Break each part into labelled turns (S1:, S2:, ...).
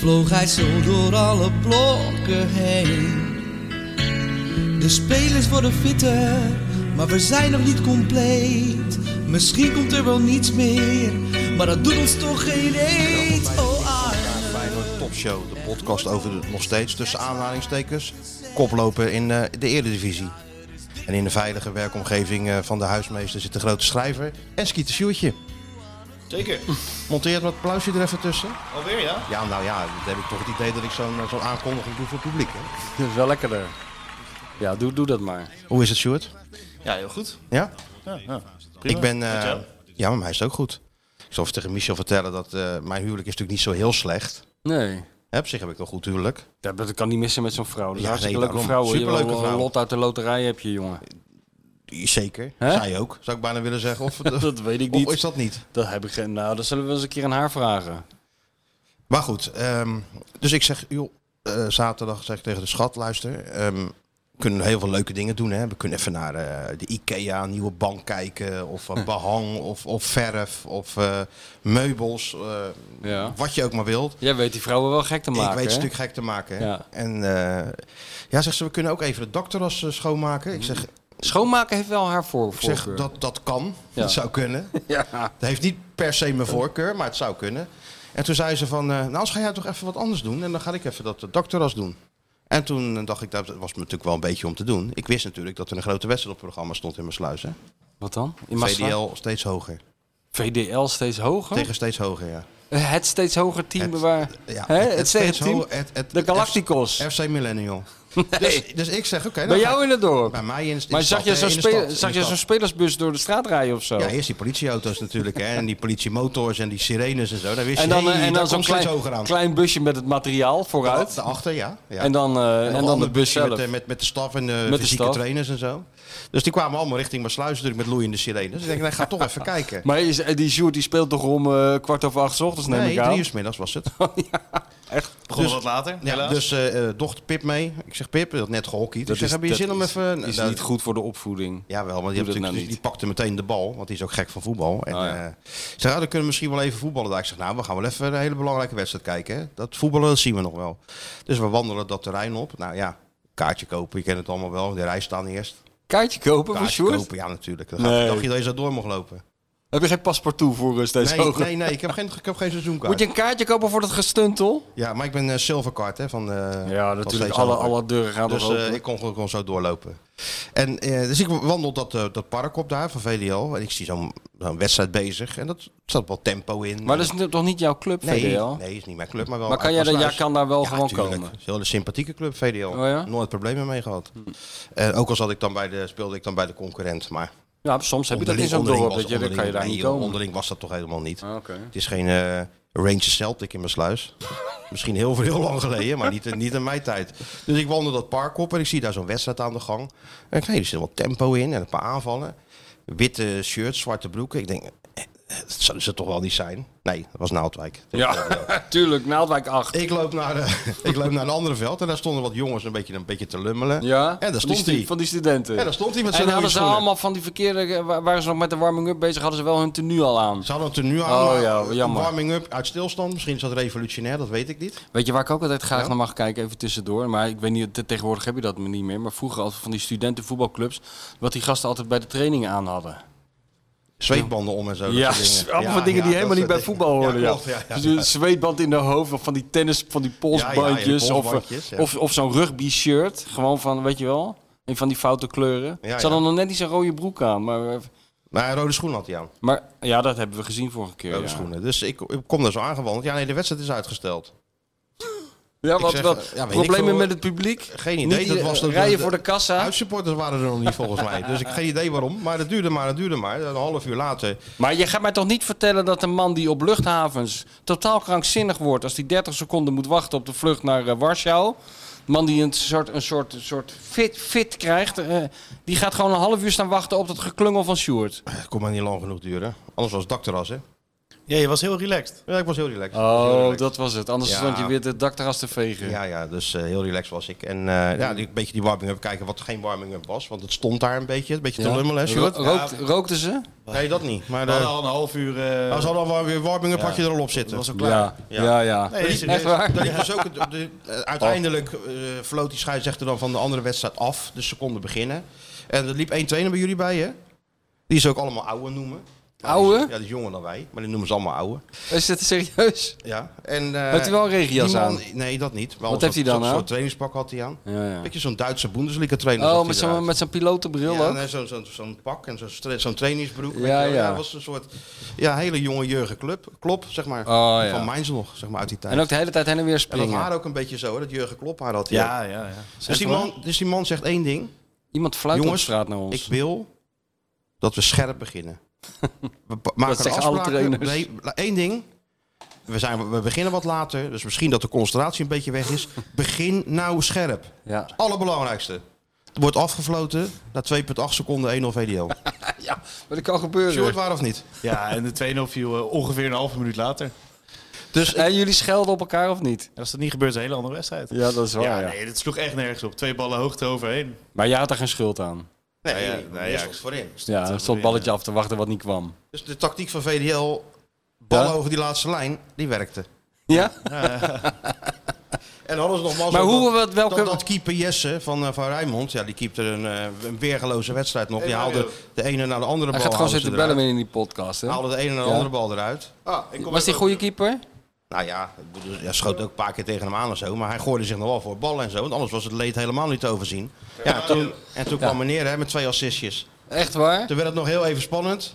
S1: Vloog hij zo door alle blokken heen De spelers worden fitter Maar we zijn nog niet compleet Misschien komt er wel niets meer Maar dat doet ons toch geen eet Oh Arne
S2: Feyenoord Topshow, de podcast over de nog steeds tussen aanhalingstekens koplopen in eh, de Eredivisie. En in de veilige werkomgeving eh, van de huismeester zit de grote schrijver en Skeeter Sjoertje.
S3: Zeker.
S2: Monteert wat applausje er even tussen.
S3: Alweer ja?
S2: Ja, nou ja, dan heb ik toch het idee dat ik zo'n eh, zo'n aankondiging doe voor het publiek. Hè?
S4: Dat is wel lekkerder. Ja, doe, doe dat maar.
S2: Hoe is het, Sjoerd?
S3: Ja, heel goed.
S2: Ja?
S3: Ja, ja.
S2: Ik ben... eh,
S3: Met jou?
S2: ja, maar mij is het ook goed. Ik zal even tegen Michel vertellen dat eh, mijn huwelijk is natuurlijk niet zo heel slecht.
S4: Nee.
S2: Hè, op zich heb ik wel goed huwelijk.
S4: Dat, dat kan niet missen met zo'n vrouw. Dat is
S2: Ja,
S4: hartstikke
S2: nee,
S4: leuke
S2: daarom.
S4: vrouw. hoor. Je
S2: Superleuke
S4: wil wel
S2: vrouw.
S4: Een lot uit de loterij heb je, jongen.
S2: Zeker.
S4: Hè?
S2: Zij ook, zou ik bijna willen zeggen. Of,
S4: Dat weet ik
S2: of is
S4: niet.
S2: dat niet?
S4: Dat heb ik geen... Nou, dat zullen we wel eens een keer aan haar vragen.
S2: Maar goed, ehm, dus ik zeg, joh, eh, zaterdag zeg ik tegen de schat, luister, ehm, we kunnen heel veel leuke dingen doen. Hè? We kunnen even naar eh, de Ikea, een nieuwe bank kijken, of
S4: Hm.
S2: wat behang, of, of verf, of eh, meubels, eh,
S4: Ja.
S2: wat je ook maar wilt.
S4: Jij weet die vrouwen wel gek te maken,
S2: ik weet
S4: hè?
S2: het stuk gek te maken. Hè?
S4: Ja.
S2: En eh, ja, zegt ze, we kunnen ook even het dakterras eh, schoonmaken.
S4: Hm.
S2: Ik zeg,
S4: Schoonmaken heeft wel haar voor,
S2: ik zeg
S4: voorkeur.
S2: dat, dat kan,
S4: Ja.
S2: dat zou kunnen.
S4: Ja.
S2: Dat heeft niet per se mijn voorkeur, maar het zou kunnen. En toen zei ze van, eh, nou, als ga jij toch even wat anders doen. En dan ga ik even dat eh, dakterras doen. En toen eh, dacht ik, dat was me natuurlijk wel een beetje om te doen. Ik wist natuurlijk dat er een grote wedstrijd op het programma stond in mijn sluis. Hè?
S4: Wat dan? In Oh. Maastricht?
S2: VDL steeds hoger.
S4: VDL steeds hoger?
S2: Tegen steeds hoger, ja.
S4: Het steeds hoger team
S2: Het-
S4: waar...
S2: ja
S4: Hè? Het, steeds team...
S2: hoger, het- het-
S4: de Galacticos.
S2: F- FC Millennial.
S4: Nee.
S2: Dus ik zeg, oké. dan
S4: Bij
S2: ga
S4: jou
S2: ik-
S4: in het dorp.
S2: Bij mij in, in
S4: Maar
S2: de
S4: zag
S2: stad,
S4: je
S2: hè,
S4: zo'n
S2: in de
S4: spele-
S2: stad, in
S4: zag
S2: de
S4: je
S2: stad.
S4: zo'n spelersbus door de straat rijden of zo?
S2: Ja, eerst die politieauto's natuurlijk. Hè, en die politiemotors en die sirenes en zo. Daar wist
S4: en dan,
S2: je, hey,
S4: eh, en
S2: daar
S4: dan zo'n
S2: komt steeds
S4: klein,
S2: hoger aan.
S4: klein busje met het materiaal vooruit.
S2: Daarachter, ja. ja.
S4: En dan, eh, en
S2: nog
S4: dan de
S2: andere
S4: bus
S2: busje
S4: zelf.
S2: Met, eh, met, met de staf en de
S4: de
S2: fysieke
S4: staf.
S2: trainers en zo. Dus die kwamen allemaal richting mijn sluis natuurlijk met loeiende sirenes. Dus ik denk, nee, ga toch even kijken.
S4: Maar is, eh, die Sjoerd die speelt toch om eh, kwart over acht 's ochtends, neem
S2: nee,
S4: ik aan?
S2: drie uur 's middags was het.
S4: Echt?
S3: Begon
S2: Dus-
S3: wat later,
S2: Ja,
S3: helaas.
S2: dus eh, eh, dochter Pip mee. Ik zeg, Pip, dat net gehockeyd.
S4: Dat
S2: ik zeg,
S4: is-
S2: heb je
S4: dat
S2: zin om
S4: is-
S2: even...
S4: is
S2: Nou,
S4: niet goed voor de opvoeding.
S2: Jawel, maar die,
S4: Doe
S2: heeft
S4: dat nou
S2: natuurlijk, die,
S4: niet.
S2: die pakte meteen de bal, want die is ook gek van voetbal. En,
S4: Oh, ja.
S2: eh, ik zeg, ah, dan kunnen we misschien wel even voetballen. daar. Ik zeg, nou, we gaan wel even een hele belangrijke wedstrijd kijken. hè. Dat voetballen, dat zien we nog wel. Dus we wandelen dat terrein op. Nou ja, kaartje kopen, je kent het allemaal wel. In de rij staan eerst.
S4: Kaartje kopen voor
S2: Kaartje
S4: Sjoerd?
S2: kopen, ja natuurlijk. Dan gaat-
S4: Nee.
S2: dacht je dat je zo door mocht lopen.
S4: Heb je geen paspartout voor eh, steeds
S2: Nee,
S4: hoger?
S2: nee, nee, ik heb geen, ik heb geen seizoenkaart.
S4: Moet je een kaartje kopen voor dat gestuntel?
S2: Ja, maar ik ben eh silverkaart hè, van... eh,
S4: Ja,
S2: van
S4: natuurlijk.
S2: steeds
S4: Alle,
S2: hoger.
S4: alle deuren gaan
S2: Dus
S4: dus,
S2: eh, ik kon, gewoon- kon zo doorlopen. En, eh, dus ik wandel dat, eh, dat park op daar van VDL. En ik zie zo'n zo'n wedstrijd bezig. En dat zat wel tempo in.
S4: maar dat is nu toch niet jouw club,
S2: nee,
S4: VDL?
S2: Nee, is niet mijn club, maar wel
S4: maar kan
S2: uit
S4: jij,
S2: mijn
S4: daar- jij
S2: sluis.
S4: kan daar wel
S2: Ja,
S4: gewoon
S2: tuurlijk.
S4: komen?
S2: Het is een hele sympathieke club, VDL.
S4: Oh ja? Hm.
S2: Nooit problemen mee gehad. En ook al zat ik dan bij de, speelde ik dan bij de concurrent. Maar
S4: Ja, soms heb je dat in
S2: onderling-
S4: zo'n
S2: onderling
S4: dorp,
S2: was-
S4: dat je, dan
S2: onderling-
S4: kan je daar
S2: nee,
S4: niet
S2: joh,
S4: komen.
S2: Onderling was dat toch helemaal niet.
S4: Ah, Oké.
S2: Het is geen eh Rangers Celtic in mijn sluis. Misschien heel, heel lang geleden, maar niet, niet in mijn tijd. Dus ik wandel dat park op en ik zie daar zo'n wedstrijd aan de gang. En ik denk, er zit wat tempo in en een paar aanvallen. Witte shirts, zwarte broeken. Ik denk, eh, dat zou ze toch wel niet zijn? Nee, dat was Naaldwijk.
S4: Ja, tuurlijk. Naaldwijk 8.
S2: Ik loop, naar, eh, ik loop naar een andere veld en daar stonden wat jongens een beetje, een beetje te lummelen. en
S4: Ja,
S2: daar
S4: van die
S2: stond
S4: stu-
S2: hij.
S4: Van die studenten.
S2: En daar stond hij met
S4: En
S2: zijn rode
S4: hadden ze
S2: schoenen.
S4: allemaal van die verkeerde, eh, wa- waren ze nog met de warming-up bezig, hadden ze wel hun tenue al aan.
S2: Ze hadden het er nu aan,
S4: Oh
S2: maar
S4: ja, jammer.
S2: warming up uit stilstand. Misschien is dat revolutionair, dat weet ik niet.
S4: Weet je waar ik ook altijd graag
S2: Ja?
S4: naar mag kijken, even tussendoor. Maar ik weet niet, te- tegenwoordig heb je dat niet meer. Maar vroeger altijd van die studentenvoetbalclubs, wat die gasten altijd bij de trainingen aan hadden.
S2: Zweetbanden om en zo. dat
S4: Ja,
S2: soort dingen.
S4: allemaal
S2: Ja,
S4: dingen
S2: ja,
S4: die helemaal
S2: dat
S4: niet bij
S2: soort
S4: voetbal
S2: dingen.
S4: horen.
S2: Ja,
S4: Ja,
S2: klopt, ja, ja,
S4: Dus
S2: ja.
S4: een zweetband in de hoofd, of van die tennis, van die
S2: Ja, ja,
S4: polsbandjes.
S2: die polsbandjes,
S4: of eh,
S2: ja.
S4: of, of zo'n rugby shirt, gewoon van, weet je wel, in van die foute kleuren.
S2: Ja,
S4: ze hadden
S2: ja.
S4: nog net niet zijn rode broek aan, maar, eh,
S2: Maar een rode schoen had hij aan.
S4: maar ja, dat hebben
S2: Oh,
S4: we gezien vorige keer.
S2: Rode
S4: ja.
S2: schoenen. Dus ik, ik kom daar zo aangewandeld. Ja, nee, de wedstrijd is uitgesteld.
S4: Ja, wat,
S2: zeg,
S4: wat
S2: ja, weet ik
S4: problemen
S2: veel. eh,
S4: met het publiek?
S2: Geen idee,
S4: Niet
S2: dat
S4: ieder-
S2: was dat-
S4: Rijden voor de kassa.
S2: Huissupporters waren er nog niet volgens mij. Dus ik geen idee waarom. Maar het duurde maar, het duurde maar. Een half uur later.
S4: Maar je gaat mij toch niet vertellen dat een man die op luchthavens totaal krankzinnig wordt... als die 30 seconden moet wachten op de vlucht naar eh, Warschau... man die een soort, een soort, een soort fit, fit krijgt... eh, die gaat gewoon een half uur staan wachten op dat geklungel van Sjoerd.
S2: Het kon maar niet lang genoeg duren. Anders was het dakterras, hè?
S3: Ja, je was heel relaxed.
S2: Ja, ik was heel relaxed. Ik was heel
S4: Oh,
S2: relaxed.
S4: dat was het. Anders
S2: Ja.
S4: stond je weer de dakterras te vegen.
S2: Ja, ja, dus eh, heel relaxed was ik. En eh, ja, een beetje die warming-up kijken wat geen warming-up was. Want het stond daar een beetje. Een beetje te lummelen, hè, Sjoerd?
S4: Ro- rookt- rookten ze?
S2: Nee, dat niet. Maar
S3: We hadden
S2: de,
S3: al een half uur... eh,
S2: als al warming-up warming-up had je er al op zitten.
S3: dat was ook klaar.
S4: Ja,
S2: Ja.
S4: ja, ja.
S2: Nee,
S3: Echt
S2: serieus.
S4: Ah, waar?
S2: Dat liep dus ook het- de- eh, uiteindelijk eh floot die scheidsrechter dan van de andere wedstrijd af. Dus ze konden beginnen. En er liep één trainer bij jullie bij, hè? Die ze ook allemaal ouwe noemen. Maar die is-
S4: Ouwe?
S2: Ja, die is jonger dan wij. Maar die noemen ze allemaal ouwe.
S4: Is dit serieus?
S2: Ja. En, eh
S4: Heeft u wel een regenjas
S2: die man-
S4: aan?
S2: Nee, dat niet. Wel
S4: Wat
S2: een soort-
S4: heeft hij dan
S2: Zo'n
S4: aan?
S2: soort trainingspak had hij aan.
S4: Ja, ja.
S2: Beetje zo'n Duitsche Bundesliga trainer. zag
S4: Oh,
S2: hij
S4: met
S2: eruit.
S4: zo'n, met zo'n pilotenbril
S2: Ja,
S4: ook?
S2: nee, zo'n zo'n- zo'n pak en zo'n stra- zo'n trainingsbroek.
S4: Ja,
S2: weet je wel.
S4: ja.
S2: dat was een soort ja, hele jonge Jurgen Club, Klop, zeg maar.
S4: Oh, ja.
S2: Van Mainz nog, zeg maar, uit die tijd.
S4: En ook de hele tijd heen en weer
S2: En dat
S4: springen.
S2: haar ook een beetje zo, hè, dat Jurgen Klop haar had. hij ook.
S3: Ja, ja, ja.
S2: Dus, die man, dus die man zegt één ding.
S4: Iemand fluit op
S2: Jongens,
S4: straat naar ons.
S2: Ik wil dat we scherp beginnen. We pa- maken
S4: zeggen alle
S2: afspraken.
S4: trainers.
S2: Nee, la- één ding. We, zijn, we beginnen wat later, dus misschien dat de concentratie een beetje weg is. Begin nou scherp.
S4: Ja.
S2: Allerbelangrijkste. Er wordt afgefloten na 2,8 seconden 1-0 VDL.
S4: ja, maar dat kan gebeuren.
S2: Short waar of niet?
S3: Ja, en de 2-0 viel eh, ongeveer een halve minuut later.
S4: Dus, en jullie schelden op elkaar of niet?
S3: En als dat niet gebeurt, is het een hele andere wedstrijd.
S4: Ja, dat is waar.
S3: ja, nee, dit sloeg echt nergens op. Twee ballen hoogte overheen.
S4: Maar jij had daar geen schuld aan.
S2: Nee,
S3: ja,
S2: nee,
S3: nee, ja,
S2: stond voorin.
S4: Ja, er stond balletje
S2: eh,
S4: af te wachten wat niet kwam.
S2: Dus de tactiek van VDL, ballen
S4: Ja?
S2: over die laatste lijn, die werkte.
S4: Ja?
S2: En alles nogmaals.
S4: Maar
S2: ook
S4: hoe
S2: dat-
S4: we het- welke-
S2: Dat, dat keeper Jesse van, eh, van Rijnmond, ja, die keepte een, eh, een weergeloze wedstrijd nog. Die
S3: Mario.
S2: haalde de ene naar de andere bal.
S4: Hij gaat gewoon
S2: haalden ze
S4: zitten
S2: eruit.
S4: bellen in die podcast, hè?
S2: Haalde de ene naar de
S4: Ja.
S2: andere bal eruit.
S3: Ah, ik kom
S4: Was die
S3: even-
S4: goede keeper?
S2: Nou ja, ik bedoel, hij schoot ook een paar keer tegen hem aan en zo. Maar hij gooide zich nog wel voor ballen en zo. Want anders was het leed helemaal niet te overzien. Ja, en toen, en toen kwam meneer hè, met twee assistjes.
S4: Echt waar?
S2: Toen werd het nog heel even spannend.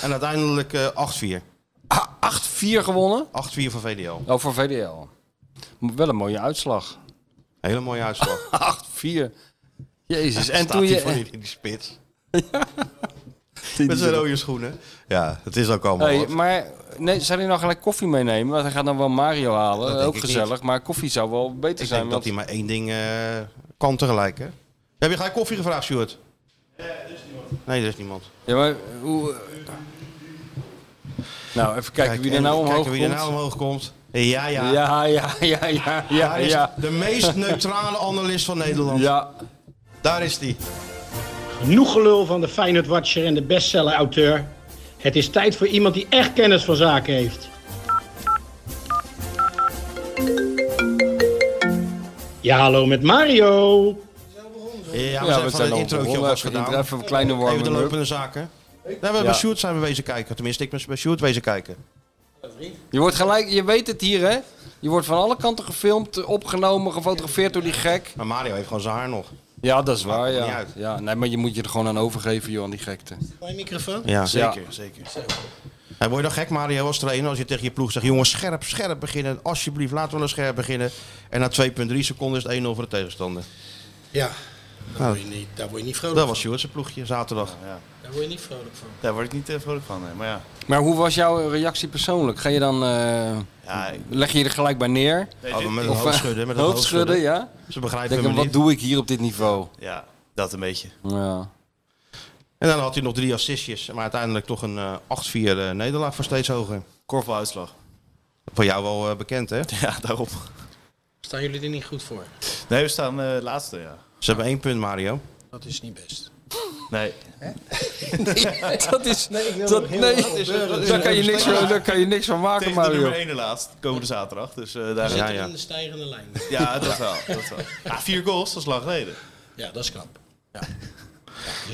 S2: en uiteindelijk eh, 8-4.
S4: 8-4 gewonnen?
S2: 8-4 voor VDL.
S4: Oh, voor VDL. Wel een mooie uitslag.
S2: Hele mooie uitslag.
S4: 8-4. Jezus, en
S2: Staat
S4: toen
S2: hij
S4: je...
S2: voor die, die spits. Met zijn rode schoenen. Ja, het is ook allemaal
S4: Hey,
S2: wat.
S4: maar nee, zou hij nou gelijk koffie meenemen? Want hij gaat dan wel Mario halen,
S2: Dat denk
S4: ook
S2: ik
S4: gezellig. Maar koffie zou wel beter
S2: Ik
S4: zijn.
S2: denk dat
S4: want-
S2: hij maar één ding eh, kan tegelijk, hè? Heb je gelijk koffie gevraagd, Stuart? Nee, er is niemand.
S4: Ja, maar hoe... eh, Nou, even kijken wie er
S2: en
S4: nou omhoog
S2: kijken wie er
S4: komt.
S2: nou omhoog komt. Ja, ja.
S4: Ja, ja, ja, ja, ja,
S2: Daar is
S4: ja.
S2: de meest neutrale analist van Nederland.
S4: Ja,
S2: Daar is die.
S5: Genoeg gelul van de Feyenoord Watcher en de bestseller-auteur. Het is tijd voor iemand die echt kennis van zaken heeft. Ja, hallo met Mario.
S2: Ja, we
S4: ja,
S2: zijn van het
S4: al
S2: introotje
S4: begonnen.
S2: alvast
S4: Even-
S2: gedaan.
S4: Even een kleine
S2: Even de
S4: warming-up.
S2: lopende zaken. Nee, we hebben bij Sjoerd zijn we wezen kijken. Tenminste, ik ben bij Sjoerd wezen kijken.
S4: Je wordt gelijk, je weet het hier hè. Je wordt van alle kanten gefilmd, opgenomen, gefotografeerd door die gek.
S2: Maar Mario heeft gewoon zijn haar nog.
S4: Ja, dat is waar,
S2: Maakt niet
S4: ja.
S2: uit.
S4: ja. Nee, maar je moet je er gewoon aan overgeven, joh, aan die gekte.
S2: Ja.
S3: Zeker, zeker.
S2: En word je dan gek, Mario, als trainer, als je tegen je ploeg zegt... jongens, scherp, scherp beginnen. Alsjeblieft, laten we nou scherp beginnen. En na 2,3 seconden is het 1-0 voor de tegenstander.
S6: Ja, daar word je niet, daar word je niet vrolijk
S2: Dat
S6: van.
S2: was Sjoerd zijn ploegje, zaterdag.
S6: Daar word je niet vrolijk van.
S3: Daar word ik niet eh, vrolijk van. nee. Maar ja,
S4: Maar hoe was jouw reactie persoonlijk? Ga je dan, eh,
S3: ja ik-
S4: leg je je er gelijk bij neer?
S3: nee,
S2: Oh,
S3: dit-
S2: maar met een
S4: eh,
S2: hoofdschudden. Met een
S4: hoofdschudden, ja.
S2: Ze begrijpen
S4: Denk
S2: hem
S4: hem,
S2: niet.
S4: wat doe ik hier op dit niveau?
S3: ja, dat een beetje.
S4: Ja.
S2: En dan had hij nog drie assistjes. Maar uiteindelijk toch een eh, 8-4 eh, nederlaag voor steeds hoger.
S3: Korfbaluitslag.
S2: Voor jou wel eh, bekend, hè?
S3: Ja, daarop.
S6: Staan jullie er niet goed voor?
S3: Nee, we staan eh, laatste, ja.
S2: Ze hebben één punt, Mario.
S6: Dat is niet best.
S3: Nee.
S4: dat is. dat, nee, daar, kan je niks van, daar kan je niks van maken,
S3: Tegen de nummer
S4: Mario.
S3: 1 laatst, komende zaterdag. Dus eh, daar...
S2: Ja,
S3: Ja,
S6: Zitten
S2: ja.
S6: in de stijgende lijn.
S3: Ah, dat wel. Dat wel. Ja, vier goals, dat is lang geleden.
S6: Ja, dat is knap. Ja.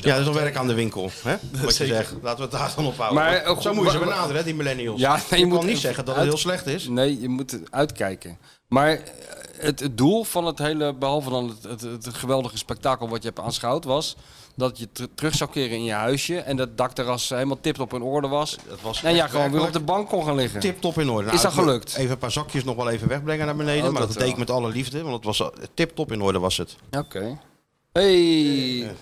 S2: Ja, dat is wel werk aan de winkel. Hè? Wat je zegt. Laten we het daar dan op houden.
S4: Maar, eh,
S2: Zo moet je ze
S4: wa- wa-
S2: benaderen, hè, die millennials.
S4: Ja, nee,
S2: je
S4: je moet
S2: kan niet
S4: even
S2: zeggen dat het
S4: uit-
S2: heel slecht is.
S4: Nee, je moet het uitkijken. Maar eh, het, het doel van het hele, behalve dan het, het, het geweldige spektakel wat je hebt aanschouwd, was dat je ter- terug zou keren in je huisje en dat dakterras helemaal tip op in orde was.
S2: Dat was
S4: en ja,
S2: echt
S4: gewoon weer op
S2: werkelijk
S4: de bank kon gaan liggen.
S2: Tip-top in orde. Nou,
S4: Is dat
S2: ik moet
S4: gelukt?
S2: Even een paar zakjes nog wel even wegbrengen naar beneden.
S4: Oh,
S2: maar
S4: dat
S2: dat, deed ik
S4: wel.
S2: met alle liefde, want het was eh, tip-top in orde was het.
S4: Oké. Hey,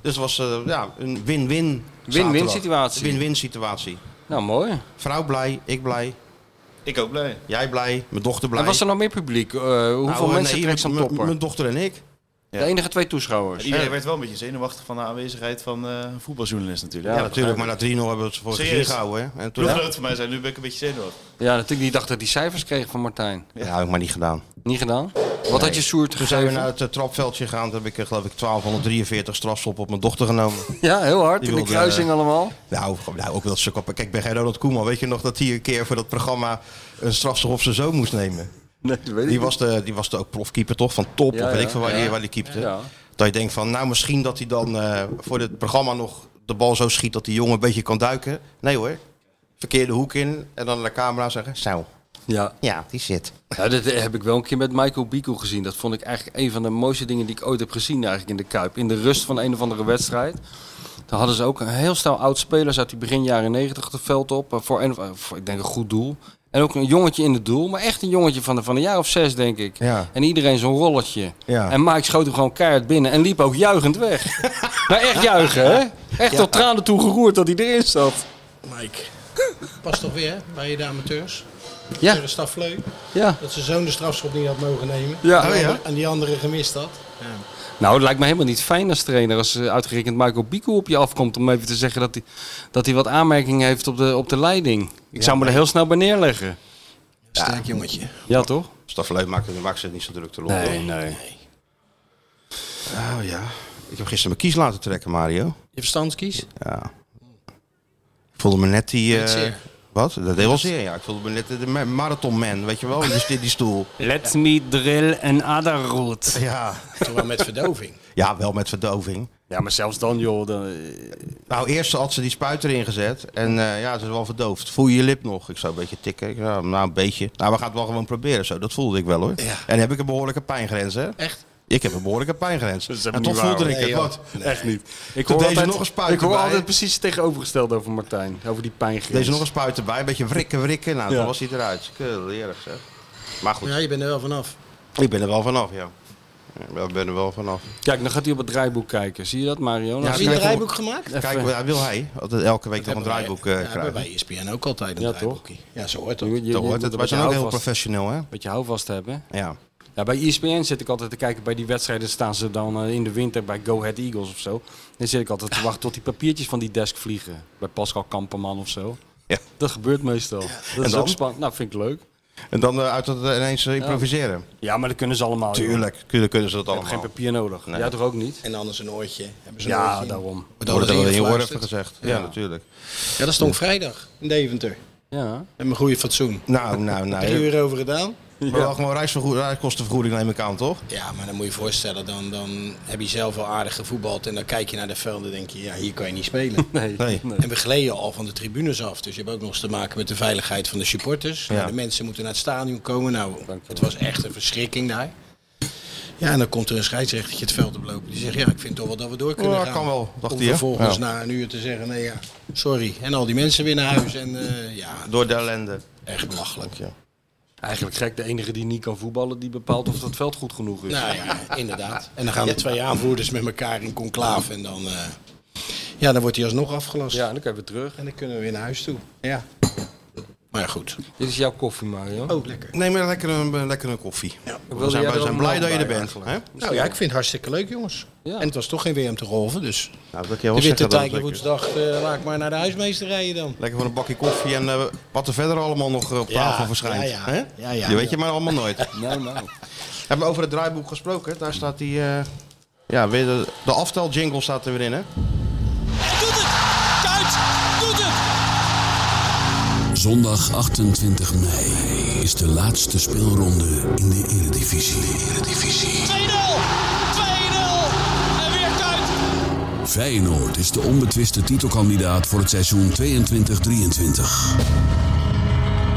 S2: Dus het was eh, ja, een win-win
S4: Win-win
S2: zaterdag.
S4: situatie.
S2: Win-win situatie.
S4: nou mooi.
S2: Vrouw blij, ik blij,
S3: Ik ook blij.
S2: jij blij, mijn dochter blij.
S4: En was er nog meer publiek? Eh, hoeveel
S2: Nou, eh,
S4: mensen
S2: nee,
S4: trekt zo'n
S2: mijn-
S4: topper?
S2: Mijn dochter en ik.
S4: De enige twee toeschouwers.
S3: Iedereen werd wel een beetje zenuwachtig van de aanwezigheid van eh, een voetbaljournalist natuurlijk.
S2: Ja, natuurlijk, maar na 3-0 hebben we het voor het
S3: Serieus?
S2: gezien gehouden. hè. En toen, ja,
S3: Ploeggenoten van mij zijn nu ben ik een beetje zenuwachtig.
S4: Ja, natuurlijk. Die dacht dat die cijfers kreeg van Martijn.
S2: dat heb ik maar niet gedaan.
S4: Niet gedaan? Wat had je Soert
S2: Toen zijn we
S4: gegeven?
S2: naar het eh, trapveldje gegaan. Toen heb ik eh, geloof ik 1243 strafstop op mijn dochter genomen.
S4: Ja, heel hard.
S2: Die
S4: in de
S2: wilde,
S4: kruising
S2: eh,
S4: allemaal.
S2: Nou, gewoon- nou ook wel stuk op. Kijk, ik ben geen Ronald Koeman. Weet je nog dat hij een keer voor dat programma een strafstop op zijn zoon moest nemen?
S4: Nee, dat weet ik
S2: Die
S4: niet.
S2: was, de, die was de ook profkeeper toch? Van top,
S4: Ja,
S2: of weet
S4: ja.
S2: ik veel waar,
S4: Ja.
S2: die, waar die keepte.
S4: Ja.
S2: Dat je denkt van, nou misschien dat hij dan eh, voor dit programma nog de bal zo schiet dat die jongen een beetje kan duiken. Nee hoor, verkeerde hoek in en dan naar de camera zeggen, zo,
S4: Ja.
S2: ja, die zit.
S4: Ja, dat heb ik wel een keer met Michael Biko gezien. Dat vond ik eigenlijk een van de mooiste dingen die ik ooit heb gezien eigenlijk in de Kuip. In de rust van een of andere wedstrijd. Daar hadden ze ook een heel stel oud-spelers uit die begin jaren 90 het veld op. eh, Voor, een, of- eh, voor ik denk een goed doel. En ook een jongetje in het doel. Maar echt een jongetje van, van een jaar of zes, denk ik.
S2: Ja.
S4: En iedereen zo'n rolletje.
S2: Ja.
S4: En Mike schoot hem gewoon keihard binnen. En liep ook juichend weg. maar echt juichen, hè? Echt tot tranen toe geroerd dat hij erin zat.
S6: Mike. Pas toch weer bij de amateurs.
S4: Ja,
S6: Tegen Stafleu.
S4: ja.
S6: Dat zijn zoon de strafschop niet had mogen nemen.
S4: Ja.
S6: En
S4: Oh,
S6: die
S4: ja?
S6: andere- En die andere gemist had. Ja.
S4: Nou, het lijkt me helemaal niet fijn als trainer als eh, uitgerekend Michael Bico op je afkomt om even te zeggen dat hij, dat hij wat aanmerkingen heeft op de, op de leiding. Ik zou me er heel snel bij neerleggen.
S6: Sterk jongetje.
S4: Ja, toch?
S2: Staffeleut maakte, maakte ze niet zo druk te rollen.
S4: nee.
S2: Oh ja, ik heb gisteren mijn kies laten trekken, Mario.
S6: Je verstandskies?
S2: Ja. Ik voelde me net die... eh,
S6: Deed zeer.
S2: wat? Dat deed wel zeer, ja. Ik voelde me net eh, de ma- marathonman, weet je wel, in die, die stoel.
S4: Let me drill an other route.
S2: Ja.
S6: Toen wel met verdoving.
S2: ja, wel met verdoving.
S4: Ja, maar zelfs dan, joh. Dan, eh,
S2: Nou, eerst had ze die spuit erin gezet. En eh, ja, ze is wel verdoofd. Voel je je lip nog? Ik zou een beetje tikken. Ik zei, nou, nou, een beetje. Nou, we gaan het wel gewoon proberen zo. Dat voelde ik wel hoor.
S6: Ja.
S2: En heb ik een behoorlijke pijngrens, hè?
S6: Echt?
S2: Ik heb een behoorlijke pijngrens.
S4: is
S2: en
S4: helemaal
S2: toch
S4: niet waar,
S2: voelde ik
S6: hoor.
S2: het.
S6: Nee,
S2: Wat?
S4: Echt niet. Ik
S2: Toen
S4: hoor,
S2: deze
S4: altijd,
S2: nog een spuit
S4: ik hoor
S2: erbij.
S4: altijd precies het tegenovergestelde over Martijn. Over die pijngrens.
S2: Deze nog een spuit erbij. Een beetje wrikken, wrikken. Nou,
S4: Ja.
S2: dan was hij eruit. Leerig zeg. Maar goed,
S6: Ja, je bent er wel vanaf.
S2: ik ben er wel vanaf, ja. Ja, Ik ben er wel vanaf.
S4: Kijk, dan gaat hij op het draaiboek kijken. Zie je dat, Mario?
S2: Ja,
S6: Heb
S4: Nou,
S6: je een
S2: kijk,
S6: draaiboek gemaakt?
S4: even-
S2: Kijk, ja, wil hij altijd elke week nog een draaiboek eh,
S6: Ja, hebben
S2: krijgen.
S6: wij bij E ESPN ook altijd een
S4: Ja,
S6: draaiboekje. Ja, zo hoort
S4: je-
S6: dat.
S4: je- je
S2: Dat
S4: moet
S2: hoort het.
S4: een
S2: Wij zijn ook
S4: beetje
S2: heel
S4: houvast-
S2: professioneel, hè?
S4: beetje houvast hebben.
S2: Ja.
S4: Ja, bij E ESPN zit ik altijd te kijken. Bij die wedstrijden staan ze dan eh, in de winter bij Go Ahead Eagles of zo. Dan zit ik altijd te wachten tot die papiertjes van die desk vliegen. Bij Pascal Kamperman of zo.
S2: Ja.
S4: Dat gebeurt meestal. Dat is
S2: dan?
S4: ook spannend. Nou, vind ik leuk.
S2: En dan eh, uit dat eh, ineens eh, improviseren.
S4: Ja, maar dat kunnen ze allemaal. joh.
S2: Tuurlijk, kunnen, kunnen ze dat
S4: Je hebt
S2: allemaal.
S4: geen papier nodig.
S2: Nee.
S4: Jij toch ook niet?
S6: En anders een oortje. Hebben ze een
S4: Ja,
S6: oortje in.
S4: daarom.
S6: Wordt
S2: Dat wordt er wel
S6: alles
S2: in je woorden even
S6: ingefluisterd.
S2: gezegd. Ja, natuurlijk.
S6: Ja, dat stond vrijdag in Deventer.
S4: Ja.
S6: Met mijn goede fatsoen.
S2: Nou, nou, nou.
S6: Drie uur over gedaan.
S2: Maar wel gewoon reisvergoed- reiskostenvergoeding neem ik aan, toch?
S6: Ja, maar dan moet je je voorstellen, dan, dan heb je zelf wel aardig gevoetbald. En dan kijk je naar de velden en denk je, ja, hier kan je niet spelen.
S4: Nee.
S2: Nee.
S6: En we gleden al van de tribunes af. Dus je hebt ook nog eens te maken met de veiligheid van de supporters. Nou, de mensen moeten naar het stadion komen. Nou, het was echt een verschrikking daar. Ja, en dan komt er een scheidsrechtertje het veld oplopen. Die zegt, ja, ik vind toch wel dat we door kunnen
S2: Ja,
S6: gaan.
S2: kan wel, dacht
S6: Om
S2: hij, hè?
S6: vervolgens
S2: Ja.
S6: na een uur te zeggen, nee ja, sorry. En al die mensen weer naar huis. En eh, ja,
S2: Door de ellende.
S6: echt belachelijk.
S4: Eigenlijk gek. De enige die niet kan voetballen, die bepaalt of dat veld goed genoeg is.
S6: Nou ja, inderdaad. En dan gaan de twee aanvoerders met elkaar in conclave. En dan, eh, ja, dan wordt hij alsnog afgelast.
S4: Ja, dan kan je weer terug.
S6: En dan kunnen we weer naar huis toe. Ja. Maar ja, goed.
S4: Dit is jouw koffie, Mario.
S6: Oh, lekker.
S2: Neem maar lekker een, lekker een koffie. We
S4: Wilde
S2: zijn,
S4: jij
S2: we
S4: ook
S2: zijn
S4: een
S2: blij
S4: man
S2: dat je er
S4: bij
S2: bent.
S4: eigenlijk?
S2: Hè?
S6: Nou ja, ik vind het hartstikke leuk, jongens.
S4: Ja.
S6: En het was toch geen WM te golven, dus
S2: Nou, dat jij
S6: de
S2: wel
S6: witte
S2: zeggen dat het lekker,
S6: tijgerwoensdag eh laat ik maar naar de huismeester rijden dan.
S2: is. lekker voor een bakje koffie en eh, wat er verder allemaal nog eh, op
S6: Ja,
S2: tafel verschijnt.
S6: ja, ja.
S2: Hè?
S6: Ja, ja.
S2: je weet je maar allemaal nooit.
S4: Nou, nou.
S2: Hebben we over het draaiboek gesproken? Daar staat die... eh, ja, weer de, de afteljingle staat er weer in, hè?
S7: Zondag 28 mei is de laatste speelronde in de Eredivisie. Eredivisie.
S8: 2-0! 2-0! En weer Kuit.
S7: Feyenoord is de onbetwiste titelkandidaat voor het seizoen 22-23.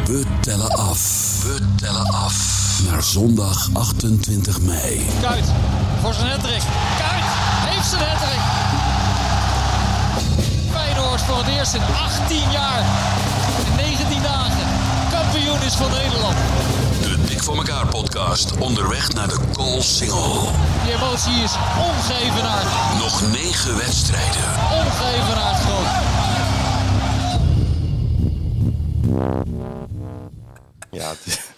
S7: We tellen af. We tellen af. Naar zondag 28 mei.
S8: Kuit voor zijn hattrick. Kuit heeft zijn hattrick. Feyenoord voor het eerst in 18 jaar en 19 dagen kampioen is van Nederland.
S7: De Dik voor elkaar podcast onderweg naar de Goal Single.
S8: Die emotie is ongeëvenaard.
S7: Nog negen wedstrijden.
S8: Ongeëvenaard groot.
S2: Ja, het-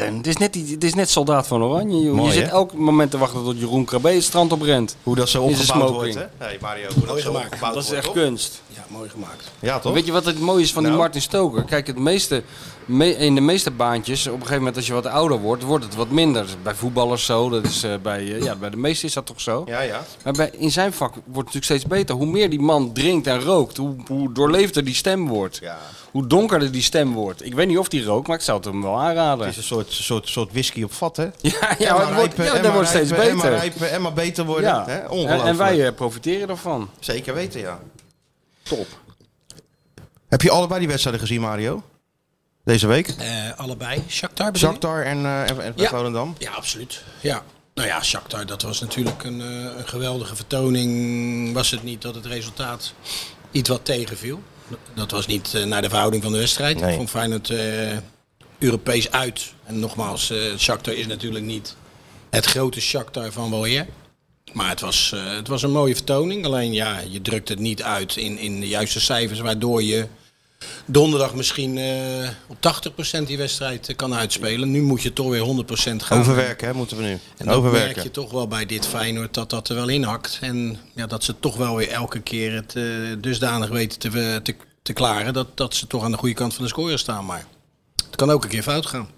S4: Het is net, die- het is net soldaat van Oranje, joh.
S2: Mooi,
S4: je zit
S2: hè?
S4: elk moment te wachten tot Jeroen Krabbe het strand op rent.
S2: hoe dat zo
S4: Is een
S2: opgebouwd
S4: smoking.
S2: wordt, hè? Hey Mario, hoe dat zo
S6: gemaakt.
S2: opgebouwd
S4: Dat is
S2: wordt,
S4: echt
S2: toch?
S4: kunst.
S6: Ja, mooi gemaakt.
S2: Ja, toch?
S4: Weet je wat het mooie is van die
S2: Nou.
S4: Martin Stoker? Kijk, het meeste, me- in de meeste baantjes, op een gegeven moment als je wat ouder wordt, wordt het wat minder. Bij voetballers zo, dat is, eh, bij, eh, ja, bij de meeste is dat toch zo?
S2: Ja, ja.
S4: Maar bij, in zijn vak wordt het natuurlijk steeds beter. Hoe meer die man drinkt en rookt, hoe, hoe doorleefder die stem wordt.
S2: Ja.
S4: Hoe donkerder die stem wordt. Ik weet niet of die rookt, maar ik zou het hem wel aanraden.
S2: Het is een soort, soort, soort whisky op vat, hè?
S4: Ja, ja, maar het wordt, ja, dat wordt steeds
S2: En maar
S4: beter.
S2: rijpen, en maar beter worden.
S4: Ja.
S2: Hè?
S4: En,
S2: Ongelooflijk.
S4: en wij eh, profiteren daarvan.
S2: Zeker weten, ja. Top. Heb je allebei die wedstrijden gezien, Mario? Deze week?
S6: Eh, allebei. Shakhtar bedoel je?
S2: Shakhtar en, eh en, en
S6: Ja.
S2: Volendam?
S6: Ja, absoluut. Ja. Nou ja, Shakhtar, dat was natuurlijk een, eh, een geweldige vertoning. Was het niet dat het resultaat iets wat tegenviel? Dat was niet eh, naar de verhouding van de wedstrijd.
S2: Nee.
S6: Ik vond Feyenoord eh, Europees uit. En nogmaals, eh Shakhtar is natuurlijk niet het grote Shakhtar van Walier. Maar het was, eh, het was een mooie vertoning. Alleen ja, je drukt het niet uit in, in de juiste cijfers, waardoor je donderdag misschien eh, op 80% die wedstrijd eh, kan uitspelen. Nu moet je toch weer 100% gaan.
S2: Overwerken, hè, moeten we nu.
S6: En dat merk je
S2: Overwerken.
S6: toch wel bij dit Feyenoord dat dat er wel in hakt. En ja, dat ze toch wel weer elke keer het eh, dusdanig weten te, eh, te, te klaren dat, dat ze toch aan de goede kant van de score staan. Maar het kan ook een keer fout gaan.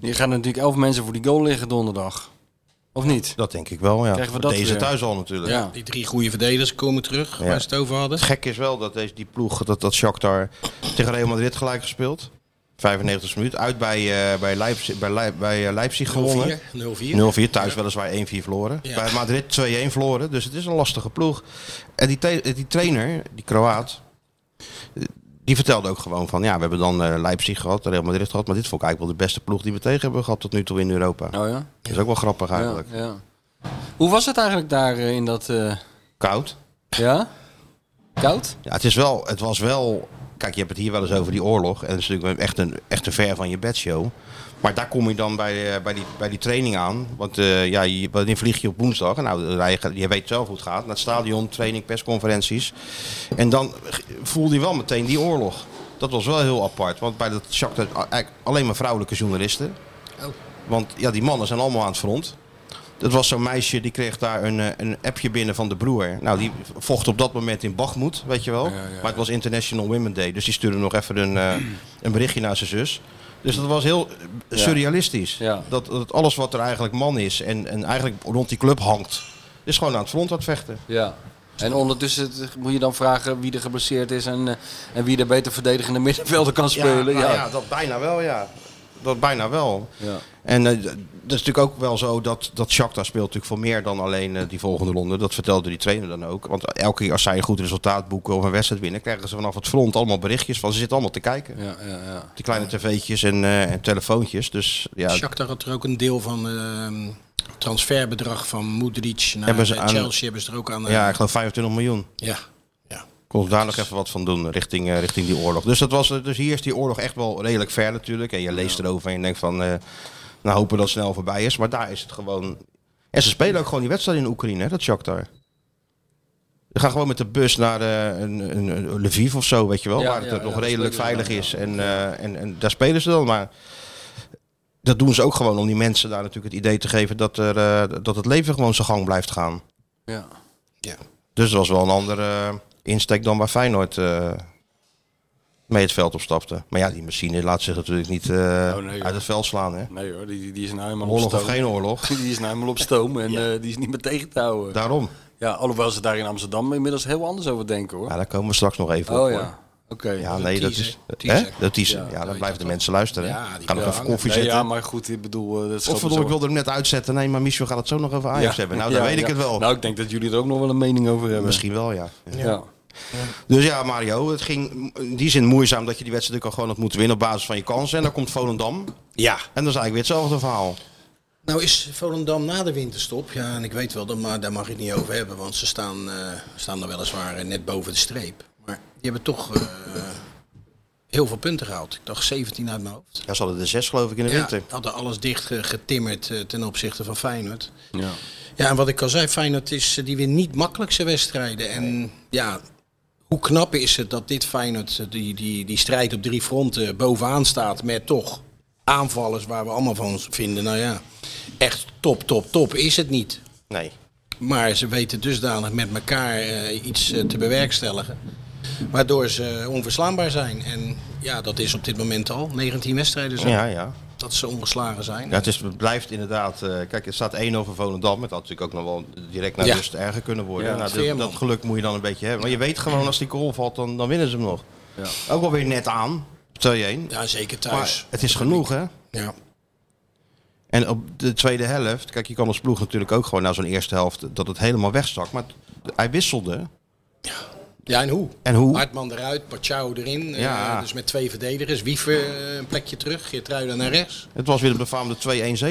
S4: Hier gaan natuurlijk elf mensen voor die goal liggen donderdag. Of niet?
S2: Dat denk ik wel, ja.
S4: Krijgen we dat
S2: deze
S4: weer?
S2: thuis al natuurlijk.
S4: Ja.
S6: Die drie goede verdedigers komen terug, waar ze het over hadden.
S2: Het gekke is wel dat deze, die ploeg, dat, dat Shakhtar tegen Real Madrid gelijk gespeeld. 95 minuut. Uit bij, eh, bij, Leipzig, bij, Leip- bij eh, Leipzig gewonnen.
S6: 0-4. 0-4.
S2: 0-4 thuis weliswaar 1-4 verloren.
S6: Ja.
S2: Bij Madrid 2-1 verloren. Dus het is een lastige ploeg. En die, te- die trainer, die Kroaat, eh, die vertelde ook gewoon van... Ja, we hebben dan eh, Leipzig gehad, Real Madrid gehad. Maar dit vond ik eigenlijk wel de beste ploeg die we tegen hebben gehad tot nu toe in Europa.
S4: Oh ja?
S2: Dat is ook wel grappig
S4: ja,
S2: eigenlijk.
S4: ja. Hoe was het eigenlijk daar eh, in dat... eh,
S2: Koud.
S4: ja? Koud?
S2: Ja, het, is wel, het was wel... Kijk, je hebt het hier wel eens over die oorlog. En dat is natuurlijk echt een, echt een ver van je bedshow. Maar daar kom je dan bij, eh, bij, die, bij die training aan. Want eh, ja, je, wanneer vlieg je op woensdag? Nou, dan rij je, je weet zelf hoe het gaat. Naar het stadion, training, persconferenties. En dan g- voelde je wel meteen die oorlog. Dat was wel heel apart. Want bij dat Shakhtar eigenlijk alleen maar vrouwelijke journalisten. Want ja, die mannen zijn allemaal aan het front. Dat was zo'n meisje die kreeg daar een, eh, een appje binnen van de broer. Nou, die vocht op dat moment in Bachmoed, weet je wel. Maar het was International Women Day, dus die stuurde nog even een, eh, een berichtje naar zijn zus. Dus dat was heel eh, surrealistisch.
S4: Ja.
S2: Dat, dat alles wat er eigenlijk man is en, en eigenlijk rond die club hangt, is gewoon aan het front aan het vechten.
S4: Ja. En ondertussen t- moet je dan vragen wie er geblesseerd is en, eh, en wie er beter verdedigende middenvelder kan spelen.
S2: nou
S4: Ja,
S2: ja, dat bijna wel, ja. Dat bijna wel.
S4: Ja.
S2: En eh, d- dat is natuurlijk ook wel zo dat, dat Shakhtar speelt natuurlijk voor meer dan alleen eh, die volgende ronde. Dat vertelde die trainer dan ook. Want elke keer als zij een goed resultaat boeken of een wedstrijd winnen, krijgen ze vanaf het front allemaal berichtjes van ze zitten allemaal te kijken.
S4: ja, ja, ja.
S2: Die kleine tv'tjes en, eh, en telefoontjes. Dus ja,
S6: Shakhtar had er ook een deel van ehm transferbedrag van Modric naar
S2: Hebben ze
S6: eh,
S2: aan-
S6: Chelsea hebben ze er ook aan. eh,
S2: ja, ik geloof 25 miljoen.
S6: ja. ja.
S2: Kon daar nog even wat van doen richting, eh, richting die oorlog. Dus, dat was, eh, dus hier is die oorlog echt wel redelijk ver natuurlijk. En je leest erover en je denkt van, eh, nou hopen dat het snel voorbij is. Maar daar is het gewoon... En ze spelen ook gewoon die wedstrijd in Oekraïne, hè, dat Shakhtar. Ze gaan gewoon met de bus naar eh, een, een, een Lviv of zo, weet je wel.
S4: Ja,
S2: waar het
S4: ja,
S2: nog
S4: ja,
S2: redelijk
S4: spelen ze
S2: veilig
S4: dan,
S2: is. En, eh, en, en daar spelen ze dan. Maar dat doen ze ook gewoon om die mensen daar natuurlijk het idee te geven... dat, er, eh, dat het leven gewoon zijn gang blijft gaan.
S4: ja.
S2: Dus dat was wel een andere eh, insteek dan waar Feyenoord eh, mee het veld opstapte. Maar ja, die machine laat zich natuurlijk niet eh,
S4: nee, joh.
S2: uit het veld slaan. Hè?
S4: Nee hoor, die, die is nou helemaal
S2: Oorlog
S4: op
S2: of
S4: stoom.
S2: geen oorlog.
S4: Die is nou helemaal op stoom en eh, die is niet meer tegen te houden.
S2: Daarom.
S4: Ja, alhoewel ze daar in Amsterdam inmiddels heel anders over denken hoor.
S2: Ja, daar komen we straks nog even op.
S4: oh
S2: hoor.
S4: ja. Oké.
S2: Ja,
S6: een
S2: nee, dat
S6: teaser.
S2: is...
S6: Teaser.
S2: Hè? Dat is... Ja,
S6: Ja,
S2: dan
S6: weet
S2: blijven de
S6: je
S2: mensen luisteren. hè?
S6: Ja, die
S2: Gaan nog
S6: wil
S2: even
S6: hangen.
S2: koffie
S4: Nee,
S2: zetten.
S4: ja, maar goed, ik bedoel... eh, dat
S2: Of
S4: scheelt
S2: verdomme, ik
S4: zo.
S2: wilde hem net uitzetten. Nee, maar Michel gaat het zo nog over Ajax
S4: Ja.
S2: hebben. Nou, dan
S4: Ja,
S2: weet ik
S4: ja.
S2: het wel.
S4: Nou, ik denk dat jullie er ook nog wel een mening over hebben.
S2: Misschien wel, ja.
S4: Ja. Oh,
S2: Dus ja, Mario, het ging in die zin moeizaam dat je die wedstrijd natuurlijk al gewoon had moeten winnen op basis van je kansen. En dan komt Volendam.
S6: Ja.
S2: En dan is eigenlijk weer hetzelfde verhaal.
S6: Nou is Volendam na de winterstop, ja, en ik weet wel, dat, maar daar mag ik het niet over hebben, want ze staan, eh staan er weliswaar eh, net boven de streep. Maar die hebben toch eh, heel veel punten gehaald. Ik dacht 17 uit mijn hoofd.
S2: Ja, ze hadden er zes geloof ik in de
S6: Ja,
S2: winter.
S6: hadden alles dicht eh, getimmerd eh, ten opzichte van Feyenoord.
S4: Ja.
S6: Ja, en wat ik al zei, Feyenoord is, eh, die wint niet makkelijk zijn wedstrijden. En ja, hoe knap is het dat dit Feyenoord eh, die, die, die strijd op drie fronten bovenaan staat met toch aanvallers waar we allemaal van vinden. Nou ja, echt top, top, top is het niet.
S2: Nee.
S6: Maar ze weten dusdanig met elkaar eh, iets eh, te bewerkstelligen. Waardoor ze onverslaanbaar zijn. En ja, dat is op dit moment al 19 wedstrijden zo,
S2: Ja, ja.
S6: dat ze ongeslagen zijn.
S2: ja het, is, het blijft inderdaad... eh, kijk, het staat 1-0 voor Volendam. Het had natuurlijk ook nog wel direct naar
S6: Ja.
S2: rust erger kunnen worden.
S6: Ja,
S2: nou, dat- dat,
S6: Veerman.
S2: geluk moet je dan een beetje hebben. Maar je weet gewoon, als die goal valt, dan, dan winnen ze hem nog. Ook wel weer net aan. 2-1.
S6: Ja, zeker thuis.
S2: maar het is genoeg, hè?
S6: Ja.
S2: En op de tweede helft, kijk, je kan als ploeg natuurlijk ook gewoon na zo'n eerste helft dat het helemaal wegstak. Maar t- hij wisselde.
S6: ja, en hoe?
S2: En hoe?
S6: Hartman eruit, Pachau erin.
S2: Ja.
S6: Eh, dus met twee verdedigers. Wiever eh, een plekje terug, Geertruiden naar rechts.
S2: Het was weer het befaamde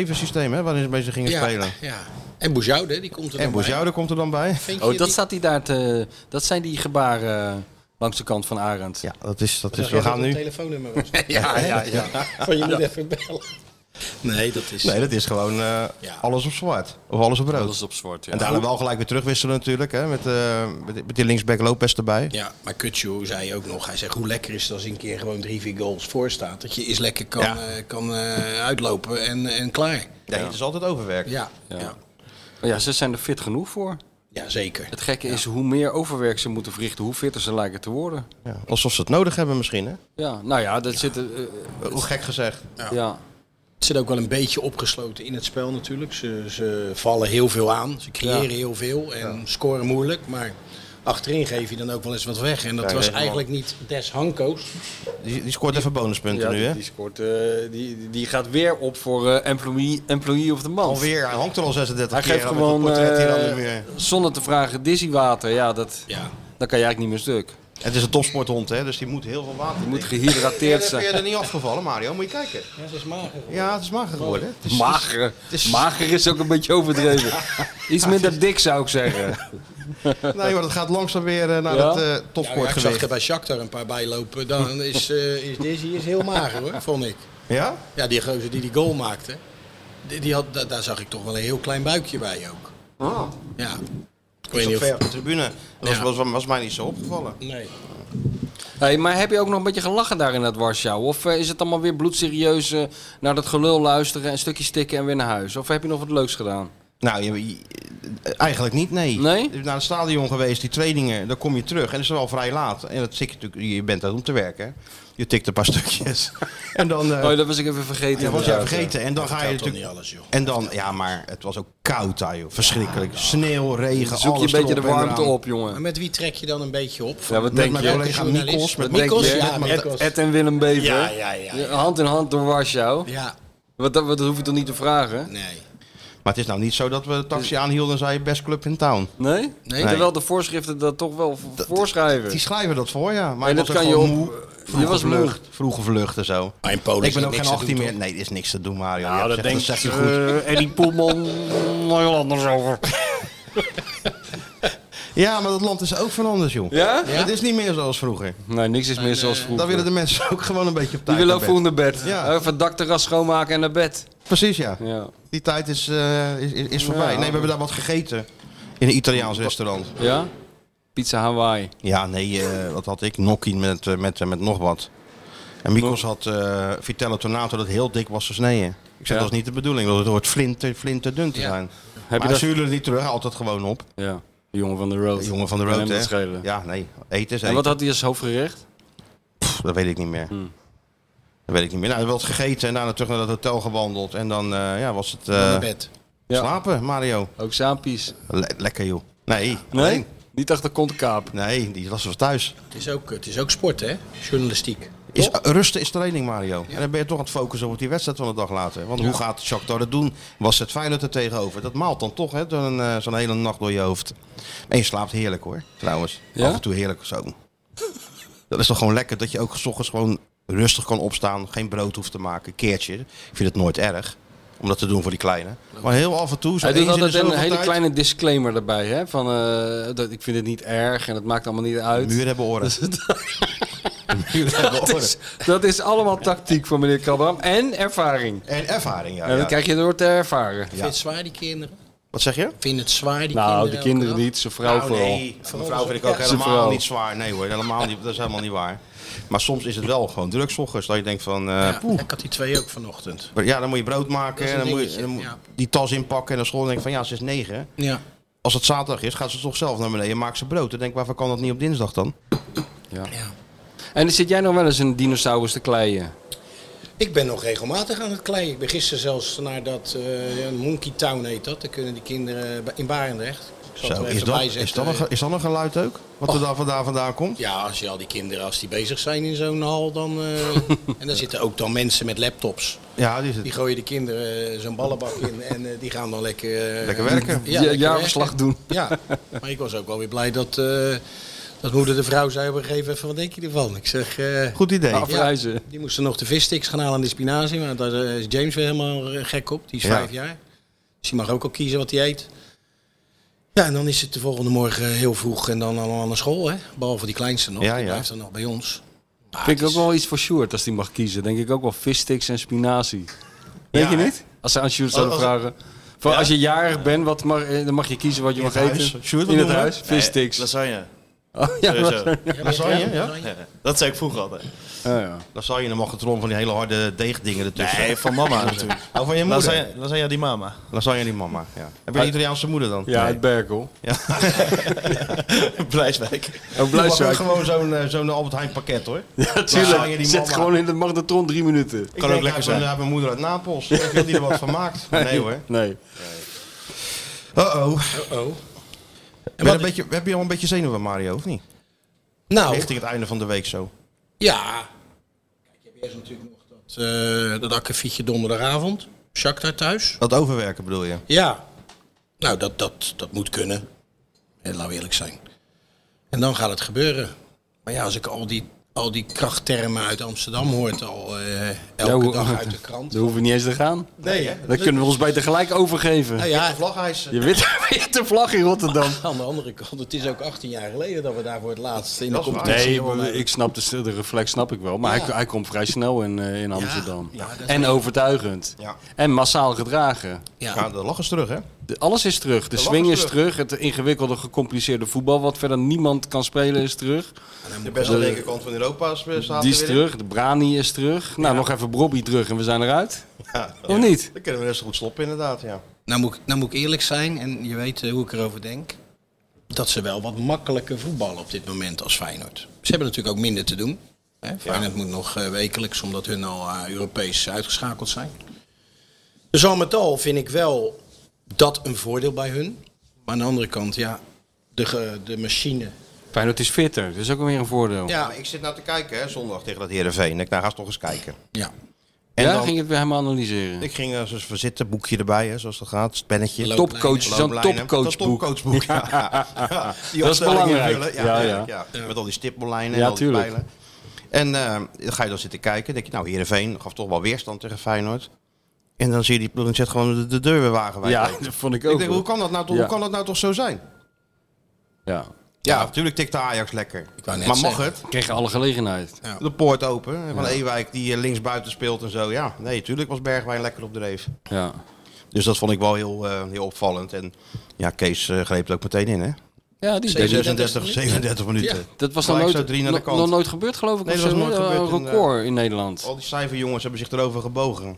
S2: 2-1-7 systeem, hè, waarin ze mee gingen spelen.
S6: ja. En Boujoude, die komt er
S2: En
S6: dan bij.
S2: Bozjoude komt er dan bij.
S6: Vind je
S4: Oh, dat
S6: die-
S4: staat hij daar te... Dat zijn die gebaren eh, langs de kant van Arend.
S2: Ja, dat is, dat
S6: Zeg
S2: is dus
S6: jij
S2: we
S6: dat
S2: gaan
S6: het
S2: nu.
S6: telefoonnummer was? ja, ja, ja. Van je moet even bellen. Nee, dat is...
S2: Nee, dat is gewoon eh,
S6: Ja.
S2: alles op zwart. Of alles op rood.
S4: Dat is op zwart, ja.
S2: En daarna wel gelijk weer terugwisselen natuurlijk, hè, met, eh, met, die- met die linksback Lopez erbij.
S6: Ja, maar Kutsu zei ook nog, hij zegt hoe lekker is het als je een keer gewoon drie, vier goals voor staat. Dat je eens lekker kan,
S2: Ja.
S6: eh, kan eh, uitlopen en, en klaar.
S2: Nee, het is altijd overwerk.
S6: Ja, ja. ja.
S4: Maar ja, ze zijn er fit genoeg voor.
S6: zeker.
S4: Het gekke is hoe meer overwerk ze moeten verrichten, hoe fitter ze lijken te worden.
S2: Ja, Alsof ze het nodig hebben misschien, hè?
S4: Ja, nou ja, dat zit... eh, eh,
S2: Hoe gek gezegd.
S4: ja.
S6: Het zit ook wel een beetje opgesloten in het spel natuurlijk. Ze, ze vallen heel veel aan, ze creëren
S4: Ja.
S6: heel veel en scoren moeilijk. Maar achterin geef je dan ook wel eens wat weg. En dat
S2: Ja,
S6: was
S2: helemaal.
S6: eigenlijk niet Des Hanko's.
S2: Die, die scoort even bonuspunten
S4: Ja,
S2: nu,
S4: die,
S2: hè?
S4: die scoort, eh, die, die gaat weer op voor eh, employee, employee of the month.
S2: Alweer, hij hangt er al 36
S4: Hij
S2: keer.
S4: geeft
S2: aan met dat
S4: gewoon,
S2: portret hier aan de
S4: eh,
S2: muur.
S4: zonder te vragen, Dizzy water. Ja, dat,
S6: Ja.
S4: dan kan je eigenlijk niet meer stuk.
S2: Het is een topsporthond, hè, dus die moet heel veel water
S4: Je moet
S2: drinken.
S4: gehydrateerd
S2: Ja, dat heb
S4: zijn.
S2: je er niet afgevallen, Mario. Moet je kijken.
S6: Ja, ze is mager.
S2: Ja, het is mager geworden. hè. Het is,
S4: Mager.
S2: is-
S4: Mager is ook een beetje overdreven. Iets minder dik zou ik zeggen.
S2: Nee, maar dat gaat langzaam weer eh, naar
S4: Ja?
S2: het eh
S6: Ja, ja, ik
S2: topsportgewicht.
S6: zag er bij Shakhtar een paar bijlopen. Dan is, eh is Dizzy is heel mager hoor, vond ik.
S2: Ja?
S6: Ja, die gozer die die goal maakte, die, die had, da- daar zag ik toch wel een heel klein buikje bij ook.
S2: Ah.
S6: Ja. Ik weet
S2: Zo
S6: niet
S2: ver
S6: of...
S2: op de tribune. Dat was,
S6: Ja.
S2: was, was mij niet zo opgevallen.
S6: Nee.
S4: Hey, maar heb je ook nog een beetje gelachen daar in dat Warschau? Of eh, is het allemaal weer bloedserieus eh, naar dat gelul luisteren en stukjes tikken en weer naar huis? Of heb je nog wat leuks gedaan?
S2: Nou, je- je- eigenlijk niet, nee.
S4: Nee?
S2: Je bent Naar het stadion geweest, die trainingen, dan kom je terug. En dat is wel vrij laat. En dat tik je natuurlijk, je bent daar om te werken. Je tikt een paar stukjes. en dan... eh,
S4: Oh, dat was ik even vergeten.
S2: ja, was jij
S4: inderdaad.
S2: vergeten. En dan ga je
S6: Gaat toch niet
S2: natuurlijk...
S6: alles, joh.
S2: En dan, ja, maar het was ook koud daar, joh. Verschrikkelijk. Sneeuw, regen,
S4: Zoek je
S2: alles
S4: een beetje de
S2: erop en
S4: warmte
S2: eraan.
S4: op,
S6: Maar
S4: jongen.
S6: met wie trek je dan een beetje op?
S4: Ja, wat
S2: Met
S4: denk
S2: mijn
S4: je?
S2: collega
S6: Journalist.
S2: Mikos. Met
S6: Wat denk
S2: Mikos,
S6: je?
S2: ja.
S6: Ja,
S2: met-
S6: Mikos.
S4: Ed en Willem Bever.
S6: Ja, ja, ja, ja.
S4: Hand in hand door Warschau.
S6: Ja,
S4: Wat, dat, wat- dat hoef je toch niet te vragen?
S6: nee.
S2: Maar het is nou niet zo dat we de taxi aanhielden en zeiden best club in town.
S4: Nee?
S6: Nee.
S4: Terwijl de voorschriften dat toch wel v- voorschrijven.
S2: Die schrijven dat voor, ja. Maar
S4: En
S2: dat
S4: dat kan je op. Je was moe.
S2: vlucht, vroege vlucht en zo.
S6: Maar in Polen
S2: ik ben
S6: is
S2: ook
S6: niks
S2: geen
S6: te
S2: 18
S6: doen,
S2: meer.
S6: toch?
S2: Nee, er is niks te doen, Mario.
S4: Nou,
S2: Je
S4: dat
S2: hebt
S4: denkt
S2: gezegd,
S4: je
S2: dat zeg je goed.
S4: Eh, Eddie Poelman nog heel anders over.
S2: Ja, maar dat land is ook van anders, joh.
S4: Ja?
S2: Het is niet meer zoals vroeger.
S4: Nee, niks is meer zoals vroeger.
S2: Dan willen de mensen ook gewoon een beetje op
S4: Die
S2: tijd.
S4: willen
S2: naar
S4: ook
S2: bed.
S4: vroeg naar bed.
S2: Ja.
S4: Even het dakterras schoonmaken en naar bed.
S2: Precies, ja.
S4: Ja.
S2: Die tijd is, eh, is, is is voorbij.
S4: Ja.
S2: Nee, we hebben daar wat gegeten. In een Italiaans restaurant.
S4: Ja? Pizza Hawaii.
S2: Ja, nee, eh, wat had ik? Gnocchi met, eh, met, eh, met nog wat. En Mikos had eh, Vitello Tornato dat heel dik was gesneden. Ik zei,
S4: Ja.
S2: dat is niet de bedoeling. Dat het hoort flinter, flinter dun te zijn.
S4: Heb
S2: maar
S4: je dat?
S2: ze zullen het niet terug, hij haalt het gewoon op.
S4: Ja. De jongen van de road.
S2: De jongen van de
S4: Kan hem
S2: road,
S4: dat
S2: hè?
S4: schelen.
S2: Ja, nee. Eten is
S4: En wat
S2: eten.
S4: had hij als hoofdgerecht?
S2: Pff, dat weet ik niet meer. Dat weet ik niet meer. Nou, we hebben wat gegeten en daarna terug naar dat hotel gewandeld. En dan eh, ja, was het eh,
S6: Naar bed.
S4: Ja.
S2: slapen, Mario.
S4: Ook Sapies.
S2: Le- lekker, joh. Nee,
S4: Nee?
S2: alleen.
S4: Niet achter kont kaap.
S2: Nee, die was van thuis.
S6: Het is ook, het is ook sport, hè? Journalistiek.
S2: Is, eh, rusten is training, Mario. En dan ben je toch aan het focussen op die wedstrijd van de dag later. Want hoe gaat Shakhtar dat doen? Was het Feyenoord er tegenover? Dat maalt dan toch hè, door een, eh, zo'n hele nacht door je hoofd. En je slaapt heerlijk hoor, trouwens.
S4: Ja?
S2: Af en toe heerlijk zo. Dat is toch gewoon lekker dat je ook 's ochtends gewoon rustig kan opstaan. Geen brood hoeft te maken, een keertje. Ik vind het nooit erg om dat te doen voor die kleine. Maar heel af en toe... zo
S4: Hij doet
S2: eens in de
S4: altijd een
S2: zoveel
S4: hele
S2: tijd-
S4: kleine disclaimer erbij. Hè? Van, eh, dat, ik vind het niet erg en het maakt allemaal niet uit.
S2: Muren hebben oren. De muren hebben
S4: Dat
S2: oren.
S4: is, dat is allemaal tactiek van meneer Krabram. En ervaring.
S2: En ervaring, ja.
S4: en dat
S2: ja.
S4: krijg je door te ervaren.
S6: Vind je het zwaar, die kinderen?
S2: Wat zeg je?
S6: Vind je het zwaar, die
S4: nou,
S6: kinderen?
S4: de kinderen
S6: elke dag?
S4: niet, zijn vrouw
S2: Nou,
S4: vooral.
S2: Nee, mijn vrouw vind ik ook
S4: Ja,
S2: helemaal
S4: zijn vrouw.
S2: niet zwaar. Nee hoor, helemaal niet. Dat is helemaal niet waar. Maar soms is het wel gewoon druk 's ochtends. Dat je denkt van, eh,
S6: Ja, ik had die twee ook vanochtend.
S2: poeh, ja, dan moet je brood maken.
S6: is
S2: En
S6: een
S2: dan moet je
S6: dingetje,
S2: dan moet-
S6: ja.
S2: die tas inpakken. En naar school en denk ik van, ja, ze is negen.
S6: Ja.
S2: Als het zaterdag is, gaat ze toch zelf naar beneden en maakt ze brood. Dan denk ik, waarvoor kan dat niet op dinsdag dan?
S4: En zit jij nog wel eens een dinosaurus te kleien?
S6: Ik ben nog regelmatig aan het kleien. Ik ben gisteren zelfs naar dat eh, Monkey Town heet dat. Daar kunnen die kinderen bij- in Barendrecht. Ik zal het
S2: Zo,
S6: er
S2: is
S6: even
S2: dat,
S6: bij
S2: is, dat
S6: zetten.
S2: een, ge- is dat een geluid ook? Wat er daar vandaan, vandaan komt?
S6: Ja, als je al die kinderen, als die bezig zijn in zo'n hal, dan... eh, en daar zitten ook dan mensen met laptops.
S2: Ja, die is
S6: Die
S2: het.
S6: gooien de kinderen eh, zo'n ballenbak in en eh, die gaan dan lekker... eh,
S2: Lekker werken.
S6: Ja,
S4: Ja,
S6: lekker
S4: jaarverslag
S6: werken.
S4: doen.
S6: Ja, maar ik was ook wel weer blij dat, eh, dat moeder de vrouw zei op een gegeven moment van, wat denk je ervan? Ik zeg... eh,
S2: Goed idee.
S4: Nou, Afreizen.
S6: die moesten nog de vissticks gaan halen aan de spinazie, maar daar eh, is James weer helemaal eh, gek op. Die is
S2: Ja.
S6: vijf jaar. Dus die mag ook al kiezen wat hij eet. Ja, en dan is het de volgende morgen eh, heel vroeg en dan allemaal naar school, hè? Behalve die kleinste nog,
S2: Ja,
S6: die
S2: ja.
S6: blijft dan nog bij ons. Maar
S2: Ah,
S4: Vind ik
S6: het
S4: ook
S6: is-
S4: wel iets voor Sjoerd als die mag kiezen. Denk ik ook wel vissticks en spinazie. Denk je
S2: hè? Oh,
S4: niet? Als ze aan Sjoerd zouden
S2: Als- als-
S4: vragen. Van, Als je jarig bent, wat mag, eh, dan mag je kiezen wat je mag
S2: het
S4: eten.
S2: huis. Sjoerd, wat
S4: In het
S2: doen we?
S4: huis, vissticks.
S3: Lasagne.
S4: Oh, ja,
S3: Sowieso.
S4: lasagne.
S2: Lasagne, ja?
S6: Lasagne.
S3: Dat zei ik vroeger altijd.
S4: Oh, ja.
S2: Lasagne, dan mag het erom van die hele harde deegdingen ertussen.
S3: Nee, van mama natuurlijk.
S2: Oh, van je moeder? Lasagne,
S3: Lasagne, lasagne die mama.
S2: die mama, ja. Heb je een Italiaanse moeder dan?
S4: ja,
S2: Nee.
S4: het Berkel.
S3: Blijswijk.
S4: Oh,
S2: Je mag ook
S4: Bluiswijk.
S2: gewoon zo'n eh, zo'n Albert Heijn pakket hoor.
S4: Ja,
S2: Lasagne
S4: tuurlijk.
S2: die
S4: Zet
S2: mama.
S4: gewoon in de magnetron drie minuten.
S2: kan ook lekker zijn. mijn moeder uit Napels. Ik wil die er wat van maakt. Nee hoor.
S4: Nee.
S2: Uh-oh.
S6: Oh.
S2: Ben een beetje, heb je al een beetje zenuwen Mario, of niet?
S6: Nou,
S2: Richting het einde van de week zo.
S6: ja. Kijk, je hebt eerst natuurlijk nog dat, eh dat akkefietje donderdagavond. Shakhtar thuis.
S2: Dat overwerken bedoel je?
S6: Ja. Nou, dat, dat, dat moet kunnen. En laten we eerlijk zijn. En dan gaat het gebeuren. Maar ja, als ik al die, al die krachttermen uit Amsterdam hoort al eh, elke
S4: Ja, hoe-
S6: dag uit de krant.
S4: Daar hoeven we niet eens te gaan.
S2: Nee hè?
S4: Dan kunnen we ons bij tegelijk overgeven.
S6: Nou ja,
S2: Vlaghijs.
S4: Je witte, witte vlag in Rotterdam.
S6: aan de andere kant, het is ook 18 jaar geleden dat we daar voor het laatst in de
S2: Dat is waar.
S6: competitie
S4: Nee,
S6: wonnen.
S4: ik snap de, de reflex snap ik wel. Maar
S6: Ja.
S4: hij, hij komt vrij snel in, eh, in Amsterdam.
S6: ja, dat is
S4: en overtuigend.
S2: Ja.
S4: En massaal gedragen.
S2: Ja,
S6: Ja,
S2: de lach is terug hè?
S4: De- alles is terug. De, swing
S2: lach is
S4: is terug. Het ingewikkelde, gecompliceerde voetbal, wat verder niemand kan spelen, is terug.
S2: De beste linkerkant van Europa eh, staat
S4: Die is terug. De Brani is terug. Nou, nog even Brobby terug en we zijn eruit. Of niet?
S2: Dan kunnen we best goed stoppen inderdaad, ja.
S6: nou, moet, ik- nou moet ik eerlijk zijn, en je weet eh, hoe ik erover denk. Dat ze wel wat makkelijker voetballen op dit moment als Feyenoord. Ze hebben natuurlijk ook minder te doen. Hè? Feyenoord moet nog eh, wekelijks, omdat hun al eh, Europees uitgeschakeld zijn. Dus al met al vind ik wel dat een voordeel bij hun. Maar aan de andere kant, ja, de, ge- de machine.
S4: Feyenoord is fitter. Dat is ook weer een voordeel. Ja,
S2: Ja, ik zit nou te kijken hè, zondag tegen dat Heerenveen. Ik nou, ga eens toch eens kijken.
S6: Ja,
S2: En dan,
S4: ging het weer helemaal analyseren.
S2: ik ging eh, zo eens verzitten, boekje erbij hè, zoals dat gaat, het pennetje.
S6: Loop-
S4: Topcoach, zo'n
S2: Looplijnen. Dat
S4: topcoachboek.
S2: topcoachboek, ja. Ja, die
S4: Dat is
S2: opstellingen
S4: belangrijk.
S2: vullen,
S4: Ja,
S2: Ja,
S4: ja.
S2: tuurlijk, ja. Met al die stippenlijnen
S4: Ja,
S2: en al die
S4: tuurlijk.
S2: pijlen. En eh, dan ga je dan zitten kijken. denk je, nou, Heerenveen gaf toch wel weerstand tegen Feyenoord. En dan zie je die ploeg zet gewoon de, de deur weer wagenwijd
S4: Ja,
S2: open.
S4: dat vond ik ook.
S2: Ik denk, hoe kan, dat nou toch,
S4: Ja.
S2: hoe kan dat nou toch zo zijn?
S4: Ja.
S2: Ja, natuurlijk tikt de Ajax lekker.
S6: wou net
S2: Maar mag
S6: zeggen.
S2: het?
S4: Kregen alle gelegenheid.
S2: De poort open. Van Ewijk die eh, linksbuiten speelt en zo. Ja, nee, tuurlijk was Bergwijn lekker op dreef.
S4: Ja.
S2: Dus dat vond ik wel heel, eh, heel opvallend. En ja, Kees eh, greep het ook meteen in, hè?
S4: Ja, die
S6: Zeker.
S2: 36, 37 minuten.
S4: Dat was dan
S2: Gelijk
S4: nooit,
S2: zo drie naar de
S4: no-
S2: kant.
S4: nog nooit gebeurd, geloof ik.
S2: Nee,
S4: of
S2: dat
S4: zo,
S2: was nooit
S4: hè?
S2: gebeurd Oh.
S4: Een
S2: in,
S4: record in, Nederland.
S2: Al die cijferjongens hebben zich erover gebogen.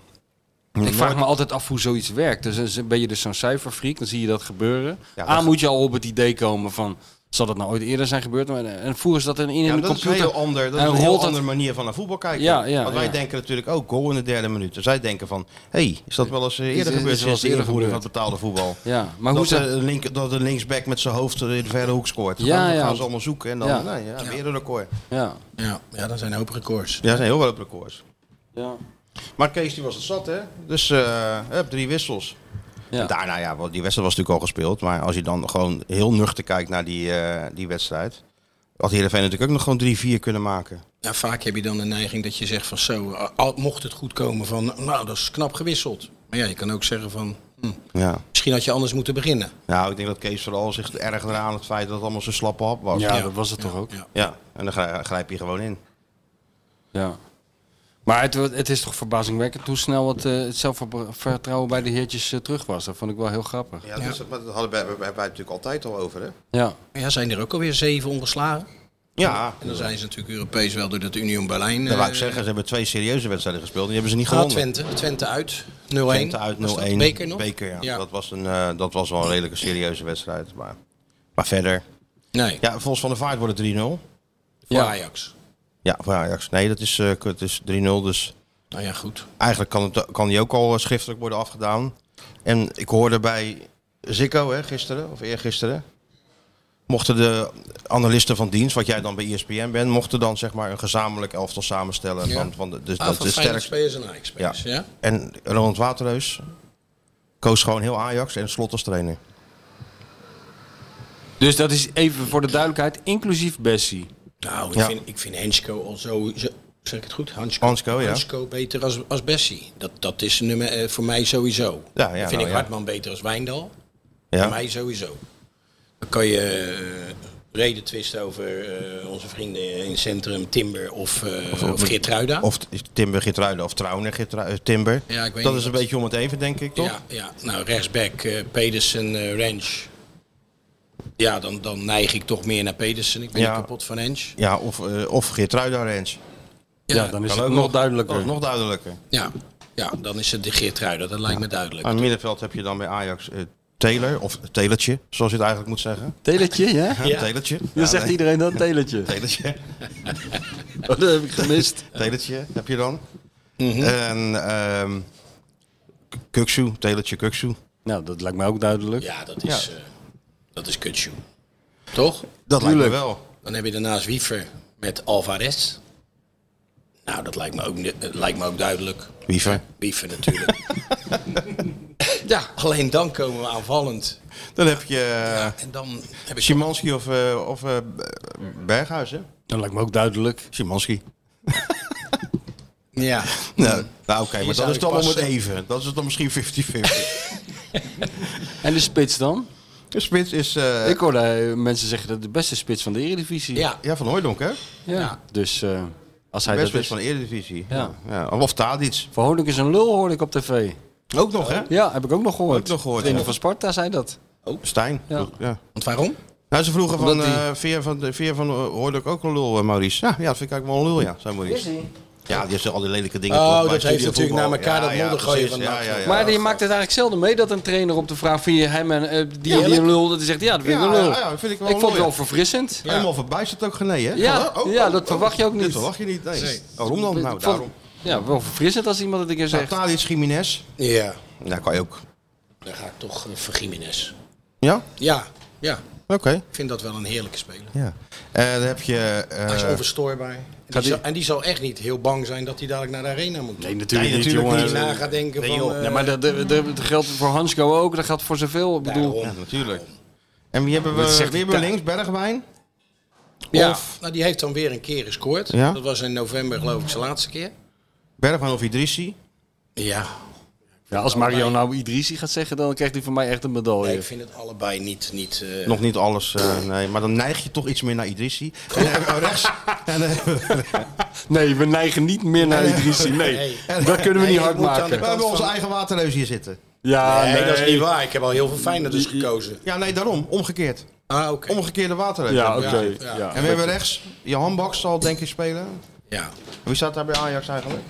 S4: Ik vraag me altijd af hoe zoiets eh, werkt. Dus dan ben je dus zo'n cijferfreak, dan zie je dat gebeuren.
S2: Ja,
S4: Aan
S2: dat-
S4: moet je al op het idee komen van... Zal dat nou ooit eerder zijn gebeurd? Maar, eh, En voeren ze dat in, in
S2: Ja,
S4: een
S2: dat is een
S4: computer?
S2: heel, ander, dat is
S4: en
S2: een heel
S4: rolt dat-
S2: andere manier van naar voetbal kijken.
S4: Ja, ja,
S2: Want wij
S4: ja.
S2: denken natuurlijk ook goal in de derde minuut. En zij denken van, hé, hey, is dat wel eens eh,
S4: Dit
S2: eerder
S4: is-
S2: gebeurd
S4: is wel
S2: sinds
S4: eens
S2: de
S4: eerder
S2: invoering van
S4: gebeurd.
S2: het betaalde voetbal?
S4: Ja, maar Oh, hoe
S2: dat, eh,
S4: ze...
S2: de link, dat de linksback met zijn hoofd in de verre hoek scoort.
S4: Ja,
S2: dan
S4: ja.
S2: gaan ze allemaal zoeken en dan
S4: Ja.
S2: nou ja, weer een record.
S4: Ja,
S6: Ja, ja dat zijn een hoop records.
S2: Ja, dat zijn heel wel op records.
S4: ja,
S2: Maar Kees die was het zat, hè? Dus eh, hup, drie wissels.
S4: ja.
S2: Daarna, ja, want die wedstrijd was natuurlijk al gespeeld. Maar als je dan gewoon heel nuchter kijkt naar die, eh, die wedstrijd... had Heerenveen natuurlijk ook nog gewoon drie, vier kunnen maken.
S6: Ja, vaak heb je dan de neiging dat je zegt van zo, eh, al- mocht het goed komen van nou dat is knap gewisseld. Maar ja, je kan ook zeggen van hm,
S2: Ja.
S6: misschien had je anders moeten beginnen.
S2: Nou, ik denk dat Kees vooral zich ergerde aan het feit dat het allemaal zo'n slappe hap was.
S4: Ja, dat was het toch ook?
S6: Ja.
S2: Ja, en dan grij- grijp je gewoon in.
S4: Ja. Maar het, wa- het is toch verbazingwekkend hoe snel het, eh, het zelfvertrouwen bij de heertjes eh, terug was. Dat vond ik wel heel grappig.
S2: Ja, dus, dat hadden wij, natuurlijk altijd al over, hè?
S4: Ja,
S6: Ja, zijn er ook alweer zeven ongeslagen.
S2: Ja,
S6: En dan zijn ze natuurlijk Europees wel door dat Union Berlijn.
S2: dat wou ik
S6: eh,
S2: zeggen. Ze hebben twee serieuze wedstrijden gespeeld en die hebben ze niet
S6: Ah,
S2: gewonnen.
S6: Twente, Twente uit 0-1.
S2: Twente uit 0-1.
S6: Was dat? Beker nog?
S2: ja. Dat, was een, eh, dat was wel een redelijke serieuze wedstrijd. Maar, maar verder.
S6: Nee,
S2: Ja, volgens Van der Vaart wordt het 3-0.
S6: voor
S4: Ja.
S6: Ajax.
S2: Ja, voor Ajax. Nee, dat is, eh, het is 3-0. Dus
S6: Nou ja, goed.
S2: eigenlijk kan, het, kan die ook al eh, schriftelijk worden afgedaan. En ik hoorde bij Zico hè, gisteren, of eergisteren. Mochten de analisten van dienst, wat jij dan bij E ESPN bent, mochten dan zeg maar een gezamenlijk elftal samenstellen.
S6: Ja.
S2: Van, van de, dus
S6: Ah,
S2: dat
S6: van
S2: is
S6: Feyenoord
S2: sterk.
S6: spelers en Ajax spelers, ja.
S2: En Ronald Waterreus koos gewoon heel Ajax en slot als trainer.
S4: Dus dat is even voor de duidelijkheid, inclusief Bessie.
S6: Nou, ik
S2: Ja.
S6: vind, ik vind Henschko al zo... zo- Zeg ik het goed? Hansko,
S2: Hansko, ja.
S6: beter als, als Bessie. Dat, dat is nummer eh, voor mij sowieso.
S2: Ja, ja,
S6: Dan vind
S2: nou
S6: ik
S2: ja.
S6: Hartman beter als Wijndal.
S2: Ja.
S6: Voor mij sowieso. Dan kan je eh, reden twisten over eh, onze vrienden in het centrum, Timber of, eh of, Geertruida.
S2: Of t- Timber Gitruiden of Trauner Gitru- eh, Timber.
S6: Ja, ik weet
S2: dat
S6: niet
S2: is een
S6: wat-
S2: beetje om het even, denk ik, toch?
S6: ja, ja, nou rechtsback, eh, Pedersen, eh, Rens. Ja, dan, dan neig ik toch meer naar Pedersen. Ik ben
S2: Ja.
S6: niet kapot van Rens.
S2: Ja, of, eh of Geertruida Rens.
S4: Ja, dan is
S2: Kan
S4: het
S2: ook
S4: nog, duidelijker.
S2: Dat is nog duidelijker.
S6: Ja, ja dan is het de Geertruida. Dat lijkt me duidelijk.
S2: Aan het middenveld heb je dan bij Ajax eh Taylor, of Telertje, zoals je het eigenlijk moet zeggen.
S4: Teletje, ja?
S2: Ja. Telertje.
S4: Dan
S2: Ja,
S4: zegt
S2: nee,
S4: iedereen dan teletje.
S2: Telertje.
S4: Oh, dat heb ik gemist.
S2: Telertje heb je dan.
S6: Mhm.
S2: En ehm Kuksu, Telertje Kuksu.
S4: Nou, dat lijkt mij ook duidelijk.
S6: Ja, dat is, eh dat is kutjoe. Toch?
S2: Dat lijkt me wel.
S6: Dan heb je daarnaast Wiever met Alvarez. Nou, dat lijkt me ook, ni- eh, lijkt me ook duidelijk.
S2: Wiever.
S6: Wiever natuurlijk. ja, alleen dan komen we aanvallend.
S2: Dan heb je
S6: En dan heb
S2: eh,
S6: ik...
S2: Szymanski of, eh of eh, Berghuis, hè?
S4: Dat lijkt me ook duidelijk.
S2: Szymanski.
S6: Ja.
S2: Nou, nou oké, maar dat
S6: zou
S2: is
S6: ik
S2: dan om het
S6: passen.
S2: even. Dat is dan misschien 50-50.
S4: En de spits dan?
S2: De spits is... eh,
S4: Ik hoorde eh, mensen zeggen dat de beste spits van de Eredivisie.
S6: ja.
S2: Ja, Van Hooijdonk, hè?
S4: ja. Dus eh, als hij
S2: Best
S4: dat
S2: spits
S4: is...
S2: van de Eredivisie.
S4: Ja.
S2: ja. Of Tadic.
S4: Verhoorlijk is een lul, hoorde ik op tv.
S2: Ook nog, hè?
S4: Ja, heb ik ook nog gehoord.
S2: Ook nog gehoord,
S4: Trainer
S2: ja.
S4: van Sparta zei dat.
S2: Stijn.
S4: Ja.
S2: ja.
S6: Want waarom?
S2: Nou, ze vroegen van,
S4: Omdat die-
S2: eh Veer van, de- Veer van eh, Hoordijk ook een lul, eh, Maurice. Ja, ja, dat vind ik eigenlijk wel een lul, ja, zei Maurice. Ja, die heeft al die lelijke dingen. toch,
S6: Oh,
S2: bij
S6: dat heeft
S2: studio
S6: natuurlijk
S2: voetbal.
S6: naar elkaar dat modder gooien
S2: precies,
S6: van NAC.
S4: maar die maakt het eigenlijk zelden mee dat een trainer op de vraag van je hem en eh, die, die een lul, dat hij zegt ja, dat vind ik
S2: Ja,
S4: een lul.
S2: ja, ja, dat vind ik wel
S4: ik
S2: een
S4: vond het
S2: lul,
S4: wel verfrissend.
S2: Ja. Helemaal verbijsterd ook genee, hè?
S4: Ja,
S2: Van, oh, oh,
S4: ja,
S2: oh,
S4: dat
S2: oh,
S4: verwacht je ook
S2: Dat
S4: niet.
S2: verwacht je niet, nee.
S6: Nee.
S2: Waarom dan? Nou,
S4: Ik vond-
S2: daarom.
S4: Ja, wel verfrissend als iemand het een keer
S2: Nou,
S4: zegt.
S2: Tadic, Jiménez.
S6: Ja.
S2: Ja, kan je ook.
S6: Dan ga ik toch eh, voor Gimenez.
S2: Ja?
S6: Ja, ja.
S2: Oké.
S6: Ik vind dat wel een heerlijke speler.
S2: Ja. Eh, dan heb je... eh,
S6: Hij is onverstoorbaar. En die, zal, en die zal echt niet heel bang zijn dat hij dadelijk naar de arena moet.
S4: Nee,
S2: Nee,
S4: natuurlijk niet,
S2: natuurlijk
S4: jongen.
S6: niet na gaat denken
S2: Nee,
S6: van...
S2: joh.
S6: eh,
S4: Nee, maar dat, dat, dat- dat geldt voor Hansco ook, dat geldt voor zoveel. Ik bedoel,
S2: ja, natuurlijk. En wie hebben
S4: Dat
S2: we,
S4: zegt
S2: wie
S4: die
S2: hebben we
S4: Ta-
S2: links? Bergwijn?
S6: ja,
S4: of-
S6: nou, die heeft dan weer een keer gescoord.
S2: Ja.
S6: Dat was in november geloof ik zijn laatste keer.
S2: Bergwijn of Idrissi?
S6: Ja.
S4: ja, als Mario nou Idrisi gaat zeggen, dan krijgt hij van mij echt een medaille.
S6: ik vind het allebei niet... niet eh,
S2: Nog niet alles, eh, nee. Maar dan neig je toch iets meer naar Idrissi. En dan hebben we rechts... En dan hebben we
S4: Nee, we neigen niet meer naar Idrisi. Nee, dat kunnen we
S6: Nee,
S4: niet
S6: je
S4: hard
S6: moet aan de
S4: maken.
S2: We
S6: kant
S2: hebben onze
S6: van-
S2: eigen waterneus hier zitten.
S4: Ja,
S6: nee,
S4: nee,
S6: dat is niet waar. Ik heb al heel veel Feyenoorders gekozen.
S2: Ja, nee, daarom. Omgekeerd.
S6: Ah, oké.
S2: Omgekeerde waterneus.
S4: Ja, oké.
S6: ja.
S4: ja.
S2: En we hebben rechts. Johan Baks zal denk ik spelen.
S6: Ja.
S2: Wie staat daar bij Ajax eigenlijk?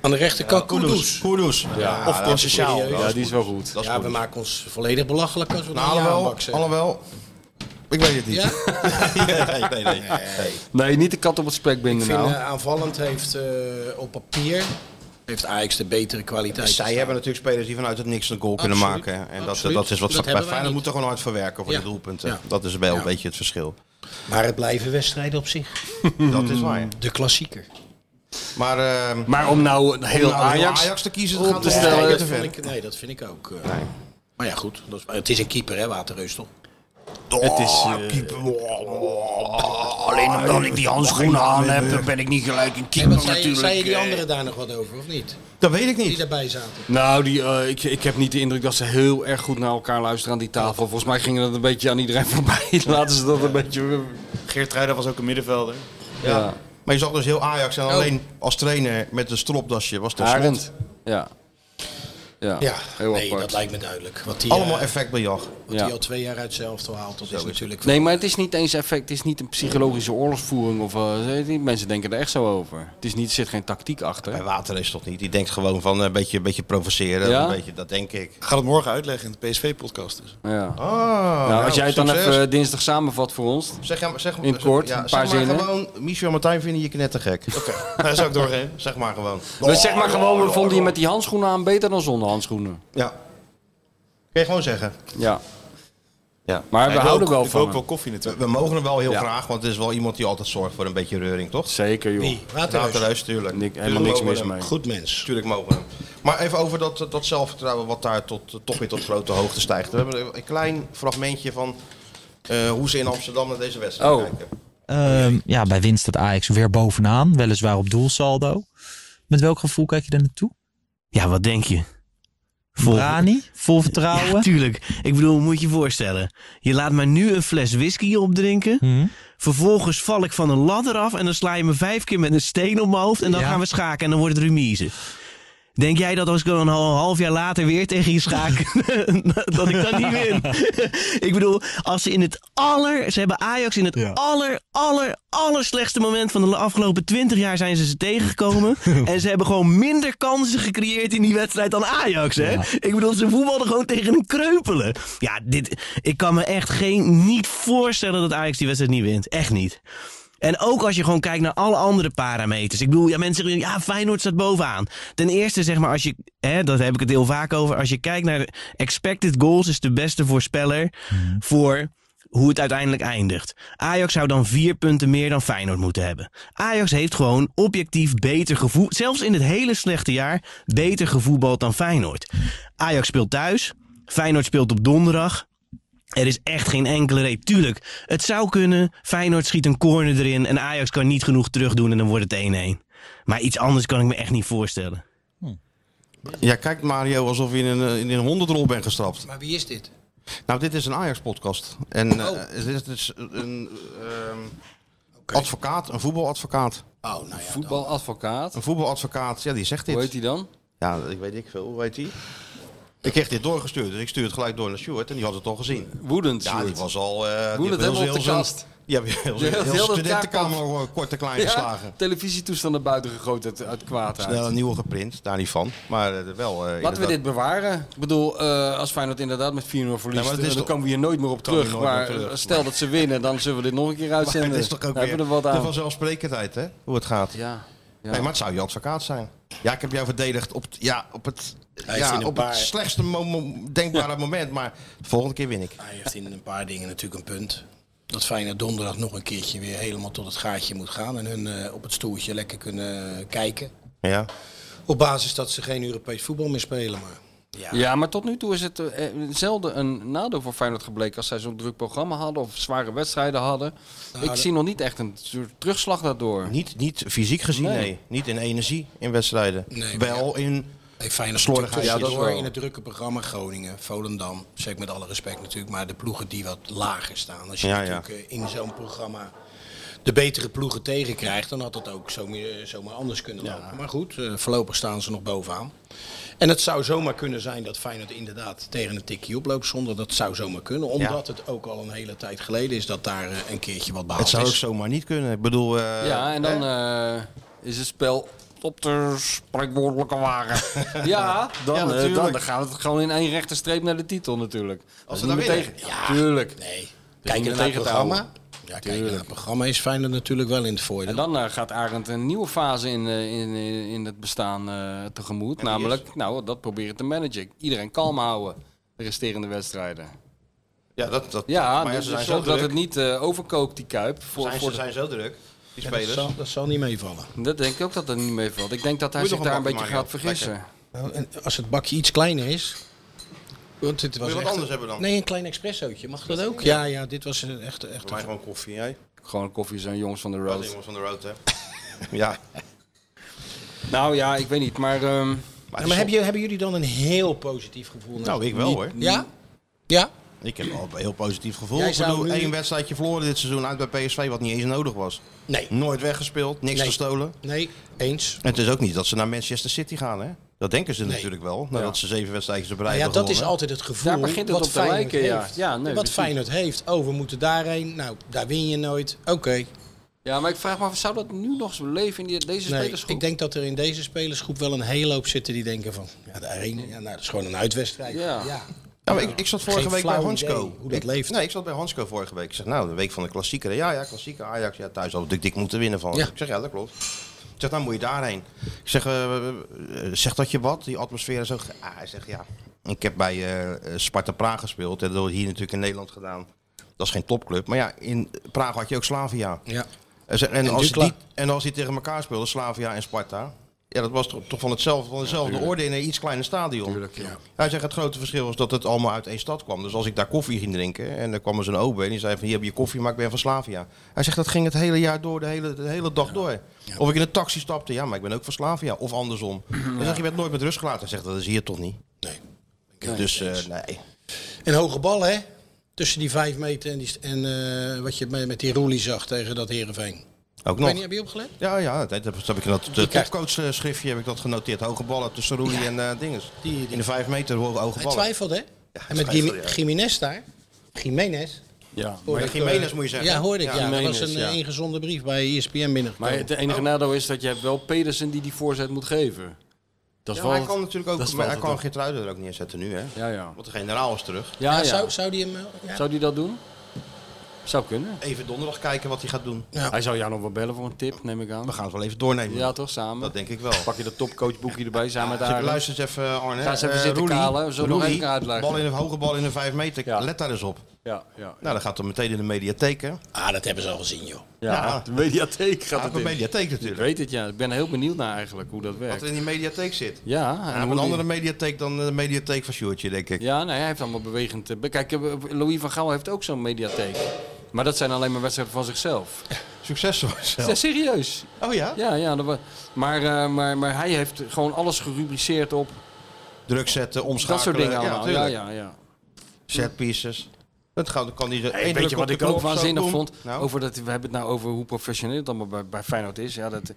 S6: Aan de rechterkant Kudus.
S2: Kudus. Ja,
S6: of
S2: dat is
S6: Martial.
S2: goed.
S6: Ja,
S4: Ja, die is wel goed.
S2: Dat is
S6: Ja, we
S2: goed.
S6: maken ons volledig belachelijk als we naar
S2: Nou,
S6: Jaan
S2: alhoewel,
S6: Bak zeggen.
S2: alhoewel, Ik weet het niet.
S6: Ja?
S2: nee, nee, nee, nee.
S4: Nee, niet de kat op het spek binden
S6: Ik vind
S4: nou.
S6: eh, aanvallend heeft eh, op papier heeft Ajax de betere kwaliteit.
S2: Zij hebben natuurlijk spelers die vanuit het niks een goal kunnen
S6: Absoluut.
S2: maken. En dat,
S6: Absoluut.
S2: dat is wat
S6: Dat
S2: bij
S6: hebben wij
S2: Feyenoord
S6: niet.
S2: moet er gewoon hard voor werken voor
S6: Ja.
S2: de doelpunten.
S6: Ja.
S2: Dat is wel
S6: Ja.
S2: een beetje het verschil.
S6: Maar het blijven wedstrijden op zich.
S4: Mhm.
S2: Dat is waar. ja.
S6: De klassieker.
S2: Maar ehm,
S4: Maar om nou een heel
S2: om nou heel
S4: Ajax...
S2: te kiezen,
S4: op
S2: dat gaat
S4: te
S2: toch
S4: stellen,
S2: stellen,
S6: dat
S2: te ver.
S6: vind ik, nee, dat vind ik ook. eh. Maar ja, goed. Dat is, het is een keeper, hè, Waterreus, toch?
S9: Het is... eh, alleen omdat ik die handschoenen aan heb, ben ik niet gelijk een
S6: En
S9: keeper
S6: wat zei,
S9: natuurlijk.
S6: zei je die
S9: eh.
S6: anderen daar nog wat over, of niet?
S2: Dat weet ik
S6: Die
S2: niet.
S6: daarbij zaten.
S4: Nou, die, eh, ik, ik heb niet de indruk dat ze heel erg goed naar elkaar luisteren aan die tafel. Volgens mij gingen dat een beetje aan iedereen voorbij. Laten ze dat een beetje...
S9: Geert Ruijder was ook een middenvelder.
S4: Ja.
S2: Maar je zag dus heel Ajax
S4: Oh.
S2: en alleen als trainer met een stropdasje was dat slot.
S4: Arend. Ja. Ja,
S6: Ja,
S4: heel
S6: nee,
S4: apart.
S6: dat lijkt me duidelijk. Wat die,
S2: Allemaal
S6: eh,
S2: effectbejag.
S6: wat
S4: Ja.
S6: die al twee jaar uit zijn elftal haalt, dat is natuurlijk...
S4: Nee, maar het is niet eens effect. Het is niet een psychologische oorlogsvoering. Of, eh, weet je, die mensen denken er echt zo over. Het is niet, er zit geen tactiek achter.
S2: Bij Water is toch niet. Die denkt gewoon van eh, een beetje, een beetje provoceren.
S4: Ja?
S2: Een beetje, dat denk ik.
S9: Ik ga het morgen uitleggen in de PSV-podcast. Dus.
S4: Ja.
S2: Oh,
S4: nou, als jij het dan
S2: succes. Oh,
S4: even dinsdag samenvat voor ons.
S2: Zeg, ja, maar- zeg,
S4: In het kort,
S2: ja,
S4: een paar
S2: zeg maar
S4: zinnen.
S2: gewoon, Michel en Martijn vinden je knettergek. Oké,
S9: Daar zou ik doorheen.
S2: zeg maar gewoon.
S4: We zeg maar gewoon,
S2: oh,
S4: we vonden je met die handschoenen aan beter dan zonder handschoenen.
S2: Ja. Kun je gewoon zeggen.
S4: Ja.
S2: Ja.
S4: Maar we
S9: Ik
S4: houden
S9: wil ook-
S4: wel
S9: Ik wil
S4: van
S9: ook
S4: hem.
S9: wel koffie
S2: We,
S9: natuurlijk.
S2: we mogen hem wel heel
S4: Ja.
S2: graag, want het is wel iemand die altijd zorgt voor een beetje reuring, toch?
S4: Zeker joh.
S6: Wie? Waterreus.
S2: Waterluis, tuurlijk.
S4: Nik-
S2: Tuurlijk
S4: helemaal niks
S2: mogen we
S4: mis
S2: hem.
S4: mee.
S6: Goed mens.
S2: Tuurlijk mogen we hem. Maar even over dat, dat zelfvertrouwen wat daar tot, toch weer tot grote hoogte stijgt. We hebben een klein fragmentje van eh, hoe ze in Amsterdam naar deze wedstrijd
S4: Oh.
S2: kijken.
S10: Ehm, ja, bij winst staat Ajax weer bovenaan, weliswaar op doelsaldo. Met welk gevoel kijk je daar naartoe?
S1: Ja, wat denk je? Vol-
S10: Brani, vol
S1: Ja,
S10: vertrouwen.
S1: tuurlijk. Ik bedoel, moet je je voorstellen. Je laat mij nu een fles whisky opdrinken.
S10: Mhm.
S1: Vervolgens val ik van een ladder af en dan sla je me vijf keer met een steen op mijn hoofd. En dan
S10: Ja.
S1: gaan we schaken en dan wordt het remise. Denk jij dat als ik dan een hal- half jaar later weer tegen je schaak, dat ik dat niet win? ik bedoel, als ze in het aller, ze hebben Ajax in het aller, aller, aller slechtste moment van de afgelopen twintig jaar zijn ze ze tegengekomen. en ze hebben gewoon minder kansen gecreëerd in die wedstrijd dan Ajax, hè? Ik bedoel, ze voetbalden gewoon tegen een kreupelen. Ja, dit, ik kan me echt geen, niet voorstellen dat Ajax die wedstrijd niet wint. Echt niet. En ook als je gewoon kijkt naar alle andere parameters. Ik bedoel, ja, mensen zeggen, ja, Feyenoord staat bovenaan. Ten eerste, zeg maar, als je, hè, dat heb ik het heel vaak over. Als je kijkt naar de expected goals, is de beste voorspeller voor hoe het uiteindelijk eindigt. Ajax zou dan vier punten meer dan Feyenoord moeten hebben. Ajax heeft gewoon objectief beter gevoel, zelfs in het hele slechte jaar, beter gevoetbald dan Feyenoord. Ajax speelt thuis, Feyenoord speelt op donderdag. Er is echt geen enkele reden. Tuurlijk, het zou kunnen. Feyenoord schiet een corner erin en Ajax kan niet genoeg terugdoen en dan wordt het 1-1. Maar iets anders kan ik me echt niet voorstellen.
S2: Jij kijkt Mario alsof je in een, eh, in een hondendrol bent gestrapt.
S6: Maar wie is dit?
S2: Nou, dit is een Ajax-podcast. En eh, dit is een ehm, advocaat, een voetbaladvocaat.
S6: Oh, nou ja.
S4: Voetbaladvocaat.
S2: Een voetbaladvocaat, ja, die zegt dit.
S4: Hoe heet hij dan?
S2: Ja, ik weet ik veel. Hoe heet die? Ik kreeg dit doorgestuurd, dus ik stuur het gelijk door naar Stuart en die had het al gezien.
S4: Woedend.
S2: Ja, die
S4: Sjoerd.
S2: was al... eh, die
S4: Woedend
S2: heeft
S4: helemaal
S2: heel
S4: op de
S2: zijn-
S4: kast.
S2: Die hebben heel,
S4: Die
S2: heel,
S4: heeft heel de
S2: studentenkamer eh, kort en klein geslagen.
S4: Ja, televisietoestand naar buiten gegooid uit, uit kwaadheid.
S2: Snel een nieuwe geprint, daar niet van. Maar eh, wel... eh,
S4: Laten we
S2: inderdaad.
S4: dit bewaren. Ik bedoel, eh, als Feyenoord inderdaad met 4-0 verliest,
S2: maar het is
S4: eh, dan
S2: toch-
S4: komen we hier nooit meer op
S2: Komen we
S4: terug.
S2: nooit meer
S4: Maar
S2: terug.
S4: eh, stel dat ze winnen, dan zullen we dit nog een keer
S2: Maar
S4: uitzenden.
S2: het is toch ook
S4: Dan
S2: weer
S4: hebben we er wat
S2: de
S4: aan.
S2: vanzelfsprekendheid, hè? Hoe het gaat.
S4: Ja. ja.
S2: Nee, maar het zou je advocaat zijn. Ja, ik heb jou verdedigd op, het- ja, op, het,
S6: Hij
S2: ja,
S6: vindt een
S2: op het
S6: paar-
S2: slechtste mo- mo- denkbare moment. Maar de volgende keer win ik.
S6: Hij heeft in een paar dingen natuurlijk een punt. Dat Feyenoord donderdag nog een keertje weer helemaal tot het gaatje moet gaan. En hun eh, op het stoeltje lekker kunnen eh, kijken.
S2: Ja.
S6: Op basis dat ze geen Europees voetbal meer spelen. Maar ja,
S4: Ja, maar tot nu toe is het eh, eh, zelden een nadeel voor Feyenoord gebleken als zij zo'n druk programma hadden of zware wedstrijden hadden. Ik
S6: dat-
S4: zie nog niet echt een soort terugslag daardoor.
S2: Nou, Niet, niet fysiek gezien,
S4: Nee.
S2: nee. Niet in energie in wedstrijden.
S6: Nee,
S2: wel in...
S6: heeft Feyenoord
S2: Slordig,
S6: natuurlijk
S2: ja, dat
S6: tussendoor
S4: wel.
S6: in het drukke programma Groningen, Volendam. Zeker met alle respect natuurlijk. Maar de ploegen die wat lager staan. Als je
S2: Ja,
S6: natuurlijk eh, in zo'n programma de betere ploegen tegenkrijgt, dan had dat ook zomaar, zomaar anders kunnen lopen. Maar goed, eh, voorlopig staan ze nog bovenaan. En het zou zomaar kunnen zijn dat Feyenoord inderdaad tegen een tikje oploopt zonder. Dat zou zomaar kunnen, omdat het ook al een hele tijd geleden is dat daar eh, een keertje wat behaald
S2: Het zou ook
S6: is.
S2: zomaar niet kunnen. Ik bedoel... eh,
S4: ja, en dan eh, is het spel op de spreekwoordelijke wagen. ja, dan, eh, dan,
S2: natuurlijk.
S4: dan gaat het gewoon in één rechte streep naar de titel natuurlijk. Als
S2: ze dan winnen. Dus
S4: Ja, tuurlijk.
S6: Nee, Kijk
S4: Om
S6: naar het
S4: tegen te houden.
S6: programma. Ja, kijk naar het programma is Feyenoord natuurlijk wel in het voordeel.
S4: En dan eh, gaat Arend een nieuwe fase in, eh, in, in, in het bestaan eh, tegemoet. Namelijk, nou, dat proberen te managen. Iedereen kalm houden de resterende wedstrijden.
S2: Ja, dat, dat,
S4: Ja,
S2: maar ja,
S4: dus
S2: ze zijn zo
S4: zorg dat
S2: druk.
S4: het niet eh, overkookt, die Kuip. Voor,
S2: zijn,
S4: voor
S2: ze zijn zo druk, die
S6: Ja, dat,
S2: spelers.
S6: zal, dat zal niet meevallen.
S4: Dat denk ik ook dat dat niet meevalt. Ik denk dat hij
S6: Moet je
S4: zich
S6: nog
S4: daar een
S6: een
S4: beetje
S6: bakje
S4: gaat
S6: maken, joh.
S4: vergissen.
S6: Nou, en als het bakje iets kleiner is. Want dit was
S4: je wat
S6: echt-
S4: anders hebben dan?
S6: Nee, een klein expressootje. Mag dat ook? Ja, ja, dit was een echt. echt
S2: Maar gewoon koffie, jij?
S4: Gewoon koffie zijn jongens van de
S2: Dat
S4: road.
S2: is jongens van de road, hè. ja.
S4: Nou ja, ik weet niet, maar... ehm,
S6: Ja, maar hebben, jullie- hebben jullie dan een heel positief gevoel? naar-
S2: Nou, ik wel,
S6: Niet-
S2: hoor.
S6: Ja? Ja?
S2: Ik heb wel een heel positief gevoel.
S6: Jij
S2: Ik
S6: zou
S2: bedoel,
S6: nu-
S2: één wedstrijdje verloren dit seizoen uit bij PSV, wat niet eens nodig was.
S6: Nee.
S2: Nooit weggespeeld, niks
S6: Nee.
S2: gestolen.
S6: Nee, eens.
S2: En het is ook niet dat ze naar Manchester City gaan, hè? Dat denken ze natuurlijk wel, nadat ze zeven wedstrijdjes op rij
S6: Nou ja,
S2: hebben
S6: dat is
S2: gewonnen.
S6: altijd het gevoel
S4: Daar begint het
S6: wat
S4: op te
S6: Feyenoord
S4: lijken, ja.
S6: heeft.
S4: Ja,
S6: wat
S4: nee, precies.
S6: Feyenoord heeft. Oh, we moeten daarheen. Nou, daar win je nooit. Oké.
S4: Ja, maar ik vraag me af, zou dat nu nog zo leven in die- deze
S6: Nee,
S4: spelersgroep?
S6: ik denk dat er in deze spelersgroep wel een hele hoop zitten die denken van... Ja, de arena, ja, nou, dat is gewoon een uitwedstrijd.
S4: Ja.
S2: Ja, maar Nou, ik, ik zat vorige
S6: Geen
S2: week bij
S6: flauw
S2: Hansco.
S6: idee hoe dat
S2: Ik-
S6: leeft.
S2: Nee, ik zat bij Hansco vorige week. Ik zeg, nou, de week van de klassieker. Ja, ja, klassieker Ajax. Ja, thuis al dik, dik moeten winnen van.
S6: Ja.
S2: Ik zeg, ja, dat klopt. Ik zeg, nou moet je daarheen. Ik zeg, eh, eh, zegt dat je wat? Die atmosfeer en zo. Ah, hij zegt, ja. Ik heb bij eh, eh, Sparta Praag gespeeld. En dat wordt hier natuurlijk in Nederland gedaan. Dat is geen topclub. Maar ja, in Praag had je ook Slavia.
S6: Ja.
S2: En, ze- en
S6: En
S2: als,
S6: Dukla.
S2: die, en als die tegen elkaar speelden, Slavia en Sparta. Ja, dat was toch, toch van hetzelfde, van dezelfde orde in een iets kleiner stadion. Hij zegt het grote verschil was dat het allemaal uit één stad kwam. Dus als ik daar koffie ging drinken en er kwam er zo'n OB en die zei van hier heb je koffie, maar ik ben van Slavia. Hij zegt dat ging het hele jaar door, de hele, de hele dag door. Of ik in een taxi stapte, ja maar ik ben ook van Slavia. Of andersom. Hij zegt je bent nooit met rust gelaten. Hij zegt dat is hier toch niet. Nee. Dus eh, nee.
S6: En hoge bal, hè? Tussen die vijf meter en, die, st- en eh, wat je met, met die roelie zag tegen dat Herenveen.
S2: Ook
S6: Ik weet
S2: nog.
S6: niet, heb je opgelet?
S2: Ja, ja, dat dat heb ik in dat eh, topcoach-schriftje heb ik dat genoteerd. Hoge ballen tussen Roelie en eh dinges. In de vijf meter hoge hoge
S6: Hij
S2: ballen.
S6: twijfelde, hè? en met
S2: twijfelde,
S6: Gim-
S2: ja.
S6: Gimenez daar. Gimenez.
S4: Ja,
S6: Hoorde
S2: Maar
S6: ik,
S2: Gimenez
S6: eh,
S2: moet je zeggen.
S6: Ja, hoorde ik. Ja,
S2: Ja, eh,
S6: dat
S4: Gimenez,
S6: was een
S4: ja.
S6: eh, ingezonden brief bij ESPN binnengekomen.
S4: Maar het enige nadeel is dat je hebt wel Pedersen die die voorzet moet geven. Dat is
S2: Ja, maar
S4: wel
S2: hij
S4: het-
S2: kan natuurlijk
S4: dat
S2: ook,
S4: is
S2: maar hij
S4: wel het-
S2: kan Geertruiden er ook neerzetten nu, hè?
S4: Ja, ja.
S2: Want de generaal is terug.
S4: Ja, ja.
S6: Ah, Zou,
S4: Zou,
S6: zou die hem... eh, Ja.
S4: die dat doen? Zou kunnen.
S2: Even donderdag kijken wat hij gaat doen.
S4: Hij zou jou nog wel bellen voor een tip, neem ik aan.
S2: We gaan het wel even doornemen.
S4: Ja, toch? Samen.
S2: Dat denk ik wel.
S4: Pak je dat topcoachboekje erbij samen met
S2: Zeg,
S4: Arend.
S2: luister eens even, Arne.
S4: Ga eens even
S2: Eh,
S4: zitten
S2: Roelie,
S4: kalen. We zullen nog
S2: Roelie,
S4: even uitleggen.
S2: Bal in een hoge bal in de 5 meter. Let daar eens op.
S4: Ja, ja.
S2: Nou, dan gaat het meteen in de mediatheek, hè?
S6: Ah, dat hebben ze al gezien, joh.
S4: Ja,
S2: Ja.
S4: de mediatheek gaat
S2: Ja,
S4: het
S2: de
S4: in.
S2: mediatheek
S4: Ik
S2: natuurlijk.
S4: weet het, ja. Ik ben er heel benieuwd naar eigenlijk hoe dat
S2: Wat
S4: werkt.
S2: er in die mediatheek zit.
S4: Ja,
S2: Ja,
S4: en
S2: op
S4: hoe
S2: een
S4: die-
S2: andere mediatheek dan de mediatheek van Sjoerdje, denk ik.
S4: Ja, nee, hij heeft allemaal bewegend. eh, be- Kijk, eh, Louis van Gaal heeft ook zo'n mediatheek. Maar dat zijn alleen maar wedstrijden van zichzelf.
S2: Succes voor
S4: Ja, eh,
S2: jezelf.
S4: serieus.
S2: Oh ja?
S4: Ja, ja. dat wa- maar, eh, maar, maar hij heeft gewoon alles gerubriceerd op
S2: Druk zetten, omschakelen.
S4: dat soort dingen allemaal. Ja,
S2: tuurlijk.
S4: ja, ja.
S2: Set pieces. Dat gaat- dan kan hij er
S4: Hey,
S2: één
S4: weet
S2: druk
S4: je
S2: op
S4: wat
S2: de
S4: ik
S2: knop,
S4: ook
S2: zo,
S4: waanzinnig
S2: boem.
S4: vond?
S2: Nou?
S4: Over dat, we hebben het nou over hoe professioneel het allemaal bij, bij Feyenoord is. Ja, dat, eh,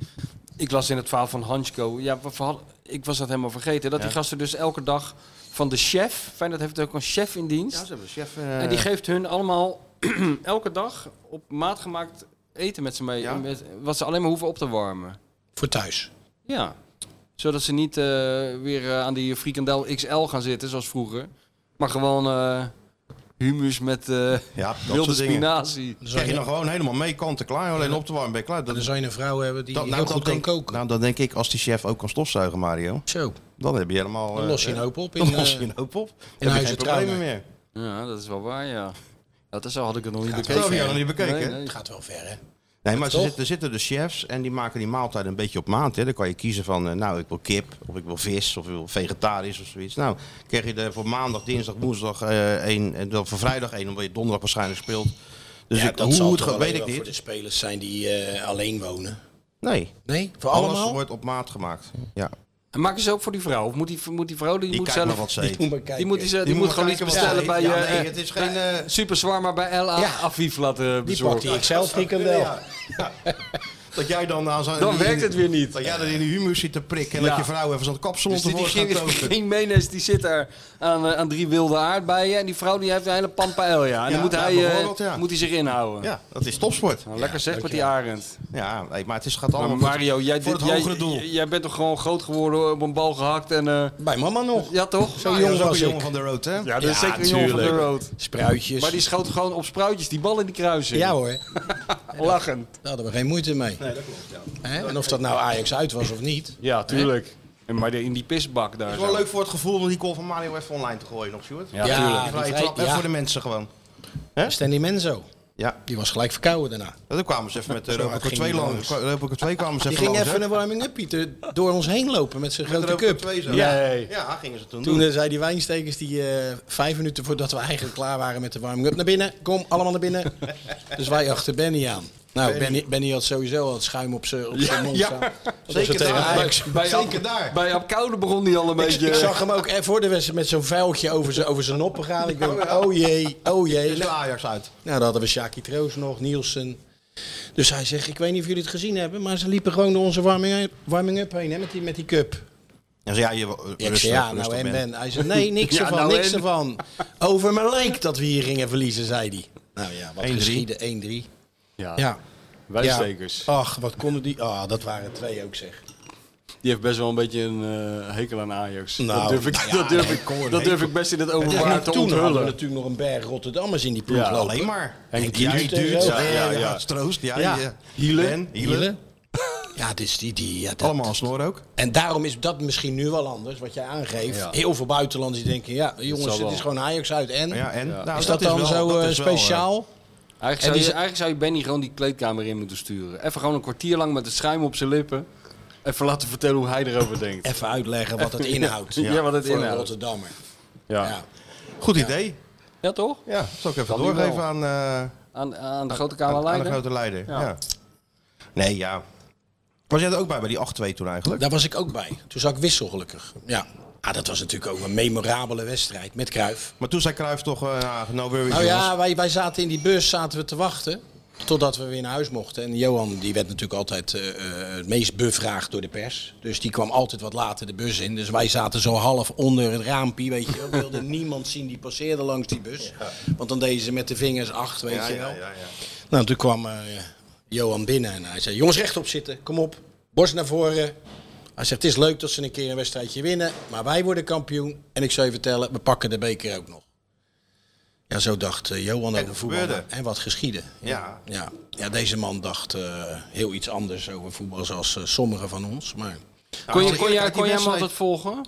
S4: ik las in het verhaal van Hansko. Ja, we verhal- ik was dat helemaal vergeten. Dat die gasten dus elke dag van de chef... Feyenoord heeft ook een chef in dienst.
S2: Ja, ze hebben de chef. eh,
S4: En die geeft hun allemaal elke dag op maat gemaakt eten met ze mee.
S2: Ja.
S4: Met, wat ze alleen maar hoeven op te warmen.
S6: Voor thuis.
S4: Ja. Zodat ze niet eh, weer eh, aan die frikandel XL gaan zitten zoals vroeger. Maar gewoon eh, humus met eh,
S2: ja, dat
S4: wilde
S2: soort dingen.
S4: spinazie.
S6: Dan zou
S2: Krijg
S6: je,
S2: je dan gewoon helemaal mee, kanten klaar, alleen op te warmen ben je klaar. Dat,
S6: dan zou je een vrouw hebben die
S2: dat,
S6: heel
S2: nou,
S6: goed
S2: dat
S6: kan
S2: denk,
S6: koken.
S2: nou, dan denk ik, als die chef ook kan stofzuigen, Mario,
S6: Zo,
S2: dan heb je helemaal...
S6: dan
S2: eh,
S6: los je een
S2: eh,
S6: hoop op. In,
S2: Dan los je
S6: eh,
S2: een hoop op. Dan heb
S6: in
S2: je
S6: huis
S2: geen
S6: en trouwen.
S2: problemen meer.
S4: Ja, dat is wel waar, ja. Ja, dat zo had ik het nog niet
S2: Dat
S4: bekeken.
S2: heb je nog niet bekeken.
S4: Nee,
S2: Nee,
S4: nee.
S6: het gaat wel ver, hè?
S2: maar ze
S6: Toch?
S2: zitten, er zitten de chefs en die maken die maaltijd een beetje op maat. Hè. Dan kan je kiezen van, eh, nou, ik wil kip, of ik wil vis, of ik wil vegetarisch of zoiets. Nou, krijg je er voor maandag, dinsdag, woensdag eh, één, en dan voor vrijdag één, omdat je donderdag waarschijnlijk speelt. Dus
S6: Ja,
S2: ik, hoe het
S6: toch
S2: gaat,
S6: wel
S2: weet ik
S6: wel voor de
S2: niet.
S6: spelers zijn die eh, alleen wonen.
S2: Nee,
S6: Nee, voor
S2: alles
S6: allemaal?
S2: wordt op maat gemaakt. Ja.
S4: En maken ze ook voor die vrouw? Of moet die, moet die vrouw die,
S2: Die
S4: moet
S2: kijkt
S4: zelf...
S2: maar wat ze eet.
S6: Moet maar kijken.
S4: die moet, die, ze- die
S2: moet
S4: moet
S2: maar
S4: gewoon iets
S2: kijken wat ze
S4: bestellen bij
S2: eet. Ja,
S4: je
S2: nee, het is geen, eh,
S4: super zwaar, maar bij LA
S6: Ja.
S4: Aviv laten
S6: Die pakt
S4: bezorgen.
S6: die XL frikandel.
S2: Ja. Dat jij dan aan zijn...
S4: Dan werkt het weer
S2: niet. Dat jij dan in de humus zit te prikken en
S4: Ja.
S2: dat je vrouw even zo'n kapsalon
S4: Dus die, die,
S2: tevoorschijn
S4: ging,
S2: toont.
S4: die ging Menes, die zit daar aan, eh, aan drie wilde aardbeien. En die vrouw die heeft een hele pampa elja. En
S2: Ja,
S4: dan moet
S2: nou,
S4: hij, eh,
S2: bijvoorbeeld, ja.
S4: moet hij zich inhouden.
S2: Ja, dat is topsport.
S4: Nou, lekker zeg met die arend.
S2: Ja, nee, maar het is, gaat allemaal
S4: Maar Mario, jij,
S2: voor het
S4: dit- jij-
S2: hogere doel.
S4: j- jij bent toch gewoon groot geworden eh, op een bal gehakt en... eh,
S6: Bij mama nog.
S4: Ja, toch?
S2: Zo jong was jongen van de road, hè?
S4: Ja, dat is zeker een jongen van de road. Maar die schoot gewoon op spruitjes, die bal in die kruising.
S6: Ja hoor.
S4: Lachen.
S6: Daar hadden we geen moeite mee. Nee, dat klopt. En of dat nou Ajax uit was of niet.
S4: Ja, tuurlijk. En maar de- in die pisbak daar.
S2: Het is wel
S4: zo.
S2: leuk voor het gevoel om die call van Mario even online te gooien nog, Stuart.
S4: Ja, Ja, tuurlijk.
S2: Die vrije
S6: die vrij-
S2: trap, hè,
S6: ja.
S2: voor de mensen gewoon.
S6: Stanley Menzo.
S2: Ja.
S6: Die was gelijk verkouden daarna.
S2: Dan kwamen ze even met de
S6: Zo hard
S2: Roboco
S6: ging
S2: 2
S6: die
S2: lang.
S6: langs.
S2: Roboco 2 kwamen ze
S6: Die
S2: even
S6: ging
S2: langs,
S6: even
S2: hè?
S6: een warming-up, Pieter. Door ons heen lopen met zijn grote
S2: Roboco
S6: cup.
S2: 2 zo.
S6: Ja.
S2: Ja, gingen ze toen
S6: Toen
S2: doen.
S6: eh, zei die wijnstekers die eh, vijf minuten voordat we eigenlijk klaar waren met de warming-up naar binnen. Kom, allemaal naar binnen. dus wij achter Benny aan. Nou,
S2: Benny.
S6: Benny, Benny had sowieso al het schuim op zijn op zijn mond
S4: ja.
S6: staan. Dat was
S2: Zeker
S6: tegen
S2: daar.
S6: Ajax.
S4: Bij,
S2: Zeker
S4: Ab-
S2: daar.
S4: bij Ab Koude begon die al een
S6: Ik,
S4: beetje...
S6: ik zag hem ook eh, voor de wedstrijd met zo'n vuiltje over zijn, over zijn noppen gaan. Ik denk, oh jee, oh jee.
S2: Is de Ajax uit.
S6: Nou, dan hadden we Sjaki Troost nog, Nielsen. Dus hij zegt, ik weet niet of jullie het gezien hebben, maar ze liepen gewoon door onze warming-up warming heen hè, met, die, met die cup.
S2: Ja, zei, ja, je,
S6: Ja, ik
S2: rustig,
S6: zei, ja, nou
S2: rustig,
S6: en
S2: Ben.
S6: Ben. Hij zei, nee, niks
S4: Ja,
S6: ervan,
S4: nou
S6: niks
S4: en?
S6: ervan. Over mijn leek dat we hier gingen verliezen, zei hij. Nou ja, wat
S2: 1-3.
S6: geschieden, 1-3.
S4: Ja,
S6: Ja.
S4: eh, wijstekers.
S6: Ach, wat konden die... Ah, dat waren twee ook, zeg.
S4: Die heeft best wel een beetje een eh, hekel aan Ajax.
S6: Nou,
S4: dat durf ik,
S6: nou ja,
S4: dat durf
S6: nee,
S4: ik,
S6: kom op,
S4: dat durf
S6: hekel.
S4: ik best in het
S6: Het is
S4: openbaar
S6: nog-
S4: te
S6: toen hadden we
S4: onthullen.
S6: natuurlijk nog een berg Rotterdammers in die ploeg
S4: Ja.
S6: lopen.
S2: Alleen maar.
S6: Henk
S4: Henk Duurt.
S6: Duurt en
S2: Duurt,
S6: zo.
S2: ja, ja,
S6: Ja.
S2: ja. Troost, ja.
S6: Ja.
S2: ja.
S4: Hielen.
S2: Ben,
S6: Hielen. Ja, dus die... die ja, dat-
S2: Allemaal aan snor ook.
S6: En daarom is dat misschien nu wel anders, wat jij aangeeft.
S4: Ja.
S6: Heel veel buitenlanders die denken, ja, jongens,
S4: zal
S6: dit
S4: wel.
S6: is gewoon Ajax uit. En,
S2: Ja, en? Nou,
S6: is dat, dan
S2: wel-
S6: zo
S2: dat
S6: eh,
S2: is wel, eh,
S6: speciaal?
S4: Eigenlijk
S6: En
S4: zou,
S6: die
S4: je,
S6: ze-
S4: eigenlijk zou je Benny gewoon die kleedkamer in moeten sturen. Even gewoon een kwartier lang met het schuim op zijn lippen. Even laten vertellen hoe hij erover denkt.
S6: Even uitleggen wat het inhoudt.
S4: eh, Ja, wat het
S6: voor een
S4: inhoudt.
S6: Rotterdammer.
S4: Ja,
S6: Ja.
S2: Goed idee.
S4: Ja, toch?
S2: Ja, dat zal ik even
S4: Kan die
S2: doorgeven
S4: wel.
S2: aan, eh,
S4: Aan, aan de grote
S2: aan-
S4: kamer
S2: aan de
S4: Leiden.
S2: grote leider.
S4: Ja.
S2: Ja. Nee, ja. Was jij er ook bij, bij die 8-2 toen eigenlijk?
S6: Daar was ik ook bij. Toen zat ik wissel, gelukkig. Ja. Ah, dat was natuurlijk ook een memorabele wedstrijd met Kruif.
S2: Maar toen zei Cruijff toch, eh, nou, no worries
S4: Oh,
S6: Nou
S2: jongens.
S6: ja, wij, wij zaten in die bus zaten we te wachten. Totdat we weer naar huis mochten. En Johan die werd natuurlijk altijd eh, eh, het meest bevraagd door de pers. Dus die kwam altijd wat later de bus in. Dus wij zaten zo half onder het raampje. Weet je wel. wilde niemand zien die passeerde langs die bus. Want dan deden ze met de vingers acht, weet
S2: Ja,
S6: je
S2: ja,
S6: wel.
S2: ja, ja.
S6: Nou, toen kwam eh, Johan binnen en hij zei: Jongens, rechtop zitten, kom op, borst naar voren. Hij zegt: Het is leuk dat ze een keer een wedstrijdje winnen, maar wij worden kampioen. En ik zou je vertellen, we pakken de beker ook nog. Ja, zo dacht eh, Johan over voetbal.
S2: gebeurde.
S6: En wat geschieden.
S2: Ja.
S6: ja. Ja, deze man dacht eh, heel iets anders over voetbal zoals eh, sommigen van ons. Maar
S4: Kon je,
S2: als
S4: kon
S2: ik
S4: jij,
S2: uit die
S4: kon jij hem
S2: wedstrijd-
S4: altijd volgen?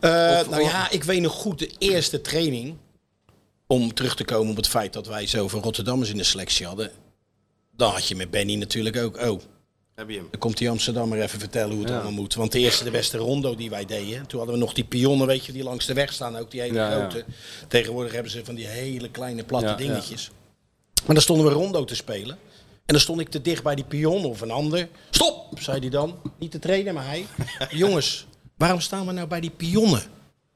S6: Eh,
S4: Of-
S6: nou
S4: of-
S6: ja, ik weet nog goed de eerste training. Om terug te komen op het feit dat wij zoveel Rotterdammers in de selectie hadden. Dan had je met Benny natuurlijk ook. Oh,
S2: Heb je hem?
S6: dan komt die Amsterdammer even vertellen hoe het allemaal moet. Want de eerste, de beste rondo die wij deden. Toen hadden we nog die pionnen, weet je, die langs de weg staan. Ook die hele
S4: Ja, ja.
S6: grote. Tegenwoordig hebben ze van die hele kleine platte
S4: Ja, ja.
S6: dingetjes. Maar dan stonden we rondo te spelen. En dan stond ik te dicht bij die pion of een ander. Stop, zei hij dan. Niet de trainer, maar hij. Jongens, waarom staan we nou bij die pionnen?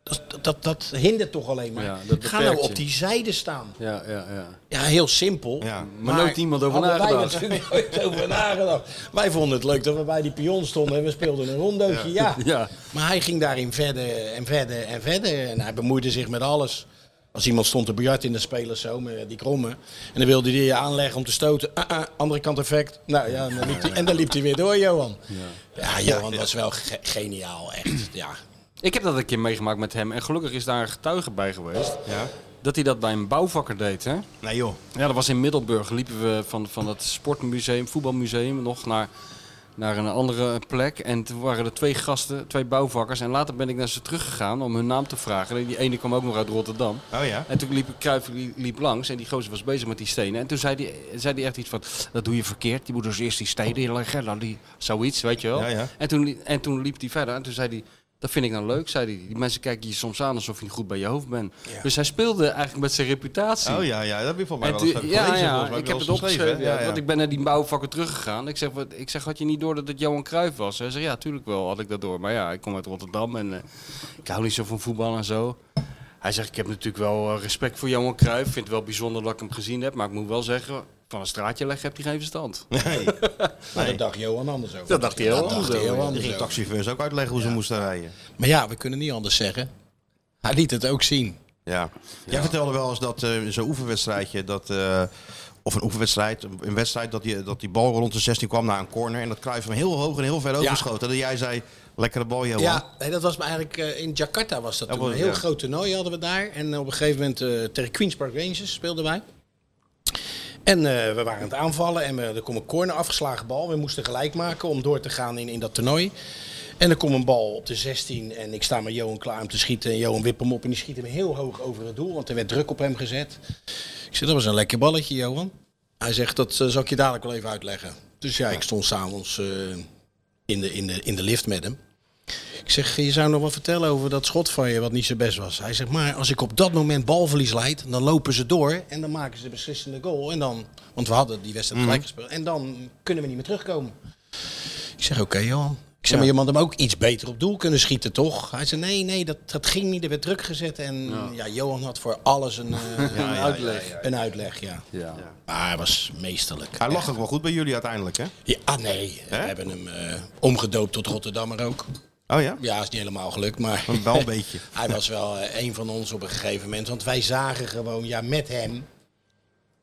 S6: Dat, dat, dat, dat hindert toch alleen maar.
S4: Ja, dat beperkt
S6: Ga nou
S4: je.
S6: op die zijde staan.
S4: Ja, ja, ja.
S6: Ja, heel simpel.
S2: Ja.
S4: Maar nooit iemand over
S6: hadden wij
S4: nagedacht.
S6: natuurlijk nooit over nagedacht. Wij vonden het leuk dat we bij die pion stonden en we speelden een rondootje. Ja.
S4: Ja.
S6: Maar hij ging daarin verder en verder en verder. En hij bemoeide zich met alles. Als iemand stond te biljart in de spelers zo, met die kromme. En dan wilde hij je aanleggen om te stoten. Ah, ah, andere kant effect. Nou ja, en dan liep hij, en dan liep hij weer door, Johan. Ja, Johan was wel ge- geniaal, echt. Ja.
S4: Ik heb dat een keer meegemaakt met hem. En gelukkig is daar een getuige bij geweest.
S2: Ja.
S4: Dat hij dat bij een bouwvakker deed, hè?
S2: Nee joh.
S4: Ja, dat was in Middelburg. Liepen we van, van het sportmuseum, voetbalmuseum, nog naar, naar een andere plek. En toen waren er twee gasten, twee bouwvakkers. En later ben ik naar ze teruggegaan om hun naam te vragen. En Die ene kwam ook nog uit Rotterdam.
S2: Oh ja.
S4: En toen liep Kruijf liep, liep langs en die gozer was bezig met die stenen. En toen zei hij zei die echt iets van, dat doe je verkeerd. Je moet dus eerst die stenen inleggen, dan die, zoiets, weet je wel.
S2: Ja, ja.
S4: En, toen, li- en toen liep hij verder en toen zei hij... Dat vind ik nou leuk, zei hij. Die mensen kijken je soms aan alsof je niet goed bij je hoofd bent. Dus hij speelde eigenlijk met zijn reputatie.
S2: Oh ja, ja, dat heb je volgens
S4: En
S2: mij wel
S4: toen-
S2: eens gelezen,
S4: ja,
S2: volgens mij heb
S4: ja,
S2: je
S4: ik
S2: wel
S4: heb
S2: eens
S4: het opgeschreven.
S2: geschreven, hè?
S4: ja, Want ik ben naar die bouwvakker teruggegaan. Ik zeg, wat, ik zeg, had je niet door dat het Johan Cruijff was? Hij zegt, ja, tuurlijk wel had ik dat door. Maar ja, ik kom uit Rotterdam en eh, ik hou niet zo van voetbal en zo. Hij zegt, ik heb natuurlijk wel eh, respect voor Johan Cruijff. Ik vind het wel bijzonder dat ik hem gezien heb. Maar ik moet wel zeggen,
S11: van een straatje leggen, heb je geen verstand.
S2: Nee.
S6: Maar dat dacht Johan anders over.
S11: Dat dacht hij heel anders
S6: dacht hij
S11: over.
S6: heel
S2: Die
S6: anders
S2: ging
S6: over.
S2: taxifeurs ook uitleggen hoe ze moesten rijden.
S6: Maar ja, we kunnen niet anders zeggen. Hij liet het ook zien.
S2: Ja. Jij vertelde wel eens dat eh, zo'n oefenwedstrijdje, dat, eh, of een oefenwedstrijd, een een wedstrijd dat die, dat die bal rond de 16 kwam naar een corner en dat Cruijff hem heel hoog en heel ver overschoten. Dat jij zei, lekkere bal Johan.
S6: Ja, nee, dat was me eigenlijk eh, in Jakarta was dat,
S2: Dat
S6: toen.
S2: was-
S6: een heel
S2: ja.
S6: groot toernooi hadden we daar. En op een gegeven moment eh, tegen Queens Park Rangers speelden wij. En eh, we waren aan het aanvallen en we, er kwam een corner afgeslagen bal. We moesten gelijk maken om door te gaan in, in dat toernooi. En er komt een bal op de 16 en ik sta met Johan klaar om te schieten. En Johan wip hem op en die schiet hem heel hoog over het doel, want er werd druk op hem gezet. Ik zei, dat was een lekker balletje, Johan. Hij zegt, dat eh, zal ik je dadelijk wel even uitleggen. Dus ja, ik stond s'avonds eh in, de, in, de, in de lift met hem. Ik zeg, je zou nog wat vertellen over dat schot van je wat niet zo best was. Hij zegt, maar als ik op dat moment balverlies leid, dan lopen ze door en dan maken ze de beslissende goal. En dan, want we hadden die wedstrijd
S2: Mhm.
S6: gelijk gespeeld. En dan kunnen we niet meer terugkomen. Ik zeg, oké Johan. Ik zeg,
S12: Ja.
S6: maar je had hem ook iets beter op doel kunnen schieten, toch? Hij zei, nee, nee, dat, dat ging niet. Er werd druk gezet. En ja. Johan had voor alles een, eh,
S2: Ja, ja,
S6: een
S2: ja,
S6: uitleg.
S2: ja, ja.
S6: Een uitleg, ja. Maar hij was meesterlijk.
S2: Hij lag
S6: Echt.
S2: ook wel goed bij jullie uiteindelijk, hè?
S6: Ja, ah, nee, we hebben hem eh, omgedoopt tot Rotterdammer ook.
S2: Oh ja?
S6: Ja, is niet helemaal gelukt, maar...
S2: Wel een beetje.
S6: Hij was wel eh, een van ons op een gegeven moment. Want wij zagen gewoon, ja, met hem